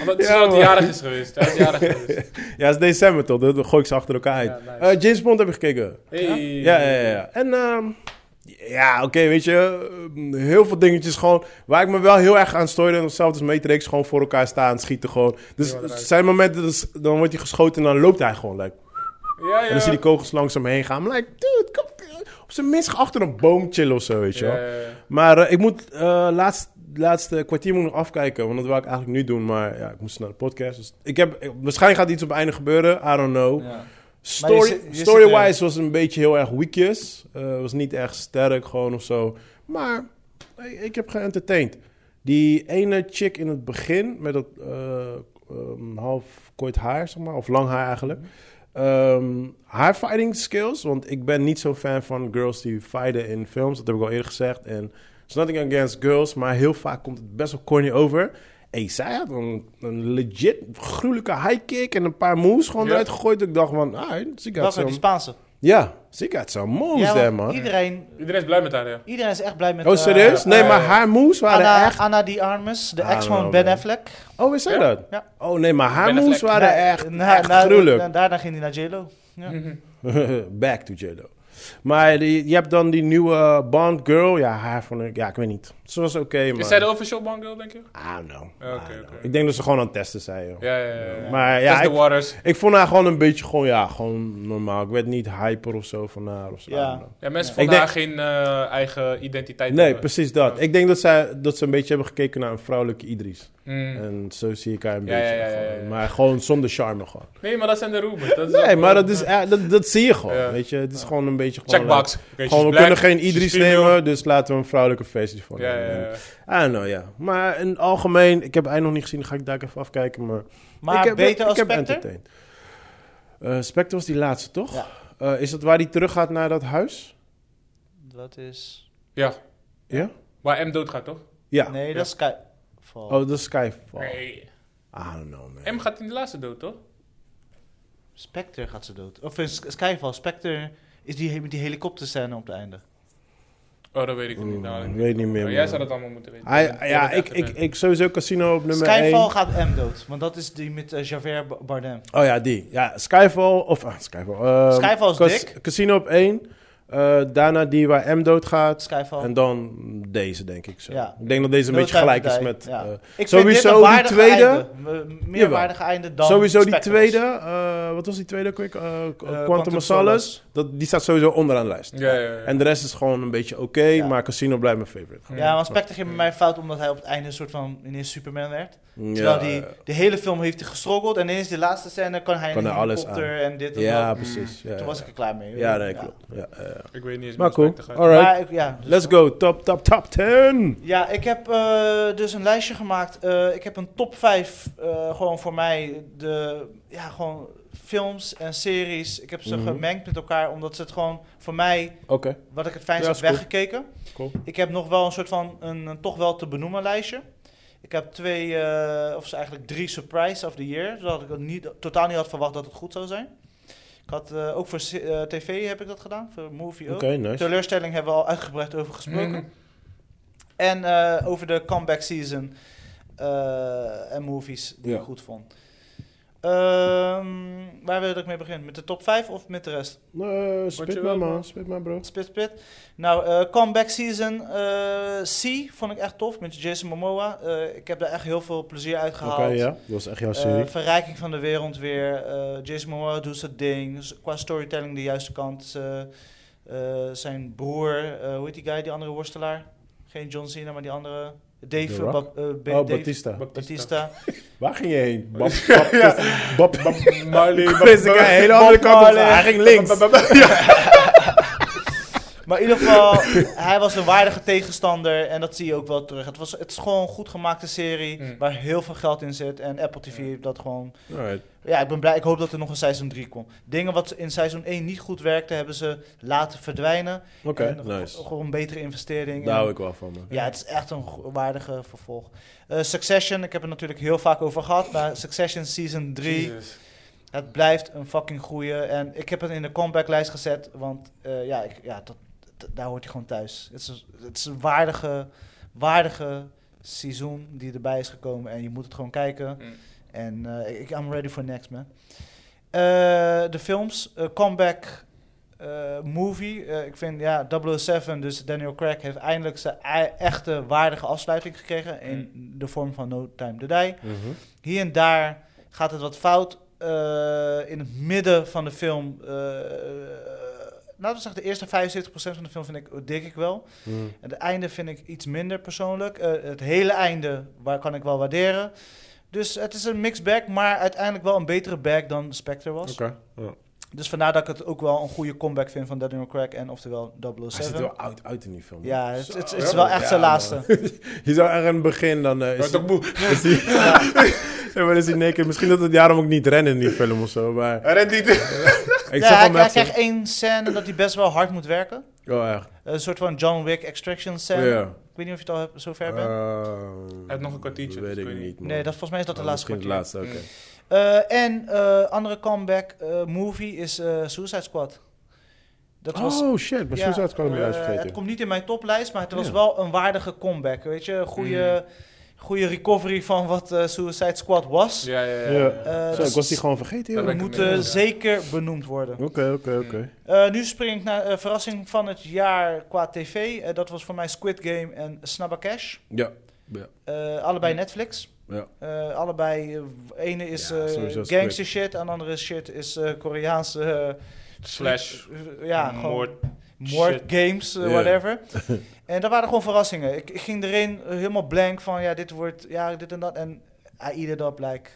[SPEAKER 3] Omdat het is wel
[SPEAKER 2] man.
[SPEAKER 3] jarig is geweest. Hij is jarig geweest.
[SPEAKER 2] Ja, het is december toch? Dat gooi ik ze achter elkaar uit.
[SPEAKER 3] Ja, nice.
[SPEAKER 2] Eh, James Bond heb ik gekeken.
[SPEAKER 3] Hey.
[SPEAKER 2] Ja, ja, ja, ja. En ehm, ja, oké, weet je, ehm, heel veel dingetjes gewoon. Waar ik me wel heel erg aan stoorde, en hetzelfde als Matrix, gewoon voor elkaar staan, schieten gewoon. Dus
[SPEAKER 3] Ja,
[SPEAKER 2] er
[SPEAKER 3] eruit.
[SPEAKER 2] zijn momenten, dat is- dan wordt hij geschoten en dan loopt hij gewoon. Like.
[SPEAKER 3] Ja, ja.
[SPEAKER 2] En dan zie je die kogels langzaam heen gaan. Maar like, dude, kom, op zijn minst achter een boom chillen of zo, weet je wel.
[SPEAKER 3] Ja, ja, ja.
[SPEAKER 2] Maar eh, ik moet eh laatst, laatste kwartier moet ik nog afkijken, want dat wil ik eigenlijk nu doen. Maar ja, ik moest naar de podcast. Dus ik heb, ik- waarschijnlijk gaat iets op het einde gebeuren, I don't know.
[SPEAKER 1] Ja. Maar je
[SPEAKER 2] Story-
[SPEAKER 1] zit- je zit eh,
[SPEAKER 2] Story-wise was het een beetje heel erg weakjes. Eh was niet echt sterk gewoon of zo. Maar ik, ik heb geëntertained. Die ene chick in het begin met dat eh, ehm, half kort haar, zeg maar, of lang haar eigenlijk. Ehm, haar fighting skills, want ik ben niet zo'n fan van girls die fighten in films. Dat heb ik al eerder gezegd. En it's nothing against girls, maar heel vaak komt het best wel corny over. Hey, zij had een, een legit gruwelijke high kick en een paar moves gewoon
[SPEAKER 3] Ja.
[SPEAKER 2] eruit gegooid. Dat Ik dacht van, ah, she got
[SPEAKER 1] Welke? Die
[SPEAKER 2] some...
[SPEAKER 1] Spaanse.
[SPEAKER 2] Ja, she got some moves
[SPEAKER 1] Ja,
[SPEAKER 2] there,
[SPEAKER 1] want
[SPEAKER 2] man.
[SPEAKER 1] Iedereen,
[SPEAKER 3] Iedereen is blij met haar, ja.
[SPEAKER 1] iedereen is echt blij met...
[SPEAKER 2] Oh,
[SPEAKER 1] eh,
[SPEAKER 2] serieus? Nee,
[SPEAKER 3] eh,
[SPEAKER 2] maar haar moves waren
[SPEAKER 1] Anna,
[SPEAKER 2] echt...
[SPEAKER 1] Anna die Armes, de
[SPEAKER 2] Ah,
[SPEAKER 1] ex van
[SPEAKER 2] nou,
[SPEAKER 1] Ben
[SPEAKER 2] man.
[SPEAKER 1] Affleck.
[SPEAKER 2] Oh, is zij dat?
[SPEAKER 1] Ja.
[SPEAKER 2] Oh, nee, maar haar
[SPEAKER 3] Ben
[SPEAKER 2] moves
[SPEAKER 3] Affleck.
[SPEAKER 2] waren
[SPEAKER 1] Na-
[SPEAKER 2] echt,
[SPEAKER 1] na-
[SPEAKER 2] echt
[SPEAKER 1] na-
[SPEAKER 2] gruwelijk.
[SPEAKER 1] na- daarna ging hij naar JLo. Ja.
[SPEAKER 2] Back to J-Lo. Maar die, je hebt dan die nieuwe Bond girl. Ja, haar vond ik... Ja, ik weet niet. Ze was oké, maar...
[SPEAKER 3] Is zij de official bang girl, denk je?
[SPEAKER 2] I don't know.
[SPEAKER 3] Ja, oké,
[SPEAKER 2] I don't know.
[SPEAKER 3] oké.
[SPEAKER 2] Ik denk dat ze gewoon aan het testen zijn, joh.
[SPEAKER 3] Ja, ja, ja. ja.
[SPEAKER 2] Maar
[SPEAKER 3] Test
[SPEAKER 2] ja,
[SPEAKER 3] the
[SPEAKER 2] ik,
[SPEAKER 3] waters.
[SPEAKER 2] ik vond haar gewoon een beetje gewoon, ja, gewoon normaal. Ik werd niet hyper of zo van haar of zo. I
[SPEAKER 1] Ja.
[SPEAKER 2] don't know.
[SPEAKER 3] Ja, mensen
[SPEAKER 2] Ik
[SPEAKER 3] vonden
[SPEAKER 2] denk-
[SPEAKER 3] haar geen eh, eigen identiteit
[SPEAKER 2] Nee,
[SPEAKER 3] hebben.
[SPEAKER 2] precies dat.
[SPEAKER 3] Ja.
[SPEAKER 2] Ik denk dat, zij, dat ze een beetje hebben gekeken naar een vrouwelijke Idris.
[SPEAKER 3] Mm.
[SPEAKER 2] En zo zie ik haar een
[SPEAKER 3] Ja,
[SPEAKER 2] beetje.
[SPEAKER 3] ja, ja, ja, ja.
[SPEAKER 2] gewoon. Maar gewoon zonder charme gewoon.
[SPEAKER 3] Nee, maar dat zijn de rumors. Dat is ook
[SPEAKER 2] Nee, maar
[SPEAKER 3] wel-
[SPEAKER 2] dat, is, eh, dat, dat zie je gewoon,
[SPEAKER 3] Ja.
[SPEAKER 2] weet je. Het is gewoon een beetje gewoon...
[SPEAKER 3] Checkbox. Oké,
[SPEAKER 2] eh,
[SPEAKER 3] she's
[SPEAKER 2] gewoon, we
[SPEAKER 3] black,
[SPEAKER 2] kunnen geen
[SPEAKER 3] she's
[SPEAKER 2] Idris
[SPEAKER 3] female.
[SPEAKER 2] nemen, dus laten we een vrouwelijke versie van
[SPEAKER 3] Ja, ja,
[SPEAKER 2] nemen.
[SPEAKER 3] ja.
[SPEAKER 2] I don't know, ja. Maar in het algemeen, ik heb eigenlijk nog niet gezien, dan ga ik daar even afkijken. Maar,
[SPEAKER 1] Maar
[SPEAKER 2] ik heb,
[SPEAKER 1] beter als
[SPEAKER 2] ik heb
[SPEAKER 1] Spectre?
[SPEAKER 2] entertained. Eh, Spectre was die laatste, toch?
[SPEAKER 1] Ja.
[SPEAKER 2] Eh, is dat waar die terug gaat naar dat huis?
[SPEAKER 1] Dat is...
[SPEAKER 3] Ja,
[SPEAKER 2] Ja?
[SPEAKER 3] waar M doodgaat, toch?
[SPEAKER 2] Ja.
[SPEAKER 1] Nee, dat is Skyfall.
[SPEAKER 2] Oh, dat is Skyfall.
[SPEAKER 3] Nee.
[SPEAKER 2] I don't know, man.
[SPEAKER 3] M gaat in de laatste dood, toch?
[SPEAKER 1] Spectre gaat ze dood. Of is Skyfall. Spectre is die, die helikopterscène op het einde.
[SPEAKER 3] Oh, dat weet ik niet.
[SPEAKER 2] Mm,
[SPEAKER 3] Nou,
[SPEAKER 2] ik weet niet meer,
[SPEAKER 3] Maar
[SPEAKER 2] man.
[SPEAKER 3] Jij zou dat allemaal moeten weten.
[SPEAKER 2] Hij-
[SPEAKER 3] Je bent
[SPEAKER 2] ja,
[SPEAKER 3] echt
[SPEAKER 2] ik,
[SPEAKER 3] erbij.
[SPEAKER 2] ik, ik sowieso Casino op nummer 1.
[SPEAKER 1] Skyfall gaat M dood. Want dat is die met eh, Javert Ba- Bardem.
[SPEAKER 2] Oh ja, die. Ja, Skyfall. Of ah, Skyfall. Ehm,
[SPEAKER 1] Skyfall is
[SPEAKER 2] Cas-
[SPEAKER 1] dik.
[SPEAKER 2] Casino op 1. daarna die waar M doodgaat.
[SPEAKER 1] Skyfall.
[SPEAKER 2] En dan deze, denk ik zo.
[SPEAKER 1] Oh. Ja.
[SPEAKER 2] Ik denk dat deze een
[SPEAKER 1] No
[SPEAKER 2] beetje
[SPEAKER 1] Time
[SPEAKER 2] gelijk
[SPEAKER 1] to
[SPEAKER 2] is
[SPEAKER 1] Die,
[SPEAKER 2] met...
[SPEAKER 1] ja.
[SPEAKER 2] eh,
[SPEAKER 1] Ik
[SPEAKER 2] sowieso
[SPEAKER 1] vind dit een
[SPEAKER 2] die
[SPEAKER 1] waardig
[SPEAKER 2] tweede-
[SPEAKER 1] einde. Me- Meer
[SPEAKER 2] Jawel.
[SPEAKER 1] waardig einde dan
[SPEAKER 2] sowieso die
[SPEAKER 1] Spectre was.
[SPEAKER 2] tweede. eh, wat was die tweede? Quick, eh, Quantum,
[SPEAKER 1] Quantum
[SPEAKER 2] of
[SPEAKER 1] Solace.
[SPEAKER 2] Solace. Dat, die staat sowieso onderaan de lijst.
[SPEAKER 3] Ja, ja, ja.
[SPEAKER 2] En de rest is gewoon een beetje oké.
[SPEAKER 1] Ja.
[SPEAKER 2] Maar Casino blijft mijn favorite.
[SPEAKER 1] Ja, want Spectre ging bij mij fout omdat hij op het einde een soort van ineens Superman werd.
[SPEAKER 2] Ja,
[SPEAKER 1] Terwijl die de hele film heeft hij gestroggeld en ineens de laatste scène kan hij
[SPEAKER 2] Kan
[SPEAKER 1] in een
[SPEAKER 2] hij alles
[SPEAKER 1] helikopter en dit en
[SPEAKER 2] ja
[SPEAKER 1] dat.
[SPEAKER 2] precies. Ja,
[SPEAKER 1] Mm. Toen was ik er klaar mee.
[SPEAKER 2] ja nee, klopt. Ja, ja, ja.
[SPEAKER 3] Ik weet niet eens
[SPEAKER 2] Maar
[SPEAKER 3] meer
[SPEAKER 2] cool.
[SPEAKER 3] hoe het gaat.
[SPEAKER 2] Alright.
[SPEAKER 1] Maar ik- ja, dus-
[SPEAKER 2] Let's go. Top, top, top 10.
[SPEAKER 1] Ja, ik heb eh, dus een lijstje gemaakt. Eh, ik heb een top 5 gewoon voor mij. De, ja, gewoon films en series. Ik heb ze
[SPEAKER 2] Mhm.
[SPEAKER 1] gemengd met elkaar, omdat ze het gewoon voor mij,
[SPEAKER 2] Oké.
[SPEAKER 1] wat ik het fijnst
[SPEAKER 2] Ja,
[SPEAKER 1] heb
[SPEAKER 2] is goed.
[SPEAKER 1] weggekeken.
[SPEAKER 2] Cool.
[SPEAKER 1] Ik heb nog wel een soort van, een, een toch wel te benoemen lijstje. Ik heb twee, eh, of ze eigenlijk drie surprise of the year. Zodat ik het niet, totaal niet had verwacht dat het goed zou zijn. Ik had eh, ook voor se- eh, tv heb ik dat gedaan, voor movie
[SPEAKER 2] Oké,
[SPEAKER 1] ook.
[SPEAKER 2] nice.
[SPEAKER 1] Teleurstelling hebben we al uitgebreid over gesproken.
[SPEAKER 3] Mhm.
[SPEAKER 1] En eh, over de comeback season eh, en movies die
[SPEAKER 2] Ja.
[SPEAKER 1] ik goed vond. Ehm, waar wil ik mee beginnen? Met de top 5 of met de rest?
[SPEAKER 2] Nee, spit
[SPEAKER 3] je
[SPEAKER 2] maar
[SPEAKER 3] wil,
[SPEAKER 2] man,
[SPEAKER 3] man.
[SPEAKER 2] spit maar bro.
[SPEAKER 1] Spit, spit. Nou, eh, comeback season eh, C vond ik echt tof met Jason Momoa. Eh, ik heb daar echt heel veel plezier uit
[SPEAKER 2] Oké,
[SPEAKER 1] gehaald.
[SPEAKER 2] ja. Dat was echt jouw
[SPEAKER 1] Eh,
[SPEAKER 2] serie.
[SPEAKER 1] verrijking van de wereld weer. Eh, Jason Momoa doet zijn ding. Dus qua storytelling de juiste kant. Eh, eh, zijn broer, eh, hoe heet die guy, die andere worstelaar? Geen John Cena, maar die andere. Dave,
[SPEAKER 2] The
[SPEAKER 1] eh,
[SPEAKER 2] Rock?
[SPEAKER 1] Ba- eh, Ba-
[SPEAKER 2] oh,
[SPEAKER 1] Dave
[SPEAKER 2] Batista.
[SPEAKER 1] Batista.
[SPEAKER 2] Waar ging je heen? Bab, Baptista- Bab, Bab-
[SPEAKER 3] Marley,
[SPEAKER 2] Chris, ik ga een hele andere kant op. Hij ging links.
[SPEAKER 1] Maar in ieder geval, hij was een waardige tegenstander en dat zie je ook wel terug. Het, was, het is gewoon een goed gemaakte serie
[SPEAKER 3] Mm.
[SPEAKER 1] waar heel veel geld in zit. En Apple TV heeft dat gewoon...
[SPEAKER 2] Alright.
[SPEAKER 1] Ja, ik ben blij. Ik hoop dat er nog een seizoen 3 komt. Dingen wat in seizoen 1 niet goed werkte, hebben ze laten verdwijnen.
[SPEAKER 2] Oké,
[SPEAKER 1] En
[SPEAKER 2] nice.
[SPEAKER 1] g- Gewoon een betere investering.
[SPEAKER 2] Daar
[SPEAKER 1] En-
[SPEAKER 2] hou ik wel van, man.
[SPEAKER 1] Ja, het is echt een go- waardige vervolg. Eh, Succession, ik heb het natuurlijk heel vaak over gehad. Maar Succession Season 3... Het blijft een fucking goeie. En ik heb het in de comebacklijst gezet. Want eh, ja, ik, ja dat, dat- daar hoort hij gewoon thuis. Het is, een- het is een waardige, waardige seizoen die erbij is gekomen. En je moet het gewoon kijken.
[SPEAKER 3] Mm.
[SPEAKER 1] En eh, ik, I'm ready for next, man. Eh, de films. eh, comeback eh, movie. Eh, ik vind, ja, 007, dus Daniel Craig... heeft eindelijk zijn ei- echte waardige afsluiting gekregen... in de vorm van No Time to Die.
[SPEAKER 2] Mhm.
[SPEAKER 1] Hier en daar gaat het wat fout. Eh, in het midden van de film. eh, laten we zeggen, de eerste 75% van de film vind ik eh, dik ik wel.
[SPEAKER 2] Mhm.
[SPEAKER 1] En het einde vind ik iets minder persoonlijk. Eh, het hele einde waar kan ik wel waarderen. Dus het is een mixed bag, maar uiteindelijk wel een betere bag dan Spectre was.
[SPEAKER 2] Oké. ja.
[SPEAKER 1] Dus vandaar dat ik het ook wel een goede comeback vind van Daniel Craig en oftewel 007.
[SPEAKER 2] Hij ziet er wel oud uit in die film. man.
[SPEAKER 1] Ja, het, het- het
[SPEAKER 3] Zo,
[SPEAKER 1] is
[SPEAKER 3] ja.
[SPEAKER 1] wel echt zijn
[SPEAKER 2] Ja,
[SPEAKER 1] laatste.
[SPEAKER 2] Je zou echt aan het begin dan... eh, is
[SPEAKER 3] Wordt ook moe.
[SPEAKER 2] Is hij, ja, maar is hij naked. Misschien dat het daarom ook niet rennen in die film of zo. Maar
[SPEAKER 4] Hij rent niet.
[SPEAKER 2] ik
[SPEAKER 1] ja,
[SPEAKER 2] zag
[SPEAKER 1] hij,
[SPEAKER 2] al
[SPEAKER 1] hij
[SPEAKER 2] mensen...
[SPEAKER 1] krijgt één scène dat hij best wel hard moet werken.
[SPEAKER 2] Oh, echt.
[SPEAKER 1] Een soort van John Wick extraction scène.
[SPEAKER 2] Oh, Ja.
[SPEAKER 1] Ik weet niet of je het al hebt- zover bent.
[SPEAKER 2] Ehm,
[SPEAKER 3] Hij heeft nog een kwartiertje,
[SPEAKER 2] Weet
[SPEAKER 3] dus
[SPEAKER 2] ik
[SPEAKER 3] ik weet
[SPEAKER 2] niet, man.
[SPEAKER 1] nee, dat, volgens mij is dat de
[SPEAKER 2] Oh,
[SPEAKER 1] laatste
[SPEAKER 2] Misschien de
[SPEAKER 1] kwartier.
[SPEAKER 2] laatste, oké.
[SPEAKER 1] Eh, en eh, andere comeback eh, movie is eh, Suicide Squad. Dat was,
[SPEAKER 2] Oh, shit. Maar
[SPEAKER 1] ja,
[SPEAKER 2] Suicide Squad heb ik
[SPEAKER 1] eh,
[SPEAKER 2] juist
[SPEAKER 1] Het
[SPEAKER 2] vergeten.
[SPEAKER 1] komt niet in mijn toplijst, maar het was
[SPEAKER 2] Ja. Mm.
[SPEAKER 1] wel een waardige comeback. Weet je, goede, goede recovery van wat eh, Suicide Squad was.
[SPEAKER 3] Ja, ja, ja.
[SPEAKER 2] Ja.
[SPEAKER 1] Eh,
[SPEAKER 2] Zo, ik was die gewoon vergeten,
[SPEAKER 3] Dat
[SPEAKER 1] dat
[SPEAKER 2] joh.
[SPEAKER 3] ben ik
[SPEAKER 1] moet
[SPEAKER 3] het mee
[SPEAKER 1] eh,
[SPEAKER 3] eens, ja.
[SPEAKER 1] zeker benoemd worden.
[SPEAKER 2] Oké, oké, oké.
[SPEAKER 1] Eh, nu spring ik naar eh, verrassing van het jaar qua tv. Eh, dat was voor mij Squid Game en Snabba Cash.
[SPEAKER 2] Ja.
[SPEAKER 1] Eh, allebei Netflix.
[SPEAKER 2] Ja.
[SPEAKER 1] Eh, allebei, eh, w- ene is
[SPEAKER 2] Ja,
[SPEAKER 1] eh,
[SPEAKER 2] sowieso is
[SPEAKER 1] gangster shit en andere shit is eh, Koreaanse... eh,
[SPEAKER 3] Slash.
[SPEAKER 1] eh, ja, gewoon
[SPEAKER 3] moord.
[SPEAKER 1] moord games, eh,
[SPEAKER 2] Ja.
[SPEAKER 1] whatever. en dat waren gewoon verrassingen. Ik, ik ging erin eh, helemaal blank van, ja, dit wordt, ja, dit en dat. En I eat it up, like,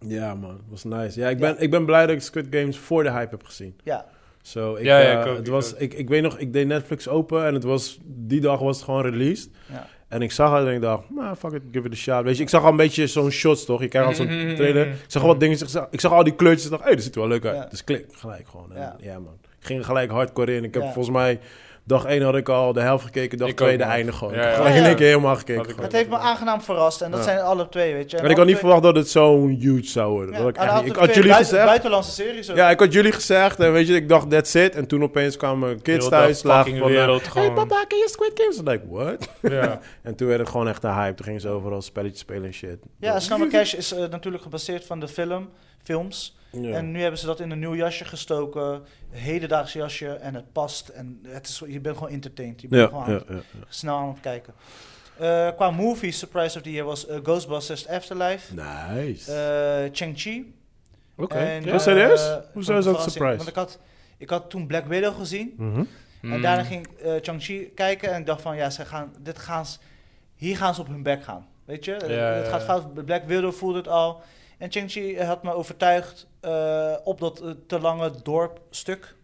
[SPEAKER 2] Ja, man. was nice. Ja, ik ben, ik ben blij dat ik Squid Games voor de hype heb gezien.
[SPEAKER 1] ja.
[SPEAKER 2] Zo, ik,
[SPEAKER 3] Ja, ja, ik
[SPEAKER 2] eh,
[SPEAKER 3] ook,
[SPEAKER 2] het
[SPEAKER 3] ik
[SPEAKER 2] was,
[SPEAKER 3] ook.
[SPEAKER 2] ik, ik weet nog, ik deed Netflix open en het was, die dag was het gewoon released.
[SPEAKER 1] Ja.
[SPEAKER 2] En ik zag het en ik dacht, nou, fuck it, give it a shot. Weet je, ik zag al een beetje zo'n shots, toch? Je kijkt al zo'n
[SPEAKER 3] Mhm.
[SPEAKER 2] trailer. Ik zag al wat dingen, ik zag, ik zag al die kleurtjes en dacht, hé, hey, dat ziet er wel leuk uit.
[SPEAKER 1] Ja.
[SPEAKER 2] Dus klik, gelijk gewoon. En
[SPEAKER 1] Ja.
[SPEAKER 2] ja. man. Ik ging er gelijk hardcore in. Ik heb
[SPEAKER 1] Ja.
[SPEAKER 2] volgens mij, dag 1 had ik al de helft gekeken, dag
[SPEAKER 3] Ik
[SPEAKER 2] 2
[SPEAKER 3] ook,
[SPEAKER 2] de
[SPEAKER 3] man.
[SPEAKER 2] einde gewoon.
[SPEAKER 3] Ja, ja.
[SPEAKER 2] Gelijk in
[SPEAKER 1] Ja,
[SPEAKER 2] één
[SPEAKER 1] ja.
[SPEAKER 2] keer helemaal gekeken.
[SPEAKER 3] Had ik
[SPEAKER 2] gewoon.
[SPEAKER 3] ook.
[SPEAKER 1] Het heeft me aangenaam verrast en dat
[SPEAKER 2] Ja.
[SPEAKER 1] zijn alle twee, weet je. En
[SPEAKER 2] En ik had niet
[SPEAKER 1] alle
[SPEAKER 2] verwacht dat het zo'n huge zou worden.
[SPEAKER 1] twee-
[SPEAKER 2] Dat had
[SPEAKER 1] ja,
[SPEAKER 2] ik, echt
[SPEAKER 1] en
[SPEAKER 2] niet. ik
[SPEAKER 1] alle twee
[SPEAKER 2] had jullie
[SPEAKER 1] buiten-
[SPEAKER 2] gezegd...
[SPEAKER 1] Buitenlandse series ook.
[SPEAKER 2] Ja, ik had jullie gezegd en weet je, ik dacht, that's it. En toen opeens kwamen kids
[SPEAKER 3] Heel de
[SPEAKER 2] thuis, lagen
[SPEAKER 3] fucking
[SPEAKER 2] van, eh,
[SPEAKER 3] wereld
[SPEAKER 2] Hey
[SPEAKER 3] gewoon.
[SPEAKER 2] papa, ken je Squid Games? En ik, what?
[SPEAKER 3] Ja.
[SPEAKER 2] En toen werd het gewoon echt een hype. Toen gingen ze overal spelletjes spelen en shit.
[SPEAKER 1] Ja, Snabba Cash is eh, natuurlijk gebaseerd van de film, films.
[SPEAKER 2] Ja.
[SPEAKER 1] En nu hebben ze dat in een nieuw jasje gestoken, een hedendaags jasje, en het past. En het is, je bent gewoon entertained, je bent
[SPEAKER 2] ja,
[SPEAKER 1] gewoon aan
[SPEAKER 2] ja,
[SPEAKER 1] het-
[SPEAKER 2] ja.
[SPEAKER 1] snel aan het kijken. Eh, qua movie, Surprise of the Year was eh, Ghostbusters Afterlife,
[SPEAKER 2] Nice.
[SPEAKER 1] eh Chang-Chi.
[SPEAKER 2] Oké.
[SPEAKER 1] en,
[SPEAKER 2] Ja,
[SPEAKER 1] eh,
[SPEAKER 2] serieus?
[SPEAKER 1] van
[SPEAKER 2] Hoezo is dat
[SPEAKER 1] verrassing,
[SPEAKER 2] surprise?
[SPEAKER 1] Want ik had, ik had toen Black Widow gezien,
[SPEAKER 2] Mhm.
[SPEAKER 3] Hmm.
[SPEAKER 1] en
[SPEAKER 3] Mm.
[SPEAKER 1] daarna ging ik eh, Chang-Chi kijken en ik dacht van, ja, ze gaan, dit gaan ze, hier gaan ze op hun bek gaan. Weet je, Eh,
[SPEAKER 3] Ja,
[SPEAKER 1] het
[SPEAKER 3] ja,
[SPEAKER 1] gaat
[SPEAKER 3] ja.
[SPEAKER 1] fout. Black Widow voelde het al. En Chang-Chi eh, had me overtuigd eh, op dat eh, te lange dorpstuk.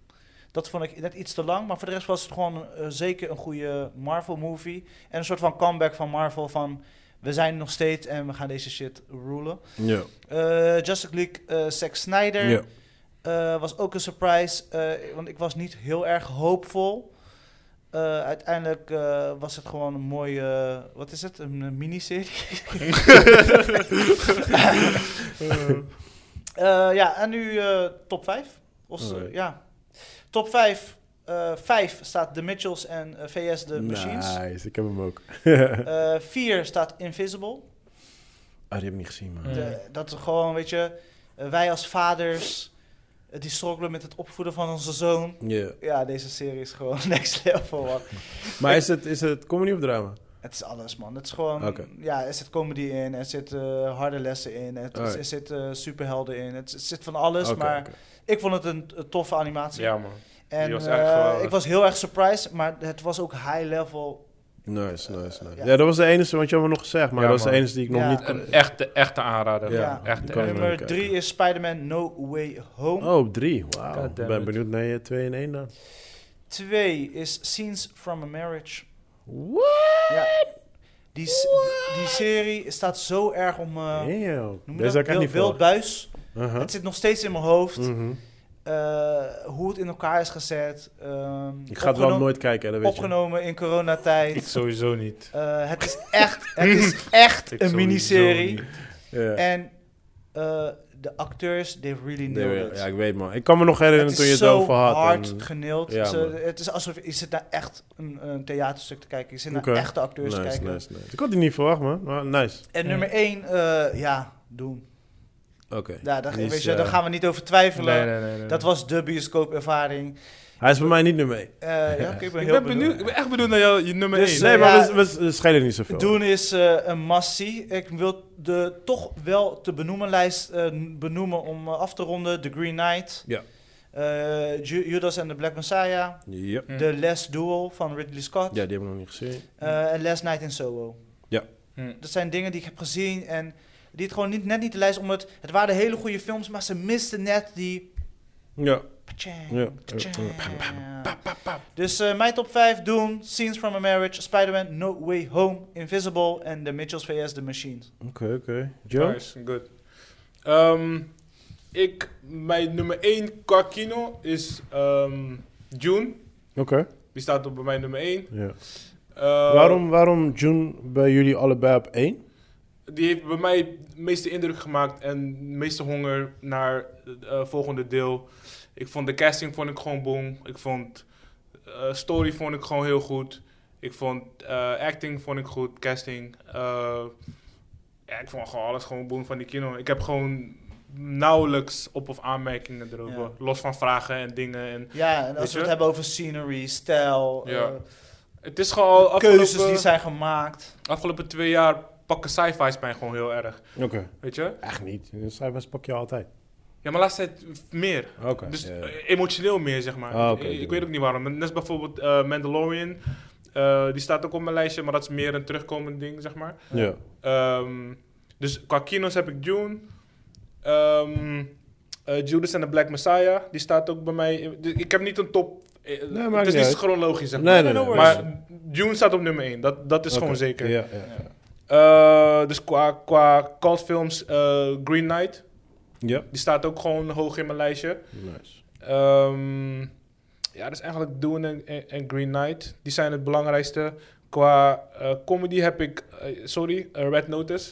[SPEAKER 1] Dat vond ik net iets te lang, maar voor de rest was het gewoon eh, zeker een goede Marvel-movie. En een soort van comeback van Marvel van, we zijn er nog steeds en we gaan deze shit rulen.
[SPEAKER 2] Ja.
[SPEAKER 1] Eh Justice League, eh Zack Snyder.
[SPEAKER 2] Ja.
[SPEAKER 1] Eh, was ook een surprise, eh, want ik was niet heel erg hoopvol. Eh, uiteindelijk eh, was het gewoon een mooie, eh, wat is het, een, eh, miniserie. Eh, ja, en nu eh, top 5. Of, eh,
[SPEAKER 2] Alright.
[SPEAKER 1] ja. Top 5. eh 5 staat The Mitchells en eh, VS The Machines.
[SPEAKER 2] Nice, ik heb hem ook. Oh,
[SPEAKER 1] Eh 4 staat Invisible.
[SPEAKER 2] Ah, die heb ik niet gezien, man.
[SPEAKER 3] Ja.
[SPEAKER 1] De- dat is gewoon, weet je, Eh, wij als vaders eh, die struggelen met het opvoeden van onze zoon.
[SPEAKER 2] Ja.
[SPEAKER 1] Ja, deze serie is gewoon next level. man.
[SPEAKER 2] Maar is het, is het comedy of drama?
[SPEAKER 1] Het is alles, man. Het is gewoon...
[SPEAKER 2] Oké.
[SPEAKER 1] Ja, er zit comedy in, er zitten eh, harde lessen in, het,
[SPEAKER 2] Alright.
[SPEAKER 1] er zitten eh, superhelden in. Het, het zit van alles,
[SPEAKER 2] Oké,
[SPEAKER 1] maar
[SPEAKER 2] oké.
[SPEAKER 1] ik vond het een, een toffe animatie.
[SPEAKER 3] Ja, man.
[SPEAKER 1] en
[SPEAKER 3] was
[SPEAKER 1] eh,
[SPEAKER 3] echt geweldig.
[SPEAKER 1] ik was heel erg surprised, maar het was ook high level.
[SPEAKER 2] Nice, nice, nice.
[SPEAKER 1] ja.
[SPEAKER 2] Ja. dat was de enige, want je had me nog gezegd, maar
[SPEAKER 3] Ja,
[SPEAKER 2] dat was de
[SPEAKER 3] man.
[SPEAKER 2] enige die ik nog
[SPEAKER 1] Ja.
[SPEAKER 2] niet kon...
[SPEAKER 3] Een echte, echte aanrader.
[SPEAKER 2] Ja,
[SPEAKER 3] Ja,
[SPEAKER 2] die
[SPEAKER 3] echt.
[SPEAKER 2] kan ik
[SPEAKER 1] Nummer
[SPEAKER 2] wel
[SPEAKER 1] drie is Spider-Man No Way Home.
[SPEAKER 2] Oh, op drie. Wauw. Ik
[SPEAKER 3] God damn
[SPEAKER 2] ben
[SPEAKER 3] it.
[SPEAKER 2] benieuwd naar je 2 en 1 dan.
[SPEAKER 1] Twee is Scenes from a Marriage.
[SPEAKER 2] What?
[SPEAKER 1] Ja. Die, s- die serie staat zo erg om... eh
[SPEAKER 2] Damn.
[SPEAKER 1] noem je
[SPEAKER 2] Deze had
[SPEAKER 1] dat?
[SPEAKER 2] ik echt niet
[SPEAKER 1] Wild,
[SPEAKER 2] voor.
[SPEAKER 1] wild buis.
[SPEAKER 2] Uh-huh.
[SPEAKER 1] Het zit nog steeds in mijn hoofd.
[SPEAKER 2] Mhm.
[SPEAKER 1] eh, hoe het in elkaar is gezet. ehm,
[SPEAKER 2] Ik ga het wel
[SPEAKER 1] opgenomen-
[SPEAKER 2] nooit kijken, hè, dat weet je.
[SPEAKER 1] Opgenomen in coronatijd.
[SPEAKER 3] Sowieso niet.
[SPEAKER 1] Eh, het is echt, het is echt een miniserie.
[SPEAKER 2] Ja.
[SPEAKER 1] En eh, de acteurs, they've really nailed it.
[SPEAKER 2] Ja, ik weet man. Ik kan me nog herinneren
[SPEAKER 1] het is
[SPEAKER 2] toen je het
[SPEAKER 1] zo
[SPEAKER 2] over had.
[SPEAKER 1] hard
[SPEAKER 2] en-
[SPEAKER 1] geneeld.
[SPEAKER 2] Ja,
[SPEAKER 1] Ze-
[SPEAKER 2] man.
[SPEAKER 1] het is alsof je zit naar echt een, een theaterstuk te kijken. Je zit naar
[SPEAKER 2] Oké.
[SPEAKER 1] echte acteurs
[SPEAKER 2] nice,
[SPEAKER 1] te dus kijken.
[SPEAKER 2] nice, nice. Ik had die niet verwacht man, maar nice.
[SPEAKER 1] En
[SPEAKER 3] Ja.
[SPEAKER 1] nummer één, eh, ja, doen.
[SPEAKER 2] Oké.
[SPEAKER 1] Ja, daar,
[SPEAKER 2] Die is,
[SPEAKER 1] weet je,
[SPEAKER 2] eh,
[SPEAKER 1] daar gaan we niet over twijfelen.
[SPEAKER 3] Nee, nee, nee, nee.
[SPEAKER 1] Dat was de bioscoopervaring.
[SPEAKER 2] Hij is bij mij niet nummer 1.
[SPEAKER 1] Eh, ja, oké, ik ben
[SPEAKER 3] Ik
[SPEAKER 1] heel
[SPEAKER 3] ben, benieuwd, ik ben echt benieuwd naar jou, je nummer
[SPEAKER 1] Dus, eh,
[SPEAKER 3] 1.
[SPEAKER 2] Nee, maar
[SPEAKER 1] ja.
[SPEAKER 2] we, we, we schelen niet zoveel.
[SPEAKER 1] Doen is eh, een massie. Ik wil de toch wel te benoemen lijst eh, benoemen om eh, af te ronden. The Green Knight.
[SPEAKER 2] Ja.
[SPEAKER 1] Eh, Ju- Judas and the Black Messiah.
[SPEAKER 2] Ja.
[SPEAKER 3] Hm.
[SPEAKER 1] The Last Duel van Ridley Scott.
[SPEAKER 2] ja, die hebben we nog niet gezien.
[SPEAKER 1] Eh, en Last Night in Soho.
[SPEAKER 3] Hm.
[SPEAKER 1] Dat zijn dingen die ik heb gezien en die het gewoon niet, net niet de lijst omdat het waren hele goede films, maar ze misten net die.
[SPEAKER 2] Ja.
[SPEAKER 1] Pachang,
[SPEAKER 2] Ja.
[SPEAKER 1] pachang.
[SPEAKER 3] eh,
[SPEAKER 2] Ja.
[SPEAKER 1] Dus eh, mijn top 5 doen: Scenes from a Marriage, Spider-Man, No Way Home, Invisible en The Mitchells vs. The Machines.
[SPEAKER 2] Oké, oké. Joe?
[SPEAKER 3] Nice, good. Ehm, ik, mijn nummer 1 qua kino is ehm, June.
[SPEAKER 2] Oké.
[SPEAKER 3] Die staat op bij mij nummer Ehm, 1.
[SPEAKER 2] Ja.
[SPEAKER 1] Oh.
[SPEAKER 2] waarom, waarom June bij jullie allebei op één?
[SPEAKER 3] Die heeft bij mij het meeste indruk gemaakt en de meeste honger naar het eh, volgende deel. Ik vond de casting vond ik gewoon boom. Ik vond eh, story vond ik gewoon heel goed. Ik vond eh, acting vond ik goed, casting. eh, ja, ik vond gewoon alles gewoon boom van die kino. Ik heb gewoon nauwelijks op- of aanmerkingen erover.
[SPEAKER 1] Ja.
[SPEAKER 3] Los van vragen en dingen. En
[SPEAKER 1] Ja, en
[SPEAKER 3] Weet
[SPEAKER 1] als
[SPEAKER 3] je?
[SPEAKER 1] we het hebben over scenery, stijl,
[SPEAKER 3] Ja.
[SPEAKER 1] eh,
[SPEAKER 3] het is gewoon al
[SPEAKER 1] keuzes die
[SPEAKER 3] afgelopen,
[SPEAKER 1] zijn gemaakt.
[SPEAKER 3] afgelopen twee jaar pakken sci-fi's mij gewoon heel erg.
[SPEAKER 2] Oké.
[SPEAKER 3] Weet je?
[SPEAKER 2] Echt niet. In cijfers pak je altijd.
[SPEAKER 3] Ja, maar laatst tijd meer.
[SPEAKER 2] Oké.
[SPEAKER 3] Dus
[SPEAKER 2] ja.
[SPEAKER 3] eh, emotioneel meer, zeg maar.
[SPEAKER 2] Ah, oké,
[SPEAKER 3] ik ik
[SPEAKER 2] oké.
[SPEAKER 3] weet ook niet waarom. Net als bijvoorbeeld eh, Mandalorian. eh, die staat ook op mijn lijstje, maar dat is meer een terugkomend ding, zeg maar.
[SPEAKER 2] ja.
[SPEAKER 3] Ehm, dus qua kino's heb ik Dune. Ehm, eh, Judas and the Black Messiah. Die staat ook bij mij. in- dus ik heb niet een top... eh,
[SPEAKER 2] Nee, maakt
[SPEAKER 3] het
[SPEAKER 2] niet
[SPEAKER 3] is niet
[SPEAKER 2] uit.
[SPEAKER 3] chronologisch, zeg
[SPEAKER 2] Nee,
[SPEAKER 3] maar.
[SPEAKER 2] nee, nee. nee.
[SPEAKER 3] Maar Dune staat op nummer 1. Dat, dat is
[SPEAKER 2] Oké.
[SPEAKER 3] gewoon zeker.
[SPEAKER 2] Ja, ja, ja.
[SPEAKER 3] Eh, dus qua, qua cultfilms, eh, Green Knight.
[SPEAKER 2] Ja.
[SPEAKER 3] Die staat ook gewoon hoog in mijn lijstje.
[SPEAKER 2] Nice.
[SPEAKER 3] Ehm, ja, dus eigenlijk Doen en, en- en Green Knight. Die zijn het belangrijkste. Qua eh, comedy heb ik, eh, sorry, eh, Red Notice.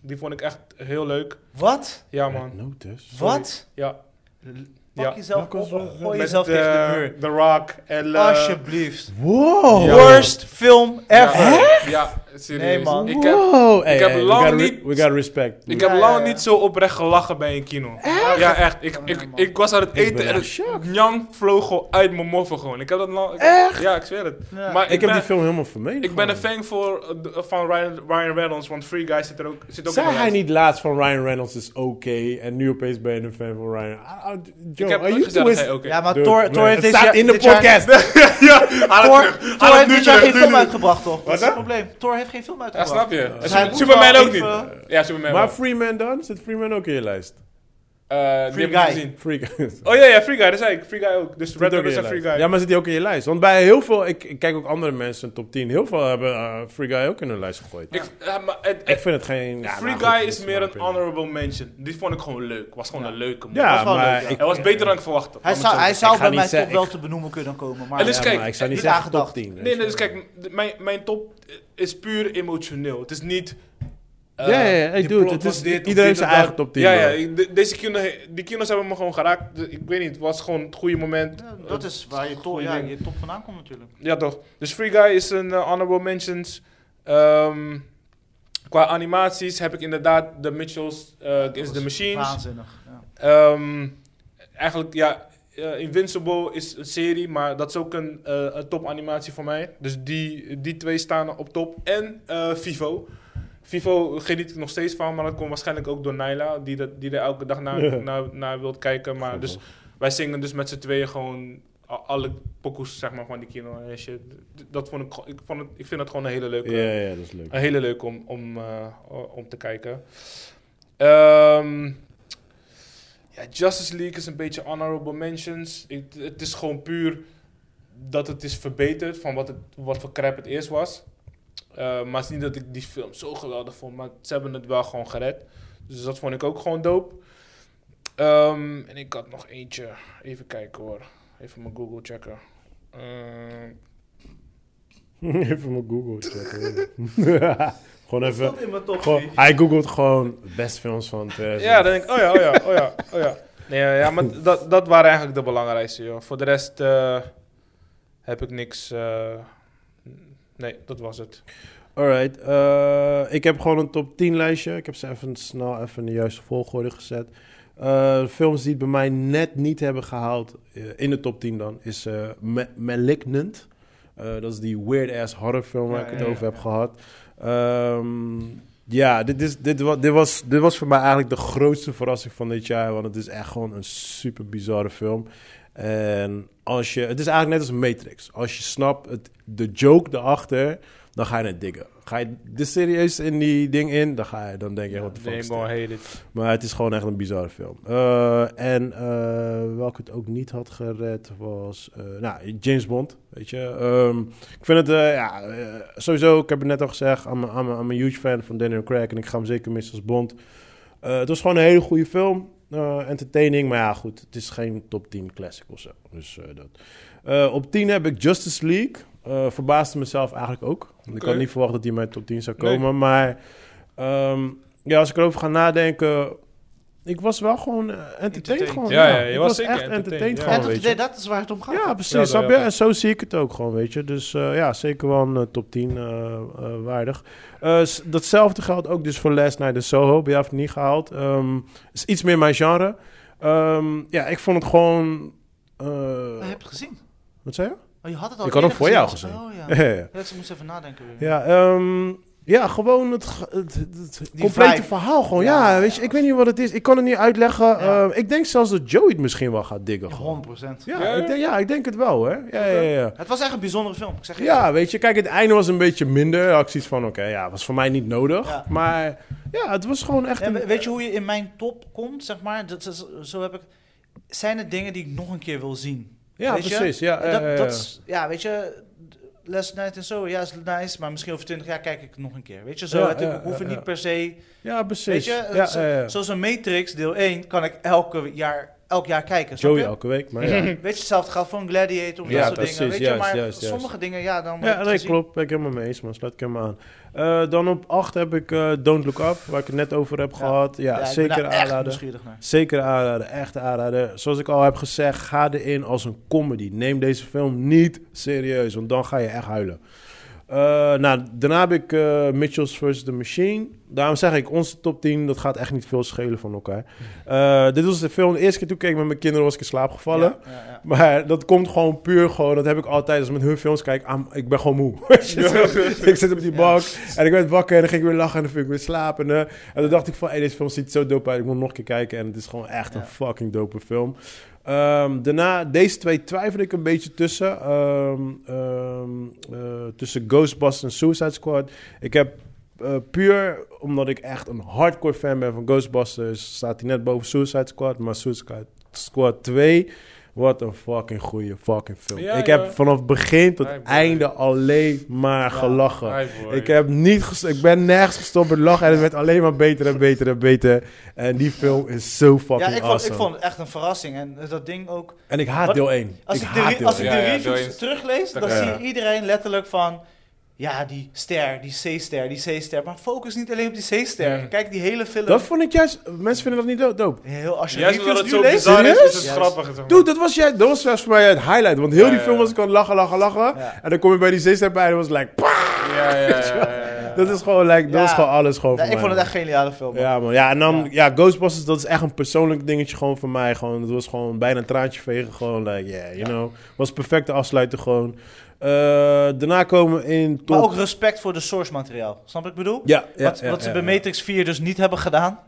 [SPEAKER 3] Die vond ik echt heel leuk.
[SPEAKER 1] Wat?
[SPEAKER 3] Ja, man.
[SPEAKER 2] Notice.
[SPEAKER 3] Sorry.
[SPEAKER 1] Wat?
[SPEAKER 3] Ja.
[SPEAKER 1] L-
[SPEAKER 3] Ja.
[SPEAKER 1] Pak jezelf
[SPEAKER 2] Welke
[SPEAKER 1] op,
[SPEAKER 2] is er-
[SPEAKER 1] gooi
[SPEAKER 3] Met,
[SPEAKER 1] jezelf
[SPEAKER 3] eh,
[SPEAKER 1] tegen de muur.
[SPEAKER 3] The Rock en... eh,
[SPEAKER 1] Alsjeblieft.
[SPEAKER 2] Wow.
[SPEAKER 3] Ja.
[SPEAKER 1] Worst film
[SPEAKER 3] ja,
[SPEAKER 1] ever.
[SPEAKER 3] Ja, serieus.
[SPEAKER 1] Nee, man.
[SPEAKER 3] Ik heb,
[SPEAKER 2] wow.
[SPEAKER 3] ik heb
[SPEAKER 2] we
[SPEAKER 3] lang
[SPEAKER 2] gotta re-
[SPEAKER 3] niet-
[SPEAKER 2] We got respect.
[SPEAKER 3] ik
[SPEAKER 1] Ja,
[SPEAKER 3] heb
[SPEAKER 1] ja,
[SPEAKER 3] lang
[SPEAKER 1] ja.
[SPEAKER 3] niet zo oprecht gelachen bij een kino. Ja, echt. Ik,
[SPEAKER 1] Oh,
[SPEAKER 3] ik,
[SPEAKER 1] man.
[SPEAKER 3] ik was aan het
[SPEAKER 2] Ik
[SPEAKER 3] eten
[SPEAKER 2] ben
[SPEAKER 3] en
[SPEAKER 2] echt
[SPEAKER 3] het Njan vloog gewoon uit mijn moffen gewoon. Ik heb dat lang... Echt? Ja, ik zweer het.
[SPEAKER 1] Ja.
[SPEAKER 3] Maar
[SPEAKER 2] ik heb
[SPEAKER 3] ben-
[SPEAKER 2] die film helemaal vermeden.
[SPEAKER 3] Ik ben een fan voor, eh, de- van Ryan, Ryan Reynolds, want Free Guy zit er ook, zit ook
[SPEAKER 2] Zei
[SPEAKER 3] in de
[SPEAKER 2] hij
[SPEAKER 3] lijst.
[SPEAKER 2] niet laatst van Ryan Reynolds is oké en nu opeens ben je een fan van Ryan? Ah, ah, Joe,
[SPEAKER 3] Ik heb
[SPEAKER 2] are
[SPEAKER 3] nooit
[SPEAKER 2] you
[SPEAKER 3] gezegd dat
[SPEAKER 2] twist- Ah,
[SPEAKER 3] hij ook is.
[SPEAKER 1] Ja, maar
[SPEAKER 2] Dude,
[SPEAKER 1] Thor,
[SPEAKER 2] nee,
[SPEAKER 1] Thor heeft
[SPEAKER 2] het
[SPEAKER 1] dit
[SPEAKER 2] staat
[SPEAKER 1] jaar-
[SPEAKER 2] in de
[SPEAKER 1] dit jaar-
[SPEAKER 2] podcast.
[SPEAKER 3] ja, haal
[SPEAKER 1] Thor,
[SPEAKER 3] het
[SPEAKER 1] Thor
[SPEAKER 3] terug. Haal het
[SPEAKER 1] heeft
[SPEAKER 3] nu
[SPEAKER 1] dit jaar
[SPEAKER 3] terug.
[SPEAKER 1] geen
[SPEAKER 3] Nu,
[SPEAKER 1] film
[SPEAKER 3] nu.
[SPEAKER 1] uitgebracht, toch? Dat is
[SPEAKER 3] Wat,
[SPEAKER 1] het
[SPEAKER 3] hè?
[SPEAKER 1] probleem. Thor heeft geen film
[SPEAKER 3] Ja,
[SPEAKER 1] uitgebracht.
[SPEAKER 3] snap je?
[SPEAKER 1] Dus
[SPEAKER 3] Super-
[SPEAKER 1] hij moet
[SPEAKER 3] Superman
[SPEAKER 1] wel
[SPEAKER 3] ook niet.
[SPEAKER 1] even-
[SPEAKER 3] Ja, Superman
[SPEAKER 2] Maar
[SPEAKER 3] wel.
[SPEAKER 2] Freeman dan? Zit Freeman ook in je lijst?
[SPEAKER 3] Eh,
[SPEAKER 1] Free
[SPEAKER 3] die heb ik niet
[SPEAKER 1] Guy.
[SPEAKER 3] gezien.
[SPEAKER 2] Freak.
[SPEAKER 3] Oh ja, ja, Free Guy, dat zei ik. Free Guy ook. Dus Red
[SPEAKER 2] Zit ook in
[SPEAKER 3] Notice
[SPEAKER 2] je
[SPEAKER 3] en Free
[SPEAKER 2] lijst.
[SPEAKER 3] Guy.
[SPEAKER 2] Ja, maar zit hij ook in je lijst? Want bij heel veel, ik, ik kijk ook andere mensen in top 10, heel veel hebben eh, Free Guy ook in hun lijst gegooid.
[SPEAKER 3] Ik, ja, maar het,
[SPEAKER 2] Ik
[SPEAKER 3] het-
[SPEAKER 2] vind het geen... ja,
[SPEAKER 3] Eh, Free
[SPEAKER 2] maar goed,
[SPEAKER 3] Guy
[SPEAKER 2] dat
[SPEAKER 3] is
[SPEAKER 2] mijn
[SPEAKER 3] meer een
[SPEAKER 2] opinion.
[SPEAKER 3] honorable mention. Die vond ik gewoon leuk. Was gewoon een leuke man.
[SPEAKER 2] Ja,
[SPEAKER 1] was wel
[SPEAKER 2] maar
[SPEAKER 1] leuk, ja.
[SPEAKER 2] ik...
[SPEAKER 3] Hij was beter dan ik verwachtte.
[SPEAKER 1] Hij zou, hij
[SPEAKER 2] ik
[SPEAKER 1] zou
[SPEAKER 2] ga
[SPEAKER 1] bij
[SPEAKER 2] niet
[SPEAKER 1] mij
[SPEAKER 2] zeggen-
[SPEAKER 1] toch wel
[SPEAKER 2] ik-
[SPEAKER 1] te benoemen kunnen komen, maar...
[SPEAKER 3] En dus
[SPEAKER 1] ja.
[SPEAKER 2] Ja,
[SPEAKER 3] kijk,
[SPEAKER 2] maar ik zou niet
[SPEAKER 1] niet
[SPEAKER 2] zeggen top
[SPEAKER 1] aangedacht.
[SPEAKER 2] 10. weet
[SPEAKER 3] Nee,
[SPEAKER 2] je
[SPEAKER 3] nee, dus
[SPEAKER 2] wel.
[SPEAKER 3] kijk, d- mijn, mijn top is puur emotioneel. Het is niet. eh,
[SPEAKER 2] Ja, ja, ja, hey,
[SPEAKER 3] die
[SPEAKER 2] dude,
[SPEAKER 3] plot
[SPEAKER 2] het
[SPEAKER 3] was
[SPEAKER 2] is-
[SPEAKER 3] dit of
[SPEAKER 2] iedereen heeft
[SPEAKER 3] dit
[SPEAKER 2] zijn
[SPEAKER 3] of
[SPEAKER 2] eigen
[SPEAKER 3] dat.
[SPEAKER 2] top 10,
[SPEAKER 3] Ja, ja,
[SPEAKER 2] bro.
[SPEAKER 3] ik- de- deze kino, die kino's hebben me gewoon geraakt. De- Ik weet niet, het was gewoon het goede moment.
[SPEAKER 1] Ja, Dat is waar je top,
[SPEAKER 3] Goeie
[SPEAKER 1] ja,
[SPEAKER 3] ding.
[SPEAKER 1] je top vandaan komt natuurlijk.
[SPEAKER 3] Ja, toch. Dus Free Guy is een eh, honorable mentions. Ehm, qua animaties heb ik inderdaad The Mitchells eh Against the Machines.
[SPEAKER 1] Waanzinnig.
[SPEAKER 3] Ehm, eigenlijk, ja, eh, Invincible is een serie, maar dat is ook een, eh, een topanimatie voor mij. Dus die, die twee staan op top. En eh, Vivo. Vivo geniet ik nog steeds van, maar dat komt waarschijnlijk ook door Naila, die, dat, die er elke dag naar,
[SPEAKER 2] Ja.
[SPEAKER 3] naar, naar wilt kijken. Maar dus wij zingen dus met z'n tweeën gewoon a- alle pokoes zeg maar, van die kino en shit. D- Dat vond ik, gewoon- ik, vond het, ik vind dat gewoon een hele leuke,
[SPEAKER 2] Ja, ja, dat is leuk.
[SPEAKER 3] een hele leuk om, om, eh, o- om te kijken. Ehm, ja, Justice League is een beetje honorable mentions. Ik- het is gewoon puur dat het is verbeterd van wat, het, wat voor crap het eerst was. Eh, maar het is niet dat ik die film zo geweldig vond, maar ze hebben het wel gewoon gered. Dus dat vond ik ook gewoon dope. Ehm, en ik had nog eentje. Even kijken hoor. Even mijn Google checken. Ehm,
[SPEAKER 2] even mijn Google checken. gewoon
[SPEAKER 1] Dat
[SPEAKER 2] even.
[SPEAKER 1] stond in mijn top
[SPEAKER 2] Gewoon,
[SPEAKER 1] drie.
[SPEAKER 2] hij googelt gewoon best films van 2000.
[SPEAKER 3] Ja, dan denk ik, oh ja, oh ja, oh ja, oh ja. Nee, ja, ja, maar dat, dat waren eigenlijk de belangrijkste, joh. Voor de rest eh, heb ik niks... eh, nee, dat was het.
[SPEAKER 2] Alright, eh, ik heb gewoon een top 10 lijstje. Ik heb ze even snel even in de juiste volgorde gezet. Eh, films die het bij mij net niet hebben gehaald, eh, in de top 10 dan, is eh, Ma- Malignant. Eh, dat is die weird-ass horrorfilm waar
[SPEAKER 1] Ja,
[SPEAKER 2] ik het
[SPEAKER 1] ja, ja,
[SPEAKER 2] over heb
[SPEAKER 1] ja.
[SPEAKER 2] gehad. Ehm, ja, dit, is, dit, was, dit, was, dit was voor mij eigenlijk de grootste verrassing van dit jaar. Want het is echt gewoon een super bizarre film. En als je, het is eigenlijk net als Matrix. Als je snapt het, de joke erachter, dan ga je het diggen. Ga je de serieus in die ding in, dan, ga je, dan denk je, wat de fuck
[SPEAKER 3] Nee,
[SPEAKER 2] is dit?
[SPEAKER 3] maar hey, dit-
[SPEAKER 2] Maar het is gewoon echt een bizarre film. Eh, en eh, welke het ook niet had gered was... eh, nou, James Bond, weet je. Ehm, ik vind het, eh, ja, eh, sowieso, ik heb het net al gezegd... I'm a, I'm a- I'm a huge fan van Daniel Craig en ik ga hem zeker missen als Bond. Eh, het was gewoon een hele goede film. eh, entertaining, maar ja, goed. Het is geen top 10 classic of zo. Dus eh, dat. Eh, op 10 heb ik Justice League. Eh, verbaasde mezelf eigenlijk ook. Want Ik
[SPEAKER 3] Oké.
[SPEAKER 2] had niet verwacht dat die in mijn top 10 zou
[SPEAKER 3] Nee.
[SPEAKER 2] komen. Maar ehm, ja, als ik erover ga nadenken... Ik was wel gewoon eh, entertained.
[SPEAKER 1] Entertained.
[SPEAKER 2] Gewoon,
[SPEAKER 3] Ja, ja, je
[SPEAKER 2] ik
[SPEAKER 3] was
[SPEAKER 2] was
[SPEAKER 3] zeker
[SPEAKER 2] echt
[SPEAKER 3] entertained,
[SPEAKER 2] entertained
[SPEAKER 3] ja.
[SPEAKER 1] Ja,
[SPEAKER 2] gewoon,
[SPEAKER 1] dat,
[SPEAKER 2] weet
[SPEAKER 1] nee,
[SPEAKER 2] je.
[SPEAKER 1] dat is waar het om gaat.
[SPEAKER 2] Ja,
[SPEAKER 3] Ja,
[SPEAKER 2] precies. snap
[SPEAKER 3] ja,
[SPEAKER 2] je?
[SPEAKER 3] ja.
[SPEAKER 2] En zo zie ik het ook gewoon, weet je. Dus eh, ja, zeker wel een eh, top 10 eh, eh, waardig. Eh, s- datzelfde geldt ook dus voor Last Night in Soho. Bij jou heeft het niet gehaald. Ehm, is iets meer mijn genre. Ehm, ja, ik vond het gewoon... eh,
[SPEAKER 1] Oh, je hebt het gezien.
[SPEAKER 2] wat zei je?
[SPEAKER 1] Oh, je had het al
[SPEAKER 2] Ik had hem
[SPEAKER 1] eerder
[SPEAKER 2] voor jou gezien.
[SPEAKER 1] Oh, ja.
[SPEAKER 2] Ja, ja, ja.
[SPEAKER 1] Ja, dus ik moest even nadenken weer.
[SPEAKER 2] Ja, ehm, ja gewoon het, ge- het, het- het
[SPEAKER 1] Die
[SPEAKER 2] complete
[SPEAKER 1] vibe.
[SPEAKER 2] verhaal. Gewoon. Ja,
[SPEAKER 1] Ja,
[SPEAKER 2] weet je, ik weet niet wat het is. Ik kan het niet uitleggen.
[SPEAKER 1] Ja.
[SPEAKER 2] Ehm, ik denk zelfs dat Joey het misschien wel gaat diggen. Gewoon.
[SPEAKER 1] 100%.
[SPEAKER 2] Ja,
[SPEAKER 3] Ja,
[SPEAKER 2] Ik denk, ja, ik denk het wel, hè. Ja, ja, ja. ja.
[SPEAKER 1] Het was echt een bijzondere film, ik zeg je
[SPEAKER 2] Ja, weet je, kijk, het einde was een beetje minder. Had ik zoiets van, oké, ja, was voor mij niet nodig.
[SPEAKER 1] Ja.
[SPEAKER 2] Maar ja, het was gewoon echt...
[SPEAKER 1] Ja,
[SPEAKER 2] een-
[SPEAKER 1] we- weet je hoe je in mijn top komt, zeg maar? Dat is, zo heb ik... Zijn er dingen die ik nog een keer wil zien?
[SPEAKER 2] ja
[SPEAKER 1] weet je?
[SPEAKER 2] precies. Ja,
[SPEAKER 1] En
[SPEAKER 2] eh,
[SPEAKER 1] dat, dat is, ja, weet je... Last Night en zo, ja, is nice. Maar misschien over 20 jaar kijk ik het nog een keer. Weet je, zo.
[SPEAKER 2] Ja,
[SPEAKER 1] het, ik
[SPEAKER 2] ja,
[SPEAKER 1] hoef het
[SPEAKER 2] ja, ja.
[SPEAKER 1] niet per se...
[SPEAKER 2] ja, precies.
[SPEAKER 1] Weet je,
[SPEAKER 2] ja,
[SPEAKER 1] zo-
[SPEAKER 2] ja, ja.
[SPEAKER 1] zoals een Matrix, deel 1, kan ik elke jaar, elk jaar kijken. snap
[SPEAKER 2] Joey
[SPEAKER 1] je?
[SPEAKER 2] elke week, maar ja.
[SPEAKER 1] Weet je, hetzelfde geldt voor een Gladiator of
[SPEAKER 2] Ja,
[SPEAKER 1] dat soort
[SPEAKER 2] precies,
[SPEAKER 1] dingen. Weet je,
[SPEAKER 2] juist,
[SPEAKER 1] maar
[SPEAKER 2] juist, juist.
[SPEAKER 1] sommige dingen, ja, dan... heb ik
[SPEAKER 2] Ja,
[SPEAKER 1] het
[SPEAKER 2] nee,
[SPEAKER 1] gezien.
[SPEAKER 2] klopt. Ben ik helemaal mee eens, man. Sluit ik helemaal aan. Eh, dan op 8 heb ik eh, Don't Look Up, waar ik het net over heb gehad. Ja,
[SPEAKER 1] ik ben
[SPEAKER 2] zeker
[SPEAKER 1] daar echt
[SPEAKER 2] aanraden.
[SPEAKER 1] nieuwsgierig naar.
[SPEAKER 2] Zeker aanraden, echt aanraden. Zoals ik al heb gezegd, ga erin als een comedy. Neem deze film niet serieus, want dan ga je echt huilen. Eh, nou, daarna heb ik eh, Mitchells vs. The Machine. Daarom zeg ik, onze top 10, dat gaat echt niet veel schelen van elkaar.
[SPEAKER 1] Mm.
[SPEAKER 2] Eh, dit was de film, de eerste keer toen ik keek met mijn kinderen was ik in slaap gevallen.
[SPEAKER 1] Ja, ja, ja.
[SPEAKER 2] Maar dat komt gewoon puur gewoon. Dat heb ik altijd als ik met hun films kijk. am- ik ben gewoon moe. Weet je, zo. ik zit op die bank en ik werd wakker en dan ging ik weer lachen en dan viel ik weer slapen. hè. En dan dacht ik van, hey, deze film ziet zo dope uit. Ik moet nog een keer kijken en het is gewoon echt een
[SPEAKER 1] Ja.
[SPEAKER 2] fucking dope film. Ehm, daarna, deze twee twijfel ik een beetje tussen. Ehm, ehm, eh, tussen Ghostbusters en Suicide Squad. Ik heb eh, puur omdat ik echt een hardcore fan ben van Ghostbusters, staat hij net boven Suicide Squad. Maar Suicide Squad 2, wat een fucking goede fucking film.
[SPEAKER 3] Ja,
[SPEAKER 2] ik
[SPEAKER 3] ja.
[SPEAKER 2] heb vanaf begin tot
[SPEAKER 3] Hi, boy.
[SPEAKER 2] einde alleen maar
[SPEAKER 1] Ja,
[SPEAKER 2] gelachen.
[SPEAKER 3] Hi, boy.
[SPEAKER 2] Ik, heb niet ges- ik ben nergens gestopt met lachen en het werd alleen maar beter en beter en beter. En die film is zo fucking
[SPEAKER 1] Ja, ik vond,
[SPEAKER 2] awesome.
[SPEAKER 1] ik vond het echt een verrassing. En eh, dat ding ook...
[SPEAKER 2] En ik haat
[SPEAKER 1] Wat-
[SPEAKER 2] deel 1.
[SPEAKER 1] Als
[SPEAKER 2] ik
[SPEAKER 1] ik, de,
[SPEAKER 2] haat
[SPEAKER 1] re-
[SPEAKER 2] deel
[SPEAKER 1] als
[SPEAKER 2] 1.
[SPEAKER 1] ik
[SPEAKER 3] Ja,
[SPEAKER 1] de
[SPEAKER 3] ja,
[SPEAKER 1] reviews
[SPEAKER 3] door je-
[SPEAKER 1] teruglees, dan
[SPEAKER 3] Ja.
[SPEAKER 1] zie je iedereen letterlijk van... Ja, die ster, die C-ster, die C-ster. Maar focus niet alleen op die C-ster.
[SPEAKER 3] Mm.
[SPEAKER 1] Kijk, die hele film...
[SPEAKER 2] Dat vond ik juist... Mensen vinden dat niet do- dope.
[SPEAKER 1] heel, als je
[SPEAKER 3] Juist omdat
[SPEAKER 1] reviews
[SPEAKER 3] het
[SPEAKER 1] nu
[SPEAKER 3] zo
[SPEAKER 1] leest...
[SPEAKER 3] bizar is, is het
[SPEAKER 1] Juist.
[SPEAKER 3] grappig. zeg maar.
[SPEAKER 2] Dude, dat was, jij, dat was juist voor mij het highlight. Want heel
[SPEAKER 3] Ja,
[SPEAKER 2] die
[SPEAKER 3] ja,
[SPEAKER 2] film
[SPEAKER 3] ja.
[SPEAKER 2] was ik gewoon lachen, lachen, lachen.
[SPEAKER 1] Ja.
[SPEAKER 2] En dan kom je bij die zeestep bij en dan was het like... "Pah!"
[SPEAKER 3] Ja, ja, ja, ja, ja.
[SPEAKER 2] Dat dat is gewoon, like, dat
[SPEAKER 1] Ja.
[SPEAKER 2] is gewoon alles gewoon
[SPEAKER 1] Ja,
[SPEAKER 2] voor
[SPEAKER 1] ik
[SPEAKER 2] mij,
[SPEAKER 1] vond het
[SPEAKER 2] man.
[SPEAKER 1] echt een geniale film. man.
[SPEAKER 2] Ja, man. Ja, en dan,
[SPEAKER 1] Ja.
[SPEAKER 2] ja. Ghostbusters, dat is echt een persoonlijk dingetje gewoon voor mij. Gewoon, het was gewoon bijna een traantje vegen. Gewoon, like, yeah, you know. Was perfecte afsluiter gewoon. Eh, daarna komen we in top...
[SPEAKER 1] Maar ook respect voor de source materiaal. Snap ik bedoel?
[SPEAKER 2] ja, ja,
[SPEAKER 1] wat
[SPEAKER 2] ja,
[SPEAKER 1] wat ze
[SPEAKER 2] ja,
[SPEAKER 1] bij
[SPEAKER 2] ja.
[SPEAKER 1] Matrix 4 dus niet hebben gedaan.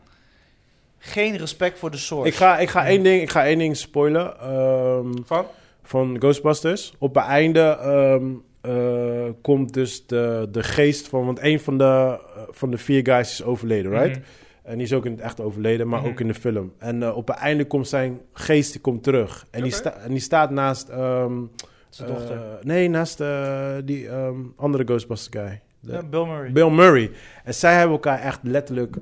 [SPEAKER 1] Geen respect voor de source.
[SPEAKER 2] Ik ga, ik, ga één ding, ik ga één ding spoilen ehm,
[SPEAKER 3] Van?
[SPEAKER 2] van Ghostbusters. Op het einde ehm, eh, komt dus de, de geest van... Want een van de, eh, van de vier guys is overleden, right?
[SPEAKER 3] Mhm.
[SPEAKER 2] En die is ook in het echt overleden, maar
[SPEAKER 3] Mhm.
[SPEAKER 2] ook in de film. En eh, op het einde komt zijn geest die komt terug. En, die,
[SPEAKER 3] Oké.
[SPEAKER 2] sta- en die staat naast... ehm,
[SPEAKER 1] Zijn dochter.
[SPEAKER 2] eh, nee, naast eh, die ehm, andere Ghostbusters guy. De-
[SPEAKER 1] Ja, Bill Murray.
[SPEAKER 2] Bill Murray. En zij hebben elkaar echt letterlijk...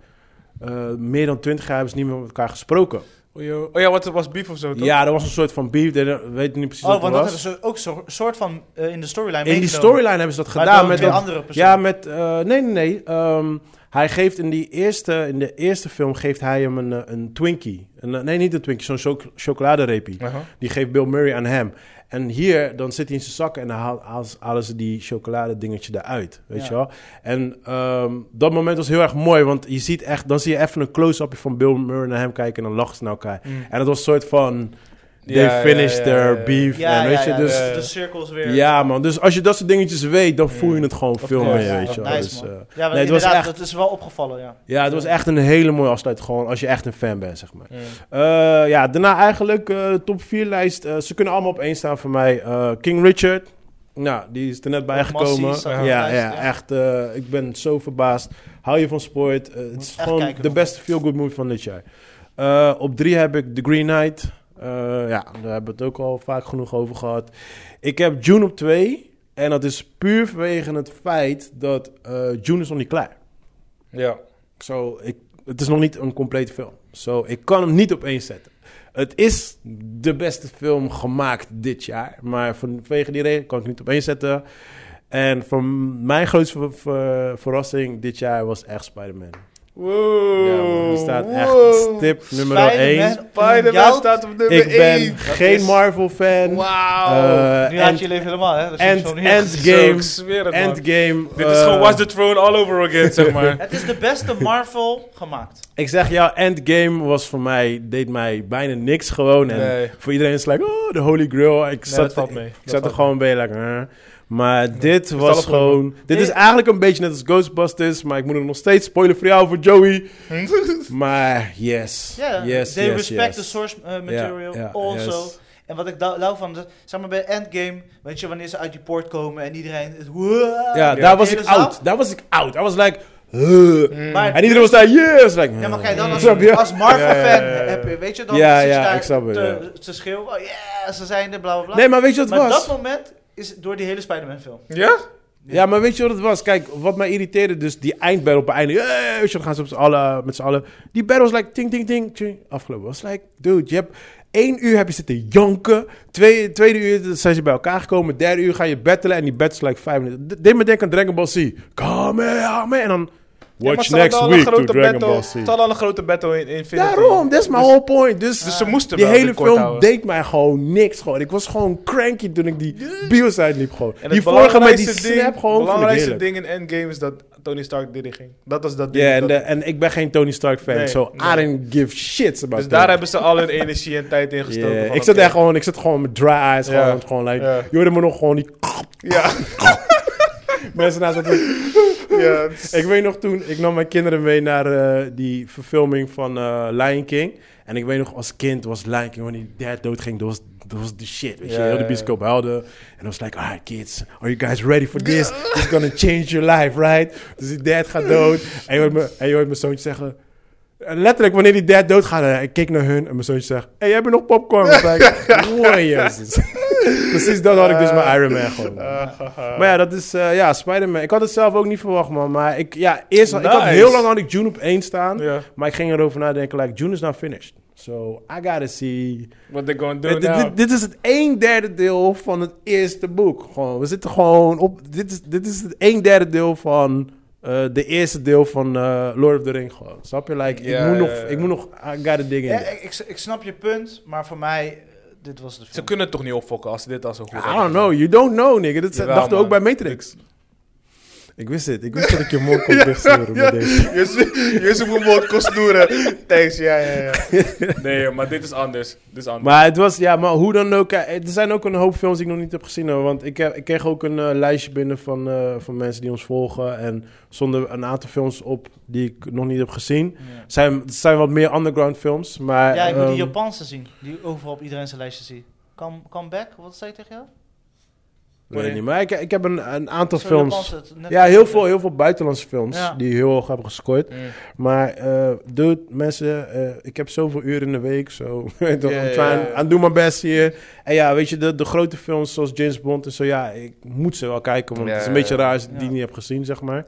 [SPEAKER 2] eh, meer dan twintig jaar hebben ze niet meer met elkaar gesproken.
[SPEAKER 3] Oh, joh. oh ja, wat was beef of zo, toch?
[SPEAKER 2] Ja, er was een soort van beef. We weten niet precies
[SPEAKER 1] oh,
[SPEAKER 2] wat
[SPEAKER 1] want
[SPEAKER 2] het
[SPEAKER 1] dat
[SPEAKER 2] was.
[SPEAKER 1] is ook zo, soort van eh, in de storyline
[SPEAKER 2] In die
[SPEAKER 1] meegenomen.
[SPEAKER 2] storyline hebben ze dat
[SPEAKER 1] Maar
[SPEAKER 2] gedaan
[SPEAKER 1] door
[SPEAKER 2] met
[SPEAKER 1] twee
[SPEAKER 2] dat-
[SPEAKER 1] andere personen.
[SPEAKER 2] Ja, met... eh, nee, nee, nee. Ehm, hij geeft in, die eerste, in de eerste film geeft hij hem een, eh, een Twinkie. Een, eh, nee, niet een Twinkie, zo'n choc- chocoladereepie.
[SPEAKER 3] Aha.
[SPEAKER 2] Die geeft Bill Murray aan hem. En hier, dan zit hij in zijn zak en dan haal- haal- halen ze die chocoladedingetje eruit. Weet
[SPEAKER 1] Ja.
[SPEAKER 2] je wel? En ehm, dat moment was heel erg mooi, want je ziet echt, dan zie je even een close-upje van Bill Murray naar hem kijken en dan lachen ze naar elkaar.
[SPEAKER 3] Mm.
[SPEAKER 2] En dat was een soort van. They
[SPEAKER 3] Ja, ja,
[SPEAKER 2] finished
[SPEAKER 3] ja,
[SPEAKER 2] their
[SPEAKER 3] ja, ja.
[SPEAKER 2] beef.
[SPEAKER 1] Ja,
[SPEAKER 2] en
[SPEAKER 1] ja,
[SPEAKER 2] weet je,
[SPEAKER 1] ja,
[SPEAKER 2] dus.
[SPEAKER 1] de, de cirkels weer.
[SPEAKER 2] Ja, man. Dus als je dat soort dingetjes weet, dan voel je het gewoon veel
[SPEAKER 3] course,
[SPEAKER 2] meer.
[SPEAKER 3] ja.
[SPEAKER 2] Weet je wel.
[SPEAKER 1] Nice,
[SPEAKER 2] Dus,
[SPEAKER 1] man.
[SPEAKER 2] eh,
[SPEAKER 1] Ja, want
[SPEAKER 2] nee, het was
[SPEAKER 1] inderdaad,
[SPEAKER 2] echt-
[SPEAKER 1] dat is wel opgevallen, ja.
[SPEAKER 2] ja, het was echt een hele mooie afsluit. Gewoon als je echt een fan bent, zeg maar.
[SPEAKER 3] Mm.
[SPEAKER 2] Eh, ja, daarna eigenlijk eh, top 4 lijst. Eh, ze kunnen allemaal op één staan voor mij. Eh, King Richard. Nou, die is er net bij
[SPEAKER 1] Ook
[SPEAKER 2] gekomen.
[SPEAKER 1] Massie staat
[SPEAKER 2] Ja,
[SPEAKER 1] op de
[SPEAKER 2] ja,
[SPEAKER 1] lijst, ja.
[SPEAKER 2] echt. eh, ik ben zo verbaasd. Hou je van sport. Eh, het
[SPEAKER 1] Moet
[SPEAKER 2] is
[SPEAKER 1] echt
[SPEAKER 2] gewoon
[SPEAKER 1] kijken,
[SPEAKER 2] de
[SPEAKER 1] man.
[SPEAKER 2] beste feel-good movie van dit jaar. Eh, op drie heb ik The Green Knight. Eh, ja, daar hebben we het ook al vaak genoeg over gehad. Ik heb June op twee. En dat is puur vanwege het feit dat eh, June is nog niet klaar.
[SPEAKER 3] Ja.
[SPEAKER 2] Zo, ik, het is nog niet een complete film. Zo, ik kan hem niet op één zetten. Het is de beste film gemaakt dit jaar. Maar vanwege die reden kan ik hem niet op één zetten. En voor m- mijn grootste ver- ver- verrassing dit jaar was echt Spider-Man.
[SPEAKER 3] Wow.
[SPEAKER 2] Ja, man, die staat echt stip nummer
[SPEAKER 1] Spider-Man
[SPEAKER 2] 1.
[SPEAKER 1] in
[SPEAKER 3] Spider-Man
[SPEAKER 1] jouw-
[SPEAKER 3] staat op nummer
[SPEAKER 2] Ik
[SPEAKER 3] 1.
[SPEAKER 2] ben geen
[SPEAKER 1] is-
[SPEAKER 2] Marvel fan.
[SPEAKER 3] Wauw.
[SPEAKER 2] Eh,
[SPEAKER 1] Nu had
[SPEAKER 2] End-
[SPEAKER 1] je leven helemaal, hè? Dat is
[SPEAKER 2] End-
[SPEAKER 1] zo niet.
[SPEAKER 2] End-
[SPEAKER 3] Zo,
[SPEAKER 2] game.
[SPEAKER 3] ik zweer het, man.
[SPEAKER 2] Endgame.
[SPEAKER 3] Dit is
[SPEAKER 2] eh,
[SPEAKER 3] gewoon Watch the Throne all over again, zeg maar.
[SPEAKER 1] Het is de beste Marvel gemaakt.
[SPEAKER 2] Ik zeg jou, Endgame was voor mij, deed mij bijna niks gewoon. En
[SPEAKER 3] Nee.
[SPEAKER 2] voor iedereen is het like, oh, de Holy Grail. Ik
[SPEAKER 3] Nee, dat
[SPEAKER 2] zat,
[SPEAKER 3] valt mee.
[SPEAKER 2] ik zat er gewoon bij, like, eh. Maar dit was
[SPEAKER 3] alles goed,
[SPEAKER 2] gewoon... Dit is
[SPEAKER 1] Nee.
[SPEAKER 2] eigenlijk een beetje net als Ghostbusters, maar ik moet er nog steeds spoilen voor jou, voor Joey. maar yes,
[SPEAKER 1] Ja,
[SPEAKER 2] yes,
[SPEAKER 1] they
[SPEAKER 2] yes,
[SPEAKER 1] respect
[SPEAKER 2] yes.
[SPEAKER 1] the source eh, material
[SPEAKER 2] ja,
[SPEAKER 1] also.
[SPEAKER 2] yes.
[SPEAKER 1] En wat ik da- lauw van, de- zeg maar bij Endgame, weet je, wanneer ze uit die poort komen en iedereen... Het, Wow!
[SPEAKER 2] Ja,
[SPEAKER 1] De
[SPEAKER 2] daar was ik
[SPEAKER 1] hele zaal.
[SPEAKER 2] out. Daar was ik out. I was like... huh.
[SPEAKER 1] Maar-
[SPEAKER 2] En iedereen was daar, yes! Like,
[SPEAKER 1] Ja, maar
[SPEAKER 2] huh.
[SPEAKER 1] kijk, dan als,
[SPEAKER 2] Mm. Snap je?
[SPEAKER 1] als Marvel-fan,
[SPEAKER 2] Ja, ja, ja.
[SPEAKER 1] heb je- weet je, dan
[SPEAKER 2] Ja,
[SPEAKER 1] zit je
[SPEAKER 2] ja,
[SPEAKER 1] daar
[SPEAKER 2] ik snap het,
[SPEAKER 1] te, te schreeuwen. Oh yeah, ze zijn er, bla bla bla.
[SPEAKER 2] Nee, maar weet je wat
[SPEAKER 1] maar
[SPEAKER 2] het was?
[SPEAKER 1] dat moment is door die hele Spider-Man film.
[SPEAKER 3] Ja?
[SPEAKER 2] Ja, maar weet je wat het was? Kijk, wat mij irriteerde, dus die eindbattle op het einde. Hey, weet je, dan gaan ze op z'n allen, eh, met z'n allen. Die battle was like, ting, ting, ting, ting. Afgelopen was like, dude, je hebt één uur heb je zitten janken. Twee, tweede uur zijn ze bij elkaar gekomen. Derde uur ga je battelen en die battle is like vijf minuten. D- Deed me denken aan Dragon Ball Z. Kamehameha. En dan, watch next week to Dragon Ball
[SPEAKER 3] Ze
[SPEAKER 2] Z.
[SPEAKER 3] hadden al een grote battle in Infinity.
[SPEAKER 2] Daarom, that's my
[SPEAKER 3] Dus-
[SPEAKER 2] whole point. Dus,
[SPEAKER 3] Dus ze moesten
[SPEAKER 2] die
[SPEAKER 3] wel
[SPEAKER 2] hele
[SPEAKER 3] dit kort
[SPEAKER 2] film
[SPEAKER 3] houden.
[SPEAKER 2] deed mij gewoon niks. Gewoon. Ik was gewoon cranky toen ik die bios uitliep. Gewoon.
[SPEAKER 3] En het
[SPEAKER 2] Die vorige met die
[SPEAKER 3] belangrijkste
[SPEAKER 2] snap
[SPEAKER 3] ding-
[SPEAKER 2] gewoon. vond ik
[SPEAKER 3] belangrijkste
[SPEAKER 2] heerlijk.
[SPEAKER 3] ding in Endgame is dat Tony Stark dit ging. Dat was dat
[SPEAKER 2] Ja,
[SPEAKER 3] ding.
[SPEAKER 2] en,
[SPEAKER 3] dat-
[SPEAKER 2] de- en ik ben geen Tony Stark fan,
[SPEAKER 3] Nee,
[SPEAKER 2] so I
[SPEAKER 3] nee.
[SPEAKER 2] didn't give shit about
[SPEAKER 3] dus
[SPEAKER 2] that.
[SPEAKER 3] daar hebben ze al hun energie en tijd in gestoken.
[SPEAKER 2] Yeah,
[SPEAKER 3] van,
[SPEAKER 2] Ik zat
[SPEAKER 3] oké.
[SPEAKER 2] echt gewoon, ik zat gewoon met dry eyes,
[SPEAKER 3] Ja.
[SPEAKER 2] gewoon, gewoon like,
[SPEAKER 3] Ja.
[SPEAKER 2] je hoorde me nog gewoon die
[SPEAKER 3] Ja,
[SPEAKER 2] mensen naast me.
[SPEAKER 3] ja. dus-
[SPEAKER 2] Ik weet nog toen, ik nam mijn kinderen mee naar eh, die verfilming van eh, Lion King. En ik weet nog, als kind was Lion King, wanneer die dad doodging, dat was, dat was de shit, weet je.
[SPEAKER 3] Ja,
[SPEAKER 2] Heel de
[SPEAKER 3] ja,
[SPEAKER 2] bioscoop huilde. En dan was like, alright kids, are you guys ready for this? This is gonna change your life, right? Dus die dad gaat dood. En je hoort me- en je hoort mijn zoontje zeggen... En letterlijk, wanneer die dad doodgaat, eh, ik keek naar hun en mijn zoontje zegt: Hé, hey, jij hebt nog popcorn? Ik was like, "Mooi, Jezus. Precies dat had ik dus mijn Iron Man gewoon.
[SPEAKER 3] Ah,
[SPEAKER 2] maar ja, dat is eh, ja, Spider-Man. Ik had het zelf ook niet verwacht, man. Maar ik, ja, eerst, had- ik had
[SPEAKER 3] Nice.
[SPEAKER 2] heel lang had ik June op één staan.
[SPEAKER 3] Ja.
[SPEAKER 2] Maar ik ging erover nadenken: like, June is not finished. So I gotta see. Eh,
[SPEAKER 3] What they gonna do
[SPEAKER 2] Dit, dit-
[SPEAKER 3] now?
[SPEAKER 2] dit- dit is het een derde deel van het eerste boek. Gewoon, we zitten gewoon op. Dit is, dit is het een derde deel van. eh, de eerste deel van eh, Lord of the Ring gewoon. Snap je? Like,
[SPEAKER 3] Ja,
[SPEAKER 2] ik, moet
[SPEAKER 3] ja,
[SPEAKER 2] nog,
[SPEAKER 3] ja.
[SPEAKER 2] ik moet nog... I got the ding in.
[SPEAKER 1] Ja, ik, ik, ik snap je punt, maar voor mij, eh, dit was de
[SPEAKER 3] Ze
[SPEAKER 1] film.
[SPEAKER 3] kunnen het toch niet opfokken als ze dit als een goed
[SPEAKER 2] I don't know. You don't know, nigga. Dat
[SPEAKER 3] Jawel,
[SPEAKER 2] dachten we ook bij
[SPEAKER 3] man.
[SPEAKER 2] Matrix. Ik wist het. Ik wist dat ik je mond kon dichtsturen met deze.
[SPEAKER 4] Yusuf Moemot kost noeren. Thanks, ja, ja, ja.
[SPEAKER 3] Nee, maar dit is anders. Dit is anders.
[SPEAKER 2] Maar het was, ja, maar hoe dan ook. eh, Er zijn ook een hoop films die ik nog niet heb gezien. hoor. Want ik, heb, ik kreeg ook een eh, lijstje binnen van, eh, van mensen die ons volgen. En stonden een aantal films op die ik nog niet heb gezien.
[SPEAKER 1] Ja.
[SPEAKER 2] Het zijn, het zijn wat meer underground films. Maar,
[SPEAKER 1] Ja, ik moet die
[SPEAKER 2] ehm,
[SPEAKER 1] Japanse zien, die overal op iedereen zijn lijstje zie. Come, come back, wat zei je tegen jou?
[SPEAKER 2] weet ik niet. Maar ik, ik heb een, een aantal
[SPEAKER 1] Zo'n
[SPEAKER 2] films.
[SPEAKER 1] Japanse, het- net-
[SPEAKER 2] Ja, heel veel, heel veel buitenlandse films
[SPEAKER 1] Ja.
[SPEAKER 2] die heel hoog hebben gescoord.
[SPEAKER 3] Mm.
[SPEAKER 2] Maar eh, dude, mensen, eh, ik heb zoveel uren in de week, zo. weet je toch,
[SPEAKER 4] Ja,
[SPEAKER 2] I'm
[SPEAKER 4] ja,
[SPEAKER 2] trying-
[SPEAKER 4] ja.
[SPEAKER 2] I'm doing my best hier. En ja, weet je, de, de grote films zoals James Bond en zo, ja, ik moet ze wel kijken, want
[SPEAKER 4] Ja,
[SPEAKER 2] het is een
[SPEAKER 4] ja,
[SPEAKER 2] beetje raar als ik die
[SPEAKER 1] Ja.
[SPEAKER 2] niet heb gezien, zeg maar.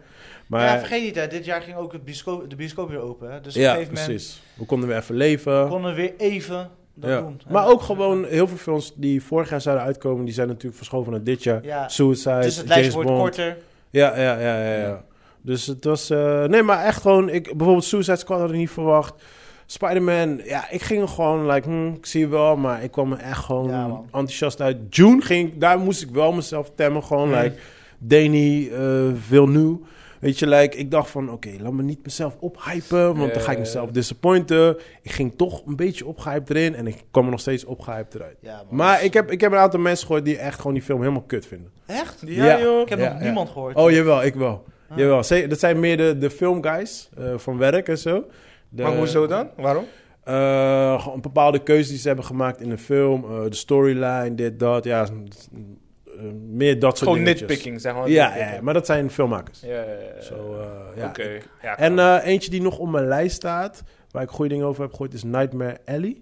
[SPEAKER 1] Ja,
[SPEAKER 2] Maar
[SPEAKER 1] vergeet niet, hè, dit jaar ging ook het bioscoop, de bioscoop weer open. Hè? Dus op een
[SPEAKER 2] ja,
[SPEAKER 1] gegeven moment
[SPEAKER 2] precies. We konden weer even leven.
[SPEAKER 1] konden we weer even dat
[SPEAKER 2] Ja.
[SPEAKER 1] doen. En
[SPEAKER 2] Maar
[SPEAKER 1] dat-
[SPEAKER 2] ook gewoon heel veel films die vorig jaar zouden uitkomen, die zijn natuurlijk verschoven naar dit jaar.
[SPEAKER 1] Ja,
[SPEAKER 2] Suicide,
[SPEAKER 1] dus het
[SPEAKER 2] James
[SPEAKER 1] lijstje wordt
[SPEAKER 2] Bond.
[SPEAKER 1] korter.
[SPEAKER 2] Ja, ja, ja, ja, ja. Dus het was... eh, nee, maar echt gewoon... Ik, bijvoorbeeld Suicide Squad had ik niet verwacht. Spider-Man, ja, ik ging er gewoon like... hmm, ik zie je wel, maar ik kwam er echt gewoon
[SPEAKER 1] Ja, man.
[SPEAKER 2] enthousiast uit. June ging... ik- Daar moest ik wel mezelf temmen. Gewoon like... Danny, eh Villeneuve. Weet je, like, ik dacht van... Oké, laat me niet mezelf ophypen. Want dan ga ik
[SPEAKER 3] Ja.
[SPEAKER 2] mezelf disappointen. Ik ging toch een beetje opgehyped erin. En ik kwam er nog steeds opgehyped eruit.
[SPEAKER 1] Ja, man.
[SPEAKER 2] Maar ik heb, ik heb een aantal mensen gehoord die echt gewoon die film helemaal kut vinden.
[SPEAKER 1] Echt?
[SPEAKER 2] Ja, Ja. joh.
[SPEAKER 1] Ik heb
[SPEAKER 2] Ja,
[SPEAKER 1] nog
[SPEAKER 2] ja.
[SPEAKER 1] niemand gehoord.
[SPEAKER 2] Oh, jawel, ik wel.
[SPEAKER 1] Ah.
[SPEAKER 2] Jawel, ze- dat zijn meer de, de filmguys eh, van werk en zo. De-
[SPEAKER 4] Maar hoezo dan? Waarom?
[SPEAKER 2] eh, gewoon bepaalde keuzes die ze hebben gemaakt in de film. eh, de storyline, dit, dat. Ja, s- eh, meer dat soort
[SPEAKER 4] Gewoon
[SPEAKER 2] dingen.
[SPEAKER 4] nitpicking, zeg maar.
[SPEAKER 2] Ja, ja, ja, maar dat zijn filmmakers.
[SPEAKER 4] Ja, ja, ja.
[SPEAKER 2] Zo, eh, ja.
[SPEAKER 3] Oké. Ja,
[SPEAKER 2] En
[SPEAKER 3] kan.
[SPEAKER 2] eh, eentje die nog op mijn lijst staat, waar ik goede dingen over heb gehoord, is Nightmare Alley.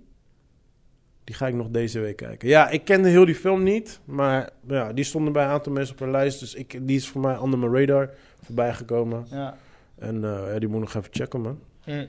[SPEAKER 2] Die ga ik nog deze week kijken. Ja, ik kende heel die film niet, maar ja, die stonden bij een aantal mensen op mijn lijst. Dus ik, die is voor mij onder mijn radar voorbij gekomen.
[SPEAKER 1] Ja.
[SPEAKER 2] En eh, ja, die moet ik nog even checken, man.
[SPEAKER 4] Hm.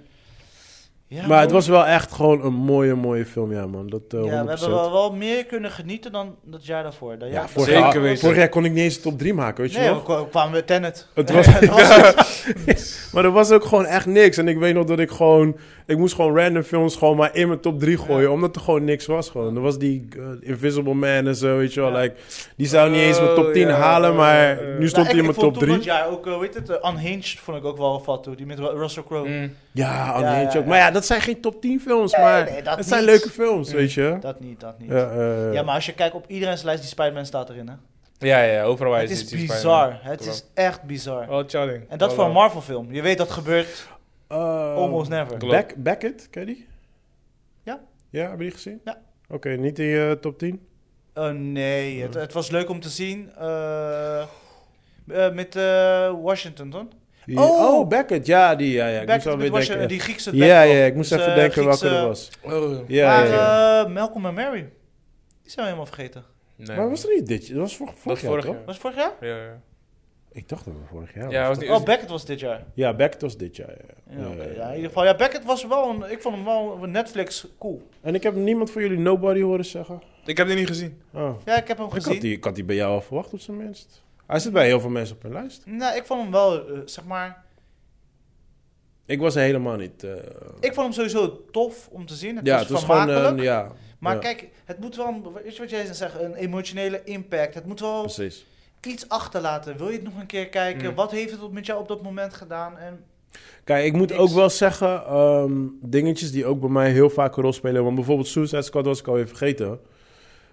[SPEAKER 1] Ja,
[SPEAKER 2] maar het
[SPEAKER 1] man.
[SPEAKER 2] was wel echt gewoon een mooie, mooie film, ja, man. Dat, eh,
[SPEAKER 1] ja, we
[SPEAKER 2] 100%.
[SPEAKER 1] hebben wel, wel meer kunnen genieten dan dat jaar daarvoor. Dat jaar
[SPEAKER 2] Ja, vorig,
[SPEAKER 3] Zeker
[SPEAKER 2] jaar,
[SPEAKER 3] weten.
[SPEAKER 2] vorig jaar kon ik niet eens de top 3 maken, weet je
[SPEAKER 1] nee,
[SPEAKER 2] nog?
[SPEAKER 1] we kwa- kwamen we Tenet.
[SPEAKER 2] Het
[SPEAKER 1] Eh,
[SPEAKER 2] was-
[SPEAKER 1] het was-
[SPEAKER 2] Maar er was ook gewoon echt niks. En ik weet nog dat ik gewoon... Ik moest gewoon random films gewoon maar in mijn top 3 gooien. Omdat er gewoon niks was gewoon. Er was die eh, Invisible Man en zo, weet je wel.
[SPEAKER 1] Ja.
[SPEAKER 2] Like, die zou niet eens mijn top
[SPEAKER 4] Oh,
[SPEAKER 2] 10
[SPEAKER 4] ja,
[SPEAKER 2] halen,
[SPEAKER 4] eh,
[SPEAKER 2] maar
[SPEAKER 4] eh.
[SPEAKER 2] nu
[SPEAKER 1] Nou,
[SPEAKER 2] stond hij in
[SPEAKER 1] ik- ik
[SPEAKER 2] mijn
[SPEAKER 1] vond
[SPEAKER 2] top
[SPEAKER 1] toen
[SPEAKER 2] 3.
[SPEAKER 1] dat jaar ook, eh, weet het, eh, Unhinged vond ik ook wel vat toe. Die met Ru- Russell Crowe.
[SPEAKER 2] Mm.
[SPEAKER 3] Hm.
[SPEAKER 2] Ja,
[SPEAKER 1] Ja,
[SPEAKER 2] Unhinged
[SPEAKER 1] ja,
[SPEAKER 2] ook.
[SPEAKER 1] ja.
[SPEAKER 2] Maar ja, dat zijn geen top 10 films.
[SPEAKER 1] Nee,
[SPEAKER 2] maar
[SPEAKER 1] nee, dat
[SPEAKER 2] het
[SPEAKER 1] niet. Mm.
[SPEAKER 2] zijn leuke films, weet je.
[SPEAKER 1] Dat niet, dat niet.
[SPEAKER 2] Ja, Oh,
[SPEAKER 1] Ja,
[SPEAKER 2] eh,
[SPEAKER 1] maar als je kijkt op iedereen's lijst, die Spider-Man staat erin. Hè?
[SPEAKER 4] Ja, ja, ja, overal waar
[SPEAKER 1] Het
[SPEAKER 4] je
[SPEAKER 1] is
[SPEAKER 4] ziet, zie je
[SPEAKER 1] bizar.
[SPEAKER 4] Spider-Man.
[SPEAKER 1] Het is
[SPEAKER 4] Klopt.
[SPEAKER 1] echt bizar.
[SPEAKER 2] Oh,
[SPEAKER 3] Oh,
[SPEAKER 4] Wel chilling.
[SPEAKER 1] En dat
[SPEAKER 4] Wel
[SPEAKER 1] voor een
[SPEAKER 4] leuk.
[SPEAKER 1] Marvel film. Je weet dat gebeurt
[SPEAKER 2] eh,
[SPEAKER 1] almost never.
[SPEAKER 4] klopt.
[SPEAKER 2] Back, Beckett, ken je die?
[SPEAKER 1] Ja.
[SPEAKER 2] Ja, heb je die gezien?
[SPEAKER 1] Ja.
[SPEAKER 2] Oké, niet in je top 10?
[SPEAKER 1] Oh nee, het, het was leuk om te zien. eh, eh, met eh, Washington, toch?
[SPEAKER 2] Die-
[SPEAKER 1] Oh!
[SPEAKER 2] Beckett, ja, die, ja, ja. Ik
[SPEAKER 1] Back-
[SPEAKER 2] moest
[SPEAKER 1] met
[SPEAKER 2] alweer
[SPEAKER 1] Washington,
[SPEAKER 2] denken.
[SPEAKER 1] die Griekse
[SPEAKER 2] Ja,
[SPEAKER 1] backdrop.
[SPEAKER 2] ja, ik moest
[SPEAKER 1] Dus,
[SPEAKER 2] even
[SPEAKER 1] eh,
[SPEAKER 2] denken
[SPEAKER 1] Griekse-
[SPEAKER 2] welke dat was.
[SPEAKER 4] Oh,
[SPEAKER 2] Ja,
[SPEAKER 1] maar
[SPEAKER 2] ja, ja.
[SPEAKER 1] eh, Malcolm en Mary, die zijn we helemaal vergeten.
[SPEAKER 4] nee.
[SPEAKER 2] maar was er niet dit jaar? Dat was vorig, vorig
[SPEAKER 4] was
[SPEAKER 2] jaar,
[SPEAKER 4] vorig
[SPEAKER 2] toch?
[SPEAKER 4] jaar.
[SPEAKER 1] Was het vorig jaar?
[SPEAKER 4] Ja, ja.
[SPEAKER 2] Ik dacht dat het vorig jaar
[SPEAKER 4] Ja,
[SPEAKER 2] was.
[SPEAKER 4] was
[SPEAKER 2] toch?
[SPEAKER 4] niet-
[SPEAKER 1] Oh, Beckett was dit jaar.
[SPEAKER 2] Ja, Beckett was dit jaar, ja.
[SPEAKER 1] Ja,
[SPEAKER 2] Ja,
[SPEAKER 1] oké.
[SPEAKER 2] ja,
[SPEAKER 1] ja,
[SPEAKER 2] ja.
[SPEAKER 1] in ieder geval. Ja, Beckett was wel een, ik vond hem wel een Netflix cool.
[SPEAKER 2] En ik heb niemand van jullie Nobody horen zeggen.
[SPEAKER 3] Ik heb die niet gezien.
[SPEAKER 2] Oh.
[SPEAKER 1] Ja, ik heb hem
[SPEAKER 2] Ik, had
[SPEAKER 1] gezien.
[SPEAKER 2] die, ik had die bij jou al verwacht, op zijn minst. Hij zit bij heel veel mensen op mijn lijst.
[SPEAKER 1] Nou, ik vond hem wel, eh, zeg maar,
[SPEAKER 2] Ik was er helemaal niet... eh,
[SPEAKER 1] ik vond hem sowieso tof om te zien. Het
[SPEAKER 2] ja,
[SPEAKER 1] was
[SPEAKER 2] het was gewoon...
[SPEAKER 1] vermakelijk.
[SPEAKER 2] eh, ja,
[SPEAKER 1] Maar
[SPEAKER 2] ja,
[SPEAKER 1] kijk, het moet wel, een- weet je wat jij zegt, een emotionele impact. Het moet wel
[SPEAKER 2] Precies.
[SPEAKER 1] iets achterlaten. Wil je het nog een keer kijken?
[SPEAKER 3] Mm.
[SPEAKER 1] Wat heeft het op- met jou op dat moment gedaan? En,
[SPEAKER 2] Kijk, ik moet
[SPEAKER 1] Niks.
[SPEAKER 2] ook wel zeggen... ehm, dingetjes die ook bij mij heel vaak een rol spelen. Want bijvoorbeeld Suicide Squad was ik alweer vergeten.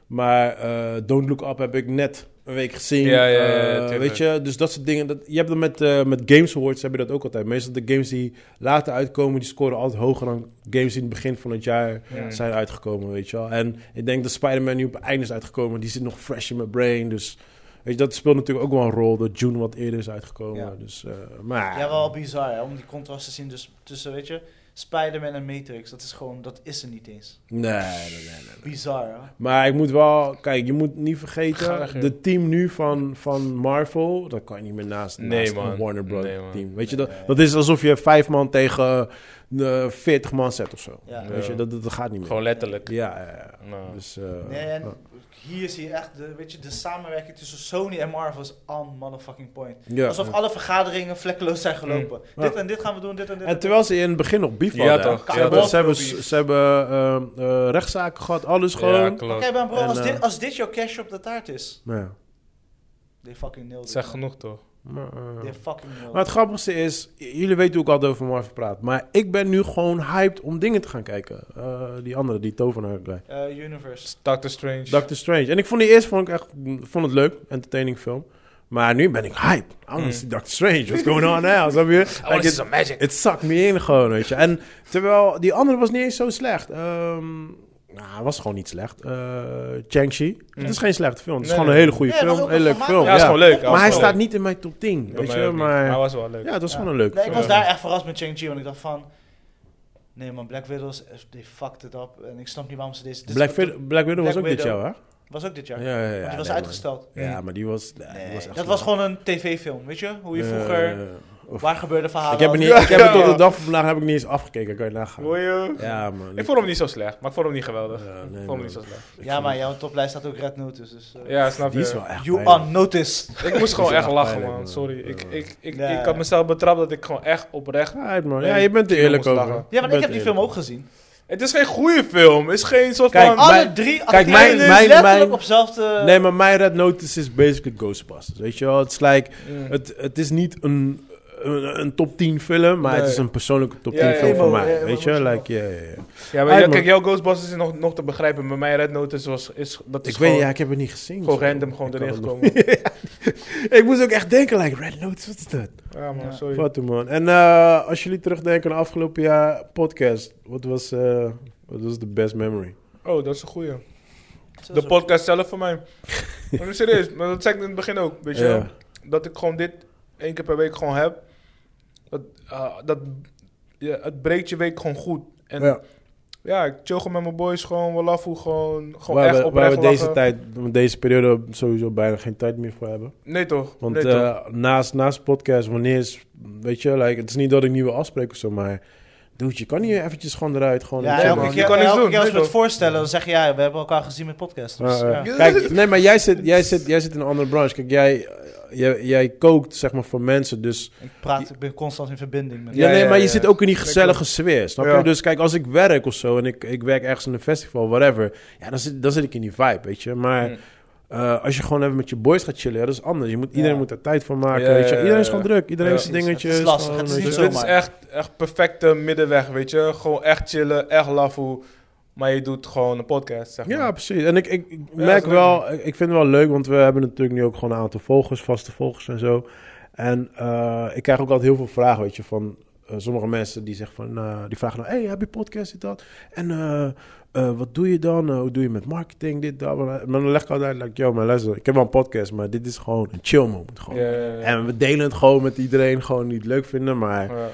[SPEAKER 2] Maar eh, Don't Look Up heb ik net een week gezien.
[SPEAKER 4] Ja, ja, ja, ja,
[SPEAKER 2] Eh,
[SPEAKER 4] tuurlijk.
[SPEAKER 2] weet je, dus dat soort dingen. Dat, je hebt dat met, eh, met Games Awards heb je dat ook altijd. Meestal de games die later uitkomen, die scoren altijd hoger dan games die in het begin van het jaar
[SPEAKER 4] Ja.
[SPEAKER 2] zijn uitgekomen, weet je wel. En ik denk dat Spider-Man nu op het einde is uitgekomen. Die zit nog fresh in mijn brain, dus... Weet je, dat speelt natuurlijk ook wel een rol dat June wat eerder is uitgekomen.
[SPEAKER 1] Ja.
[SPEAKER 2] Dus, eh, maar
[SPEAKER 1] ja, wel bizar hè, om die contrast te zien dus, tussen, weet je, Spider-Man en Matrix. Dat is gewoon, dat is er niet eens.
[SPEAKER 2] Nee, nee, nee, nee.
[SPEAKER 1] Bizar hè?
[SPEAKER 2] Maar ik moet wel, kijk, je moet niet
[SPEAKER 4] Ga weg,
[SPEAKER 2] vergeten,
[SPEAKER 4] joh.
[SPEAKER 2] de team nu van, van Marvel, dat kan je niet meer naast,
[SPEAKER 4] Nee,
[SPEAKER 2] naast
[SPEAKER 4] man.
[SPEAKER 2] een Warner Bros.
[SPEAKER 4] Nee, man.
[SPEAKER 2] team. Weet je, dat, dat is alsof je vijf man tegen eh 40 man zet of zo.
[SPEAKER 1] Ja.
[SPEAKER 2] Weet je, dat, dat, dat gaat niet meer.
[SPEAKER 4] Gewoon letterlijk.
[SPEAKER 2] Ja, ja, ja.
[SPEAKER 4] Nou.
[SPEAKER 2] Dus, eh,
[SPEAKER 1] Nee, en
[SPEAKER 2] ja.
[SPEAKER 1] hier zie je echt, de, weet je, de samenwerking tussen Sony en Marvel is on motherfucking point.
[SPEAKER 2] ja.
[SPEAKER 1] Alsof alle vergaderingen vlekkeloos zijn gelopen.
[SPEAKER 2] Ja.
[SPEAKER 1] Dit en dit gaan we doen, dit en dit.
[SPEAKER 2] En terwijl ze in het begin nog beef
[SPEAKER 4] Ja,
[SPEAKER 2] hadden, hè.
[SPEAKER 4] toch.
[SPEAKER 2] Ze
[SPEAKER 1] Ja,
[SPEAKER 2] hebben,
[SPEAKER 1] toch.
[SPEAKER 2] ze hebben,
[SPEAKER 3] Veel beef.
[SPEAKER 2] ze hebben ehm, eh, rechtszaken gehad, alles
[SPEAKER 4] Ja,
[SPEAKER 2] dus gewoon.
[SPEAKER 4] klopt.
[SPEAKER 1] Oké, maar bro,
[SPEAKER 2] En,
[SPEAKER 1] als,
[SPEAKER 2] eh,
[SPEAKER 1] dit, als dit jouw cash op de taart is,
[SPEAKER 2] Ja.
[SPEAKER 1] they fucking nailed
[SPEAKER 4] Dat
[SPEAKER 1] it.
[SPEAKER 4] is echt
[SPEAKER 1] man.
[SPEAKER 4] genoeg, toch?
[SPEAKER 2] Maar, eh,
[SPEAKER 1] They're fucking milk.
[SPEAKER 2] maar het grappigste is, j- jullie weten hoe ik altijd over Marvel praat. Maar ik ben nu gewoon hyped om dingen te gaan kijken. Eh, die andere, die tovenaar guy.
[SPEAKER 1] Eh, universe.
[SPEAKER 3] Doctor Strange.
[SPEAKER 2] Doctor Strange. En ik vond die eerst vond ik echt, vond het leuk, entertaining film. Maar nu ben ik hype. I wanna
[SPEAKER 3] Mm.
[SPEAKER 2] see Doctor Strange. What's going on now? Snap je?
[SPEAKER 3] I wanna
[SPEAKER 2] Like,
[SPEAKER 3] see
[SPEAKER 2] it-
[SPEAKER 3] some magic.
[SPEAKER 2] Het zakt me in gewoon, weet je. En terwijl die andere was niet eens zo slecht. Ehm nou, hij was gewoon niet slecht. Eh Chang-Chi. Het is geen slechte film. Het is
[SPEAKER 3] Hmm.
[SPEAKER 2] gewoon een
[SPEAKER 3] Nee, nee.
[SPEAKER 2] hele goede
[SPEAKER 1] Nee, het was
[SPEAKER 2] film. Een
[SPEAKER 1] ook
[SPEAKER 2] hele
[SPEAKER 1] een
[SPEAKER 2] leuke film.
[SPEAKER 3] Ja, is
[SPEAKER 2] ja.
[SPEAKER 3] gewoon leuk.
[SPEAKER 2] Maar hij
[SPEAKER 3] wel
[SPEAKER 2] staat
[SPEAKER 3] leuk.
[SPEAKER 2] niet in mijn top 10,
[SPEAKER 3] Bij
[SPEAKER 2] weet
[SPEAKER 3] mij
[SPEAKER 2] je.
[SPEAKER 3] ook niet. Maar hij
[SPEAKER 2] Maar
[SPEAKER 3] was wel leuk.
[SPEAKER 2] ja, het was
[SPEAKER 1] Ja.
[SPEAKER 2] gewoon een leuk
[SPEAKER 1] Nee, ik was
[SPEAKER 2] film.
[SPEAKER 1] daar echt verrast met Chang-Chi, want ik dacht van... Nee man, Black Widows, they fucked it up. En ik snap niet waarom ze deze... dit-
[SPEAKER 2] Dus Black, Vid- Black Widow was
[SPEAKER 1] Black
[SPEAKER 2] ook dit
[SPEAKER 1] Widow.
[SPEAKER 2] jaar, hè?
[SPEAKER 1] was ook dit jaar.
[SPEAKER 2] Ja, ja, ja.
[SPEAKER 1] Want die was
[SPEAKER 2] nee,
[SPEAKER 1] uitgesteld.
[SPEAKER 2] maar- Ja, maar die was... nee, die
[SPEAKER 1] Nee,
[SPEAKER 2] was echt
[SPEAKER 1] dat was
[SPEAKER 2] slecht.
[SPEAKER 1] gewoon een tv-film, weet je? Hoe je
[SPEAKER 2] Eh,
[SPEAKER 1] vroeger...
[SPEAKER 2] of-
[SPEAKER 1] waar gebeurde verhalen...
[SPEAKER 2] Ik heb, het
[SPEAKER 1] als-
[SPEAKER 2] niet, ik heb het tot de dag van vandaag heb ik niet eens afgekeken. Kan je nagaan.
[SPEAKER 3] Hoor je?
[SPEAKER 2] Ja, man.
[SPEAKER 3] Ik vond hem niet zo slecht, maar ik vond hem niet geweldig.
[SPEAKER 2] Ja, nee,
[SPEAKER 3] ik vond
[SPEAKER 2] man.
[SPEAKER 3] hem niet zo slecht.
[SPEAKER 2] Ik
[SPEAKER 1] Ja,
[SPEAKER 2] vond-
[SPEAKER 1] maar jouw toplijst staat ook Red Notice, dus... eh,
[SPEAKER 3] Ja, snap
[SPEAKER 2] Die
[SPEAKER 3] je.
[SPEAKER 2] is wel echt
[SPEAKER 1] You
[SPEAKER 2] pijnlijk.
[SPEAKER 1] are noticed.
[SPEAKER 3] Ik moest gewoon
[SPEAKER 2] Die is
[SPEAKER 3] echt
[SPEAKER 2] echt
[SPEAKER 3] lachen,
[SPEAKER 2] pijnlijk,
[SPEAKER 3] man.
[SPEAKER 2] man.
[SPEAKER 3] Sorry.
[SPEAKER 2] Ja,
[SPEAKER 3] Ik,
[SPEAKER 2] man.
[SPEAKER 3] ik, ik,
[SPEAKER 1] Ja.
[SPEAKER 3] ik had mezelf betrapt dat ik gewoon echt oprecht...
[SPEAKER 2] Uit, man.
[SPEAKER 3] Nee,
[SPEAKER 2] ja, je bent er
[SPEAKER 3] die
[SPEAKER 2] eerlijk
[SPEAKER 3] jongens
[SPEAKER 2] over.
[SPEAKER 3] lachen.
[SPEAKER 1] Ja, maar
[SPEAKER 2] Je
[SPEAKER 1] ik
[SPEAKER 2] bent
[SPEAKER 1] heb
[SPEAKER 2] er
[SPEAKER 1] die
[SPEAKER 2] eerlijk
[SPEAKER 1] film ook gezien.
[SPEAKER 3] Het is geen goede film. Het is geen soort
[SPEAKER 2] Kijk,
[SPEAKER 3] van...
[SPEAKER 2] maar-
[SPEAKER 1] Alle drie
[SPEAKER 2] kijk,
[SPEAKER 1] acteren dus
[SPEAKER 2] mijn- mijn-
[SPEAKER 1] letterlijk
[SPEAKER 2] mijn-
[SPEAKER 1] op hetzelfde...
[SPEAKER 2] over. Nee, maar mijn Red Notice is basically Ghostbusters. Weet je wel? Het is, like,
[SPEAKER 3] Mm.
[SPEAKER 2] het, het is niet een, een, een top 10 film, maar het
[SPEAKER 3] Nee.
[SPEAKER 2] is een persoonlijke top
[SPEAKER 3] Ja,
[SPEAKER 2] 10
[SPEAKER 3] ja,
[SPEAKER 2] film
[SPEAKER 3] ja.
[SPEAKER 2] voor
[SPEAKER 1] Emo,
[SPEAKER 2] mij.
[SPEAKER 1] ja,
[SPEAKER 2] weet je?
[SPEAKER 1] emotioneel.
[SPEAKER 2] Like, ja, ja, ja.
[SPEAKER 3] Ja,
[SPEAKER 2] Uit,
[SPEAKER 3] maar ja,
[SPEAKER 2] man.
[SPEAKER 3] kijk, jouw Ghostbusters is nog, nog te begrijpen. Bij mij Red Notice was, is... Dat is
[SPEAKER 2] Ik
[SPEAKER 3] gewoon,
[SPEAKER 2] weet, ja, ik heb het niet gezien.
[SPEAKER 3] gewoon
[SPEAKER 2] zo.
[SPEAKER 3] random gewoon
[SPEAKER 2] Ik
[SPEAKER 3] erin
[SPEAKER 2] had het nog-
[SPEAKER 3] gekomen.
[SPEAKER 2] Ik moest ook echt denken, like, Red Notice, wat is dat?
[SPEAKER 3] ja, man.
[SPEAKER 1] Ja.
[SPEAKER 3] Sorry.
[SPEAKER 2] Wat doen, man. En eh, als jullie terugdenken aan afgelopen jaar podcast, wat was, eh, wat was de best memory?
[SPEAKER 3] Oh, dat is een goeie.
[SPEAKER 1] Zo,
[SPEAKER 3] De
[SPEAKER 1] zo.
[SPEAKER 3] podcast zelf van mij. Maar nu serieus, maar dat zei ik in het begin ook. Weet je wel?
[SPEAKER 2] Ja.
[SPEAKER 3] Dat ik gewoon dit één keer per week gewoon heb. Dat, eh, dat, ja, het breekt je week gewoon goed. En ja,
[SPEAKER 2] Ja.
[SPEAKER 3] ik chill gewoon met mijn boys. Gewoon, we laffen gewoon, gewoon
[SPEAKER 2] Waar
[SPEAKER 3] echt
[SPEAKER 2] we, waar
[SPEAKER 3] oprecht
[SPEAKER 2] we deze,
[SPEAKER 3] lachen.
[SPEAKER 2] tijd, deze periode sowieso bijna geen tijd meer voor hebben.
[SPEAKER 3] Nee toch?
[SPEAKER 2] Want
[SPEAKER 3] nee, toch?
[SPEAKER 2] eh, naast, naast podcast, wanneer is, weet je, like, het is niet dat ik nieuwe afspreek of zo, maar dude, je kan hier eventjes gewoon eruit. Gewoon
[SPEAKER 1] Ja,
[SPEAKER 3] Nee,
[SPEAKER 1] elke
[SPEAKER 3] man.
[SPEAKER 1] keer,
[SPEAKER 3] Je kan niks
[SPEAKER 1] elke
[SPEAKER 3] doen,
[SPEAKER 1] keer als we
[SPEAKER 3] nee,
[SPEAKER 1] het
[SPEAKER 3] toch?
[SPEAKER 1] voorstellen, dan zeg je ja, we hebben elkaar gezien met podcasts. Dus,
[SPEAKER 2] Eh,
[SPEAKER 1] ja.
[SPEAKER 2] eh, Kijk, nee, maar jij zit, jij, zit, jij zit in een andere branche. Kijk, jij, eh, jij, jij kookt zeg maar voor mensen, dus...
[SPEAKER 1] Ik praat, ik ben constant in verbinding met eh,
[SPEAKER 2] Ja,
[SPEAKER 3] Ja,
[SPEAKER 2] nee,
[SPEAKER 3] ja,
[SPEAKER 2] maar je
[SPEAKER 3] ja.
[SPEAKER 2] zit ook in die gezellige
[SPEAKER 3] klopt.
[SPEAKER 2] sfeer, snap
[SPEAKER 3] Ja.
[SPEAKER 2] je? Dus kijk, als ik werk of zo en ik, ik werk ergens in een festival, whatever... Ja, dan zit, dan zit ik in die vibe, weet je? Maar
[SPEAKER 1] Hmm.
[SPEAKER 3] Mm.
[SPEAKER 2] eh, als je gewoon even met je boys gaat chillen, ja, dat is anders. Je moet, iedereen
[SPEAKER 1] Ja.
[SPEAKER 2] moet er tijd van maken,
[SPEAKER 3] Ja,
[SPEAKER 2] weet je?
[SPEAKER 3] ja, ja,
[SPEAKER 2] Iedereen is gewoon
[SPEAKER 3] ja.
[SPEAKER 2] druk, iedereen
[SPEAKER 3] Ja.
[SPEAKER 2] heeft zijn
[SPEAKER 1] Precies, het is
[SPEAKER 2] dingetjes.
[SPEAKER 1] lastig,
[SPEAKER 2] gewoon,
[SPEAKER 1] het is
[SPEAKER 2] weet
[SPEAKER 1] niet
[SPEAKER 2] je.
[SPEAKER 3] Dus dit is
[SPEAKER 1] zomaar.
[SPEAKER 3] echt, echt perfecte middenweg, weet je. Gewoon echt chillen, echt laffen. Maar je doet gewoon een podcast, zeg maar.
[SPEAKER 2] Ja, precies. En ik, ik, ik
[SPEAKER 3] dat
[SPEAKER 2] merk
[SPEAKER 3] is leuk,
[SPEAKER 2] wel, ik ik vind het wel leuk, want we hebben natuurlijk nu ook gewoon een aantal volgers, vaste volgers en zo. En eh, ik krijg ook altijd heel veel vragen, weet je, van eh, sommige mensen die zeggen van, eh, die vragen nou, hey, heb je podcast, dit, dat? En eh, eh, wat doe je dan? Eh, hoe doe je met marketing, dit, dat? Maar dan leg ik altijd, like, yo, maar luister, ik heb wel een podcast, maar dit is gewoon een chill moment, gewoon.
[SPEAKER 3] Ja, ja, ja.
[SPEAKER 2] En we delen het gewoon met iedereen, gewoon die het leuk vinden, maar
[SPEAKER 3] Ja.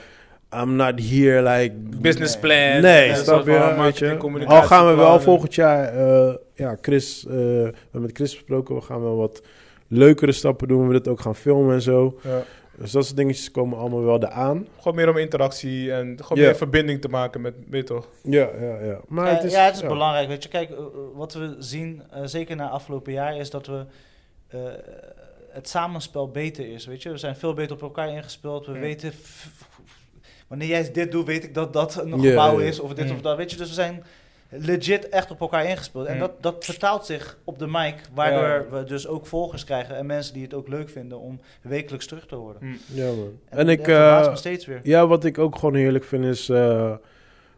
[SPEAKER 2] I'm not here, like...
[SPEAKER 3] Business plan.
[SPEAKER 2] Nee,
[SPEAKER 3] en
[SPEAKER 2] snap
[SPEAKER 3] soort van
[SPEAKER 2] je? Weet
[SPEAKER 3] marketing,
[SPEAKER 2] je? Al
[SPEAKER 3] communicatie,
[SPEAKER 2] gaan we wel
[SPEAKER 3] plannen.
[SPEAKER 2] volgend jaar, eh, ja, Chris, eh, we hebben met Chris besproken, we gaan wel wat leukere stappen doen. We willen het ook gaan filmen en zo.
[SPEAKER 3] Ja.
[SPEAKER 2] Dus dat soort dingetjes komen allemaal wel eraan.
[SPEAKER 3] Gewoon meer om interactie en gewoon
[SPEAKER 2] Ja.
[SPEAKER 3] meer verbinding te maken met, weet je toch?
[SPEAKER 2] Ja, ja, ja. Maar
[SPEAKER 1] Eh,
[SPEAKER 2] het is,
[SPEAKER 1] ja, het is
[SPEAKER 2] ja.
[SPEAKER 1] belangrijk. Weet je, kijk, eh, eh, wat we zien, eh, zeker na afgelopen jaar, is dat we eh, het samenspel beter is. Weet je, we zijn veel beter op elkaar ingespeeld. We
[SPEAKER 3] Mm.
[SPEAKER 1] weten. f- f- Wanneer jij dit doet, weet ik dat dat een
[SPEAKER 2] Ja,
[SPEAKER 1] gebouw
[SPEAKER 2] ja.
[SPEAKER 1] is. Of dit
[SPEAKER 3] Mm.
[SPEAKER 1] of dat. Weet je, dus we zijn legit echt op elkaar ingespeeld. En
[SPEAKER 3] Mm.
[SPEAKER 1] dat, dat vertaalt zich op de mic. Waardoor
[SPEAKER 3] Ja.
[SPEAKER 1] we dus ook volgers krijgen. En mensen die het ook leuk vinden om wekelijks terug te horen.
[SPEAKER 2] Ja, man. En,
[SPEAKER 1] dat
[SPEAKER 2] ik,
[SPEAKER 1] verbaast
[SPEAKER 2] eh,
[SPEAKER 1] me steeds weer.
[SPEAKER 2] ja, wat ik ook gewoon heerlijk vind is, eh,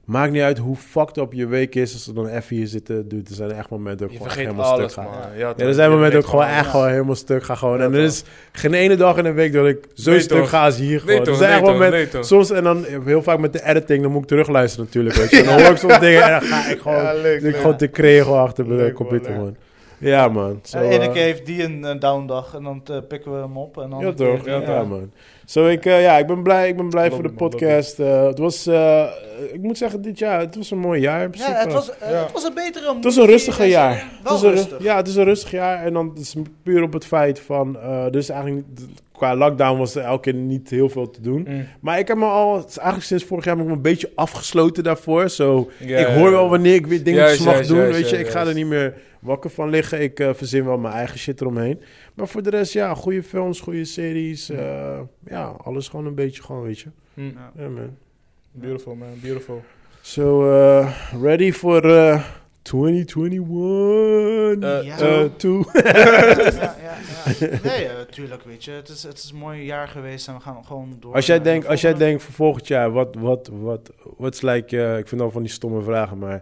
[SPEAKER 2] maakt niet uit hoe fucked up je week is, als we dan even hier zitten, dude, er zijn echt momenten dat
[SPEAKER 3] Je
[SPEAKER 2] ik gewoon
[SPEAKER 3] vergeet
[SPEAKER 2] helemaal
[SPEAKER 3] alles,
[SPEAKER 2] stuk ga.
[SPEAKER 3] man.
[SPEAKER 1] Ja.
[SPEAKER 3] toch.
[SPEAKER 2] Ja, er zijn
[SPEAKER 3] Je
[SPEAKER 2] momenten dat ik
[SPEAKER 3] denkt
[SPEAKER 2] gewoon
[SPEAKER 3] van,
[SPEAKER 2] echt
[SPEAKER 1] ja.
[SPEAKER 2] gewoon helemaal stuk ga. Gewoon.
[SPEAKER 3] Ja,
[SPEAKER 2] en er
[SPEAKER 3] toch.
[SPEAKER 2] is geen ene dag in een week dat ik zo
[SPEAKER 3] Nee,
[SPEAKER 2] stuk
[SPEAKER 3] toch.
[SPEAKER 2] ga als hier gewoon.
[SPEAKER 3] Nee
[SPEAKER 2] er
[SPEAKER 3] toch,
[SPEAKER 2] zijn
[SPEAKER 3] nee
[SPEAKER 2] echt
[SPEAKER 3] toch,
[SPEAKER 2] momenten-
[SPEAKER 3] nee toch.
[SPEAKER 2] Soms, en dan heel vaak met de editing, dan moet ik terugluisteren natuurlijk. Weet je. En dan hoor ik soms dingen en dan ga ik gewoon,
[SPEAKER 3] Ja, leuk,
[SPEAKER 2] zit ik
[SPEAKER 3] leuk.
[SPEAKER 2] gewoon te kregel achter de
[SPEAKER 3] Leuk,
[SPEAKER 2] computer,
[SPEAKER 3] man,
[SPEAKER 2] man. Ja, man. Zo,
[SPEAKER 1] En de ene
[SPEAKER 2] eh,
[SPEAKER 1] keer heeft die een eh, downdag en dan eh, pikken we hem op. En dan eh,
[SPEAKER 2] ja, toch? Ja,
[SPEAKER 3] ja.
[SPEAKER 2] man. Zo, ik, eh, ja, ik ben blij, ik ben blij
[SPEAKER 3] Lobby,
[SPEAKER 2] voor de
[SPEAKER 3] man, lobby.
[SPEAKER 2] podcast. Eh, het was, eh, ik moet zeggen, dit jaar, het was een mooi jaar. in
[SPEAKER 1] Ja,
[SPEAKER 2] principe.
[SPEAKER 1] het was, eh,
[SPEAKER 3] Ja.
[SPEAKER 1] het was een betere
[SPEAKER 2] Het was een rustiger jaar.
[SPEAKER 1] Wel
[SPEAKER 2] het is een ru-
[SPEAKER 1] rustig.
[SPEAKER 2] Ja, het is een rustig jaar. En dan is het puur op het feit van... eh, dus eigenlijk niet- qua lockdown was er elke keer niet heel veel te doen.
[SPEAKER 3] Mm.
[SPEAKER 2] Maar ik heb me al... het is Eigenlijk sinds vorig jaar heb ik me een beetje afgesloten daarvoor. Zo,
[SPEAKER 3] Ja,
[SPEAKER 2] ik
[SPEAKER 3] ja,
[SPEAKER 2] hoor
[SPEAKER 3] ja.
[SPEAKER 2] wel wanneer ik weer dingen
[SPEAKER 3] Juist,
[SPEAKER 2] mag
[SPEAKER 3] juist,
[SPEAKER 2] doen.
[SPEAKER 3] juist,
[SPEAKER 2] weet je,
[SPEAKER 3] juist,
[SPEAKER 2] ik ga er
[SPEAKER 3] juist.
[SPEAKER 2] niet meer wakker van liggen. Ik eh, verzin wel mijn eigen shit eromheen. Maar voor de rest, ja, goede films, goede series. eh, ja, alles gewoon een beetje gewoon, weet je.
[SPEAKER 3] Mm.
[SPEAKER 1] Ja.
[SPEAKER 2] Ja, man.
[SPEAKER 3] Beautiful man, beautiful.
[SPEAKER 2] So, eh, ready voor eh, 2021.
[SPEAKER 1] Ja.
[SPEAKER 2] eh eh, two.
[SPEAKER 1] ja, ja, ja. Nee, eh, tuurlijk, weet je. Het is, het is een mooi jaar geweest en we gaan gewoon door.
[SPEAKER 2] Als jij
[SPEAKER 1] naar de
[SPEAKER 2] denkt, als jij
[SPEAKER 1] volgende.
[SPEAKER 2] denkt voor volgend jaar, wat, wat, wat, wat's like, eh, ik vind al van die stomme vragen, maar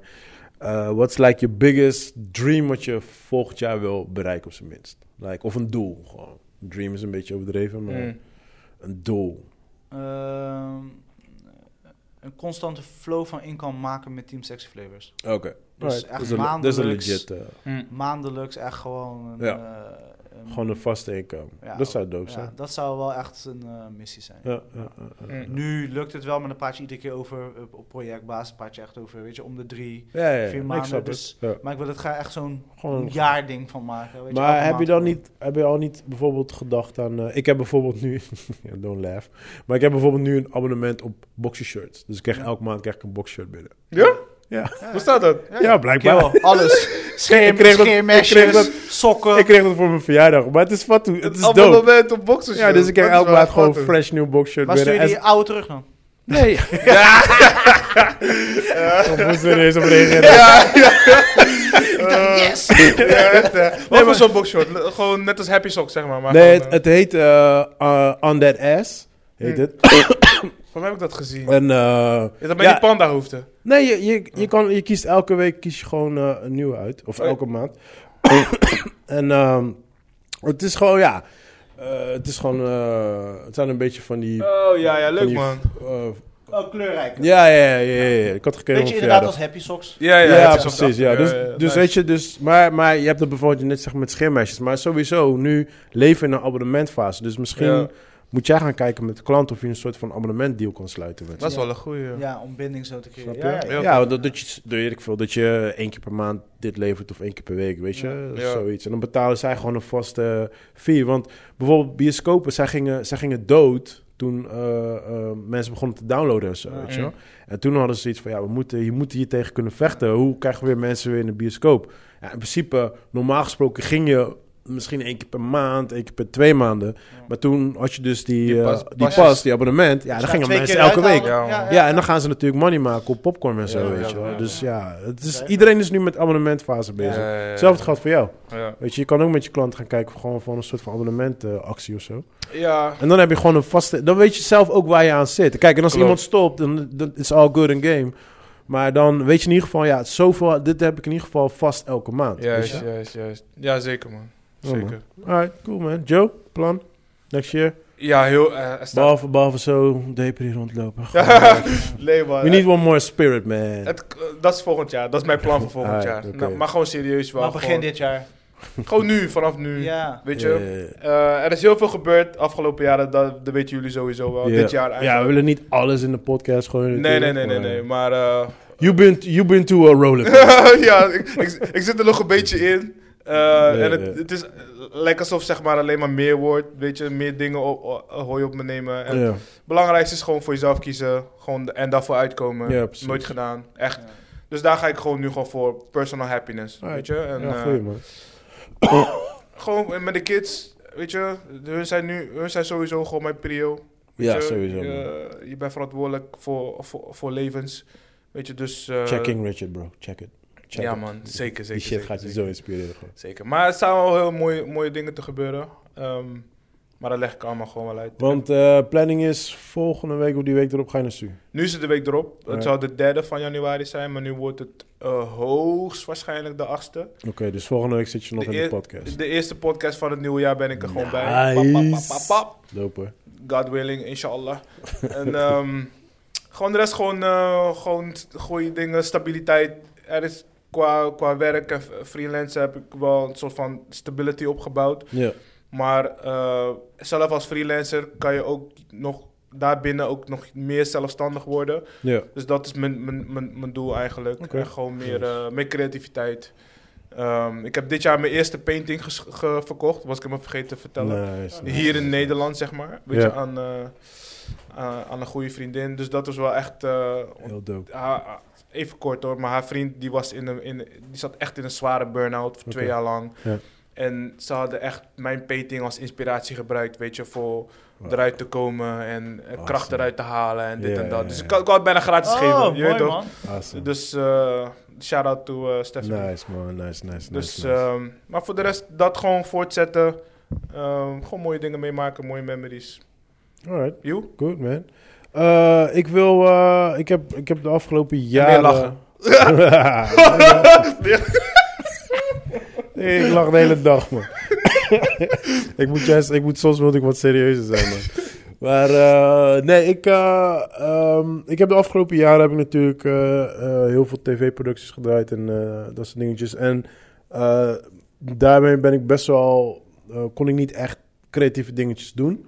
[SPEAKER 2] eh what's like your biggest dream wat je volgend jaar wil bereiken op zijn minst? Like, of een doel gewoon. Dream is een beetje overdreven, maar
[SPEAKER 1] Hmm.
[SPEAKER 5] Mm.
[SPEAKER 2] een doel.
[SPEAKER 1] Ehm, een constante flow van in kan maken met Team Sexy Flavors. Dus
[SPEAKER 2] Oké. Alright,
[SPEAKER 1] echt
[SPEAKER 2] dat is een-
[SPEAKER 1] maandelijks.
[SPEAKER 2] Dat is een legit, eh,
[SPEAKER 1] Maandelijks echt gewoon een...
[SPEAKER 2] Ja.
[SPEAKER 1] eh, een-
[SPEAKER 2] Hmm. gewoon een vaste inkomen.
[SPEAKER 1] ja,
[SPEAKER 2] dat zou dope
[SPEAKER 1] ja,
[SPEAKER 2] zijn.
[SPEAKER 1] dat zou wel echt een eh, missie zijn.
[SPEAKER 2] Ja, ja, ja, ja, ja.
[SPEAKER 1] Nu lukt het wel, maar dan praat je iedere keer over, eh, op projectbasis praat je echt over, weet je, om de drie.
[SPEAKER 2] Ja, ja, ja,
[SPEAKER 1] Vier
[SPEAKER 2] ik
[SPEAKER 1] maanden,
[SPEAKER 2] snap het.
[SPEAKER 1] dus-
[SPEAKER 2] Ja.
[SPEAKER 1] Maar ik wil het graag echt zo'n
[SPEAKER 2] Gewoon-
[SPEAKER 1] jaarding van maken. Weet je, elke
[SPEAKER 2] Oh. Maar heb je
[SPEAKER 1] maand
[SPEAKER 2] dan
[SPEAKER 1] gewoon.
[SPEAKER 2] niet, heb je al niet bijvoorbeeld gedacht aan. eh, ik heb bijvoorbeeld nu. ja, don't laugh. Maar ik heb bijvoorbeeld nu een abonnement op boxershirts. Dus ik krijg
[SPEAKER 1] Ja.
[SPEAKER 2] elke maand krijg ik een boxershort binnen.
[SPEAKER 3] Ja?
[SPEAKER 2] Ja,
[SPEAKER 3] Hoe staat dat?
[SPEAKER 2] ja, blijkbaar.
[SPEAKER 1] Kill, alles. Scheer,
[SPEAKER 2] Ik kreeg dat- ik kreeg
[SPEAKER 1] scheermesjes,
[SPEAKER 2] dat-
[SPEAKER 1] sokken.
[SPEAKER 2] Ik kreeg dat voor mijn verjaardag. Maar het is wat Het is dope.
[SPEAKER 3] abonnement op boxers.
[SPEAKER 2] Ja, dus ik krijg elke maand gewoon een fresh nieuw boxshirt
[SPEAKER 1] maar stuur
[SPEAKER 2] binnen.
[SPEAKER 1] je die oude terug dan?
[SPEAKER 2] Nee. Ik moest er eens op reageren.
[SPEAKER 1] yes!
[SPEAKER 3] Wat voor zo'n boxshort? L- Gewoon net als Happy Sock, zeg maar. maar
[SPEAKER 2] Nee,
[SPEAKER 3] gewoon,
[SPEAKER 2] het,
[SPEAKER 3] eh,
[SPEAKER 2] het heet eh, eh, On That Ass. Heet
[SPEAKER 3] Hm.
[SPEAKER 2] het.
[SPEAKER 3] Van mij heb ik dat gezien.
[SPEAKER 2] En eh,
[SPEAKER 3] Is dat bij
[SPEAKER 2] ja.
[SPEAKER 3] die panda hoefde?
[SPEAKER 2] Nee, je, je, je, kan, je kiest elke week kies je gewoon eh, een nieuwe uit. Of
[SPEAKER 3] Oh ja.
[SPEAKER 2] elke maand. en ehm, het is gewoon, ja. eh, het is gewoon. eh, het zijn een beetje van die.
[SPEAKER 3] Oh ja, ja,
[SPEAKER 2] van
[SPEAKER 3] leuk
[SPEAKER 2] die,
[SPEAKER 3] man.
[SPEAKER 2] eh,
[SPEAKER 1] Oh, kleurrijk.
[SPEAKER 2] ja, ja, ja, ja, ja. Ik had
[SPEAKER 1] Weet
[SPEAKER 2] gekeken op
[SPEAKER 1] je inderdaad
[SPEAKER 2] verjaardag.
[SPEAKER 1] als Happy Socks?
[SPEAKER 3] Ja,
[SPEAKER 2] Ja,
[SPEAKER 3] ja, het is op
[SPEAKER 2] precies.
[SPEAKER 3] de-
[SPEAKER 2] Ja. Dus, dus
[SPEAKER 3] nice.
[SPEAKER 2] weet je, dus, maar, maar je hebt dat bijvoorbeeld net gezegd met scheermeisjes. Maar sowieso, nu leven we in een abonnementfase. Dus misschien
[SPEAKER 3] Ja.
[SPEAKER 2] moet jij gaan kijken met de klant of je een soort van abonnementdeal kan sluiten. Met ze.
[SPEAKER 3] Dat is wel een goeie. ja.
[SPEAKER 1] Ja, om binding zo te
[SPEAKER 2] Snap
[SPEAKER 1] creëren.
[SPEAKER 2] je?
[SPEAKER 1] Ja, ja, ja.
[SPEAKER 2] Ja, dat, dat, je, dat weet ik veel, dat je één keer per maand dit levert of één keer per week, weet je,
[SPEAKER 1] Ja.
[SPEAKER 2] of
[SPEAKER 3] Ja.
[SPEAKER 2] zoiets. En dan betalen zij gewoon een vaste fee. Want bijvoorbeeld bioscopen, zij gingen, zij gingen dood toen eh, eh, mensen begonnen te downloaden en zo,
[SPEAKER 1] Ja.
[SPEAKER 2] weet je wel. En toen hadden ze iets van, ja, we moeten, je moet hier tegen kunnen vechten. Hoe krijgen we weer mensen weer in de bioscoop? Ja, in principe, normaal gesproken ging je misschien één keer per maand, één keer per twee maanden. Maar toen had je dus die,
[SPEAKER 3] Die
[SPEAKER 2] eh,
[SPEAKER 3] pas-
[SPEAKER 2] die
[SPEAKER 3] pasjes.
[SPEAKER 2] pas, die abonnement. Ja, dan gingen mensen elke week.
[SPEAKER 3] Ja,
[SPEAKER 2] Ja, en dan gaan ze natuurlijk money maken op popcorn en zo,
[SPEAKER 3] Ja,
[SPEAKER 2] weet
[SPEAKER 3] ja,
[SPEAKER 2] je wel.
[SPEAKER 3] ja.
[SPEAKER 2] Dus ja, het is,
[SPEAKER 1] Ja.
[SPEAKER 2] iedereen is nu met abonnementfase bezig.
[SPEAKER 3] Ja, ja, ja.
[SPEAKER 2] Hetzelfde geldt voor jou.
[SPEAKER 3] Ja.
[SPEAKER 2] Weet je, je kan ook met je klant gaan kijken of gewoon van een soort van abonnementactie of zo.
[SPEAKER 3] Ja.
[SPEAKER 2] En dan heb je gewoon een vaste... Dan weet je zelf ook waar je aan zit. Kijk, en als
[SPEAKER 3] Klopt.
[SPEAKER 2] iemand stopt, dan dan is all good in game. Maar dan weet je in ieder geval, ja, zoveel... Dit heb ik in ieder geval vast elke maand. weet
[SPEAKER 3] Juist,
[SPEAKER 2] je?
[SPEAKER 3] juist, juist. Ja, zeker man.
[SPEAKER 2] Ja, man.
[SPEAKER 3] Zeker.
[SPEAKER 2] Alright, cool man. Joe, plan? Next year?
[SPEAKER 3] Ja, heel... eh, er staat-
[SPEAKER 2] Behalve, behalve zo depri rondlopen.
[SPEAKER 3] Nee man.
[SPEAKER 2] We need one more spirit, man.
[SPEAKER 3] Het, dat is volgend jaar. Dat is mijn plan voor volgend
[SPEAKER 2] Ah,
[SPEAKER 3] jaar.
[SPEAKER 2] oké.
[SPEAKER 3] Nou, maar gewoon serieus wel.
[SPEAKER 1] Maar begin
[SPEAKER 3] gewoon,
[SPEAKER 1] dit jaar.
[SPEAKER 3] gewoon nu, vanaf nu.
[SPEAKER 1] Ja.
[SPEAKER 3] Weet je,
[SPEAKER 2] Yeah.
[SPEAKER 3] eh, er is heel veel gebeurd afgelopen jaren. Dat, dat weten jullie sowieso wel.
[SPEAKER 2] Ja.
[SPEAKER 3] Dit jaar
[SPEAKER 2] Ja, we
[SPEAKER 3] eigenlijk.
[SPEAKER 2] willen niet alles in de podcast gooien.
[SPEAKER 3] nee, nee,
[SPEAKER 2] natuurlijk,
[SPEAKER 3] nee, nee,
[SPEAKER 2] maar-
[SPEAKER 3] nee. Maar eh,
[SPEAKER 2] You've been, you've been to a roller.
[SPEAKER 3] ja, ik, ik, ik zit er nog een beetje in. Eh,
[SPEAKER 2] Nee,
[SPEAKER 3] en het,
[SPEAKER 2] nee.
[SPEAKER 3] het is eh, lijkt alsof zeg maar alleen maar meer wordt. Weet je, meer dingen op, o- hoor je op me nemen. En
[SPEAKER 2] ja,
[SPEAKER 3] Het belangrijkste is gewoon voor jezelf kiezen. Gewoon de- en daarvoor uitkomen.
[SPEAKER 2] Ja, precies.
[SPEAKER 3] Nooit gedaan. Echt.
[SPEAKER 1] Ja.
[SPEAKER 3] Dus daar ga ik gewoon nu gewoon voor. Personal happiness.
[SPEAKER 2] Alright.
[SPEAKER 3] Weet je. En,
[SPEAKER 2] ja
[SPEAKER 3] eh,
[SPEAKER 2] goeie man.
[SPEAKER 3] Gewoon met de kids, weet je, hun zijn nu, hun zijn sowieso gewoon mijn prio. weet
[SPEAKER 2] Ja,
[SPEAKER 3] je.
[SPEAKER 2] sowieso.
[SPEAKER 3] Eh,
[SPEAKER 2] man.
[SPEAKER 3] Je, bent verantwoordelijk voor, voor, voor levens, weet je, dus... eh,
[SPEAKER 2] Checking Richard, bro. Check it. Check
[SPEAKER 3] Ja
[SPEAKER 2] it.
[SPEAKER 3] man, zeker, zeker.
[SPEAKER 2] Die shit
[SPEAKER 3] zeker,
[SPEAKER 2] gaat je
[SPEAKER 3] zeker,
[SPEAKER 2] zo inspireren. Gewoon.
[SPEAKER 3] Zeker, maar het staan wel heel mooie, mooie dingen te gebeuren. Ehm, maar dat leg ik allemaal gewoon wel uit.
[SPEAKER 2] Want eh, planning is volgende week of die week erop ga je naar Su.
[SPEAKER 3] Nu is het de week erop.
[SPEAKER 2] Alright.
[SPEAKER 3] Het zou de derde van januari zijn, maar nu wordt het eh, hoogstwaarschijnlijk de achtste.
[SPEAKER 2] Oké, dus volgende week zit je nog
[SPEAKER 3] De
[SPEAKER 2] in de
[SPEAKER 3] eer-
[SPEAKER 2] podcast.
[SPEAKER 3] De eerste podcast van het nieuwe jaar ben ik er gewoon bij.
[SPEAKER 2] Nice.
[SPEAKER 3] Pap, pap, pap, pap, pap.
[SPEAKER 2] Dope hoor.
[SPEAKER 3] God willing, inshallah. en ehm, gewoon de rest, gewoon, eh, gewoon st- goede dingen, stabiliteit. Er is qua, qua werk en f- freelance heb ik wel een soort van stability opgebouwd.
[SPEAKER 2] Ja,
[SPEAKER 3] Maar eh, zelf als freelancer kan je ook nog daarbinnen ook nog meer zelfstandig worden.
[SPEAKER 2] ja.
[SPEAKER 3] Dus dat is mijn, mijn, mijn, mijn doel eigenlijk.
[SPEAKER 2] Oké.
[SPEAKER 3] En gewoon meer, eh, meer creativiteit. Ehm, ik heb dit jaar mijn eerste painting ges- ge- verkocht, was ik hem vergeten te vertellen.
[SPEAKER 2] Nice. nice.
[SPEAKER 3] Hier in Nederland, zeg maar. Weet je,
[SPEAKER 2] Ja.
[SPEAKER 3] aan, eh, aan- aan een goede vriendin. Dus dat was wel echt... eh, ont-
[SPEAKER 2] Heel dope.
[SPEAKER 3] haar- even kort hoor, maar haar vriend die was in een, in, die zat echt in een zware burn-out voor twee
[SPEAKER 2] Oké.
[SPEAKER 3] jaar lang.
[SPEAKER 2] Ja.
[SPEAKER 3] En ze hadden echt mijn peting als inspiratie gebruikt, weet je, voor eruit te komen en eh, kracht
[SPEAKER 2] Awesome.
[SPEAKER 3] eruit te halen en dit
[SPEAKER 2] Ja,
[SPEAKER 3] en dat.
[SPEAKER 2] ja,
[SPEAKER 3] Dus
[SPEAKER 2] ja.
[SPEAKER 3] ik kan ik wou het bijna gratis
[SPEAKER 1] Oh,
[SPEAKER 3] geven, je weet toch?
[SPEAKER 2] Awesome.
[SPEAKER 3] Dus eh, shout-out to eh, Stephanie.
[SPEAKER 2] Nice man, nice, nice, nice.
[SPEAKER 3] Dus,
[SPEAKER 2] nice.
[SPEAKER 3] ehm, maar voor de rest, dat gewoon voortzetten. Ehm, gewoon mooie dingen meemaken, mooie memories. eh,
[SPEAKER 2] Alright,
[SPEAKER 3] You?
[SPEAKER 2] good man. Eh, ik wil, eh, ik, heb, ik heb de afgelopen jaren...
[SPEAKER 3] lachen.
[SPEAKER 2] nee, ik lach de hele dag man. ik moet juist, ik moet soms moet ik wat serieuzer zijn man. Maar eh, nee, ik, eh, ehm, ik heb de afgelopen jaren heb ik natuurlijk eh, eh, heel veel tv-producties gedraaid en eh, dat soort dingetjes. En eh, daarmee ben ik best wel, eh, kon ik niet echt creatieve dingetjes doen.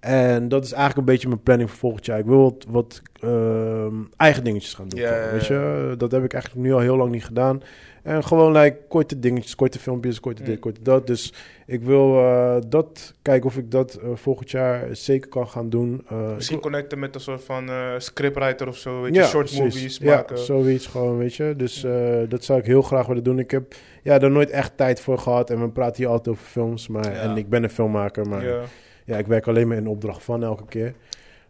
[SPEAKER 2] En dat is eigenlijk een beetje mijn planning voor volgend jaar. Ik wil wat, wat ehm, eigen dingetjes gaan doen.
[SPEAKER 3] Ja, ja, ja.
[SPEAKER 2] Weet je, dat heb ik eigenlijk nu al heel lang niet gedaan. En gewoon like, korte dingetjes, korte filmpjes, korte dit,
[SPEAKER 3] Mm.
[SPEAKER 2] korte dat. Dus ik wil eh, dat kijken of ik dat eh, volgend jaar zeker kan gaan doen. Eh, ik
[SPEAKER 3] Misschien
[SPEAKER 2] wil-
[SPEAKER 3] connecten met een soort van eh, scriptwriter of zo. Weet je,
[SPEAKER 2] Ja,
[SPEAKER 3] short
[SPEAKER 2] precies.
[SPEAKER 3] movies
[SPEAKER 2] ja,
[SPEAKER 3] maken.
[SPEAKER 2] zoiets gewoon, weet je. Dus eh, dat zou ik heel graag willen doen. Ik heb ja, daar nooit echt tijd voor gehad. En we praten hier altijd over films. Maar,
[SPEAKER 3] Ja.
[SPEAKER 2] En ik ben een filmmaker, maar
[SPEAKER 3] Ja.
[SPEAKER 2] ja, ik werk alleen maar in opdracht van elke keer.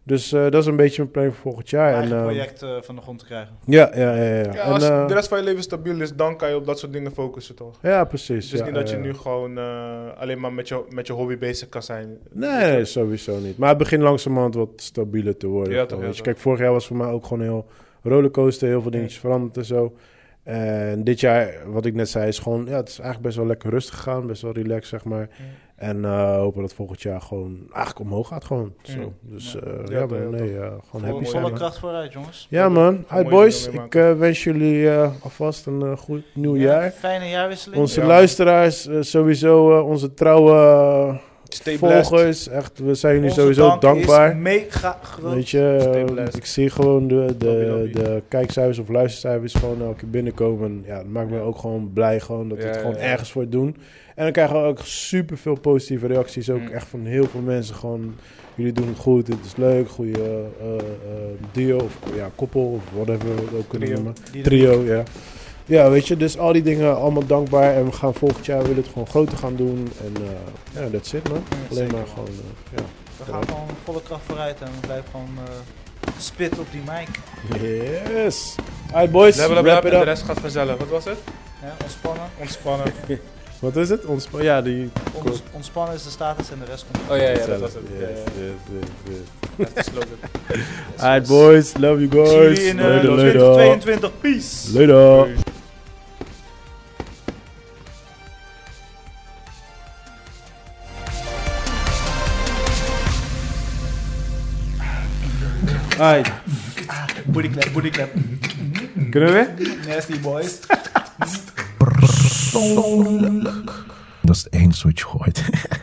[SPEAKER 2] Dus eh, dat is een beetje mijn plan voor volgend jaar. En,
[SPEAKER 1] eigen
[SPEAKER 2] eh,
[SPEAKER 1] project eh, van de grond te krijgen.
[SPEAKER 2] ja, ja, ja. ja.
[SPEAKER 3] Ja,
[SPEAKER 2] En,
[SPEAKER 3] als
[SPEAKER 2] eh,
[SPEAKER 3] de rest van je leven stabiel is, dan kan je op dat soort dingen focussen, toch?
[SPEAKER 2] ja, precies.
[SPEAKER 3] Dus
[SPEAKER 2] ja,
[SPEAKER 3] niet dat je
[SPEAKER 2] ja.
[SPEAKER 3] nu gewoon eh, alleen maar met je, met je hobby bezig kan zijn.
[SPEAKER 2] Nee,
[SPEAKER 3] Weet je?
[SPEAKER 2] sowieso niet. Maar het begint langzamerhand wat stabieler te worden.
[SPEAKER 3] Ja,
[SPEAKER 2] Gewoon,
[SPEAKER 3] toch, ja,
[SPEAKER 2] weet je.
[SPEAKER 3] toch.
[SPEAKER 2] Kijk, vorig jaar was voor mij ook gewoon een heel rollercoaster. Heel veel dingetjes veranderd en zo. En dit jaar, wat ik net zei, is gewoon... Ja, het is eigenlijk best wel lekker rustig gegaan. Best wel relaxed, zeg maar. En eh, hopen dat volgend jaar gewoon eigenlijk omhoog gaat gewoon. Zo. Dus
[SPEAKER 1] Ja.
[SPEAKER 2] eh, ja,
[SPEAKER 3] Ja, toch,
[SPEAKER 2] maar
[SPEAKER 3] ja,
[SPEAKER 2] nee, eh, gewoon happy
[SPEAKER 3] mooi,
[SPEAKER 2] zijn.
[SPEAKER 1] Volle
[SPEAKER 2] man.
[SPEAKER 1] kracht vooruit, jongens.
[SPEAKER 2] Ja man, hi
[SPEAKER 3] Mooie
[SPEAKER 2] boys.
[SPEAKER 3] dingen
[SPEAKER 2] Ik eh, wens jullie eh, alvast een eh, goed nieuw
[SPEAKER 1] Ja,
[SPEAKER 2] jaar.
[SPEAKER 1] fijne jaarwisseling.
[SPEAKER 2] Onze
[SPEAKER 3] Ja, man.
[SPEAKER 2] luisteraars, eh, sowieso eh, onze trouwe... eh,
[SPEAKER 3] Stay blessed.
[SPEAKER 2] volgers. Echt, we zijn jullie
[SPEAKER 1] Onze
[SPEAKER 2] sowieso
[SPEAKER 1] dank Is
[SPEAKER 2] dankbaar.
[SPEAKER 1] mega groot.
[SPEAKER 2] Weet je,
[SPEAKER 3] Stay
[SPEAKER 2] eh,
[SPEAKER 3] blessed.
[SPEAKER 2] ik zie gewoon de, de,
[SPEAKER 3] Lobby, lobby.
[SPEAKER 2] de kijkcijfers of luistercijfers gewoon elke keer binnenkomen. En Ja, dat maakt me ook gewoon blij gewoon dat we het
[SPEAKER 3] Ja,
[SPEAKER 2] gewoon
[SPEAKER 3] ja, ja.
[SPEAKER 2] ergens voor doen. En dan krijgen we ook super veel positieve reacties. Ook
[SPEAKER 3] Mm.
[SPEAKER 2] echt van heel veel mensen. Gewoon, jullie doen het goed, dit is leuk. Goede eh, eh, duo of ja, koppel of whatever we het ook kunnen
[SPEAKER 3] Trio.
[SPEAKER 2] noemen.
[SPEAKER 1] Die-
[SPEAKER 2] Trio, ja. Ja, weet je, dus al die dingen allemaal dankbaar. En we gaan volgend jaar willen het gewoon groter gaan doen. En eh ja, that's it man. Alleen maar gewoon, eh, ja.
[SPEAKER 1] We gaan gewoon volle kracht vooruit en we blijven gewoon eh, spit op die mic.
[SPEAKER 2] Yes. Alright boys,
[SPEAKER 3] Level up,
[SPEAKER 2] wrap
[SPEAKER 3] en
[SPEAKER 2] it
[SPEAKER 3] de
[SPEAKER 2] up.
[SPEAKER 3] rest gaat vanzelf. Wat was het?
[SPEAKER 1] Hè? Ontspannen.
[SPEAKER 3] Ontspannen.
[SPEAKER 2] Wat is het? Ontspan ja, die...
[SPEAKER 1] Ons- ontspannen is de status en de rest komt.
[SPEAKER 3] Oh ja, ja, dat
[SPEAKER 2] Yes,
[SPEAKER 3] was het. Ja, ja,
[SPEAKER 2] yes,
[SPEAKER 3] ja.
[SPEAKER 2] yes, yes.
[SPEAKER 3] Dat is de slogan.
[SPEAKER 2] Alright boys, love you
[SPEAKER 1] Zie
[SPEAKER 2] guys.
[SPEAKER 1] jullie in eh,
[SPEAKER 2] Later, later.
[SPEAKER 1] 2022. Peace.
[SPEAKER 2] Later. Alright,
[SPEAKER 1] Booty clap, booty clap.
[SPEAKER 2] kunnen we weer?
[SPEAKER 1] Nasty boys.
[SPEAKER 6] Dat is het enige wat je hoort.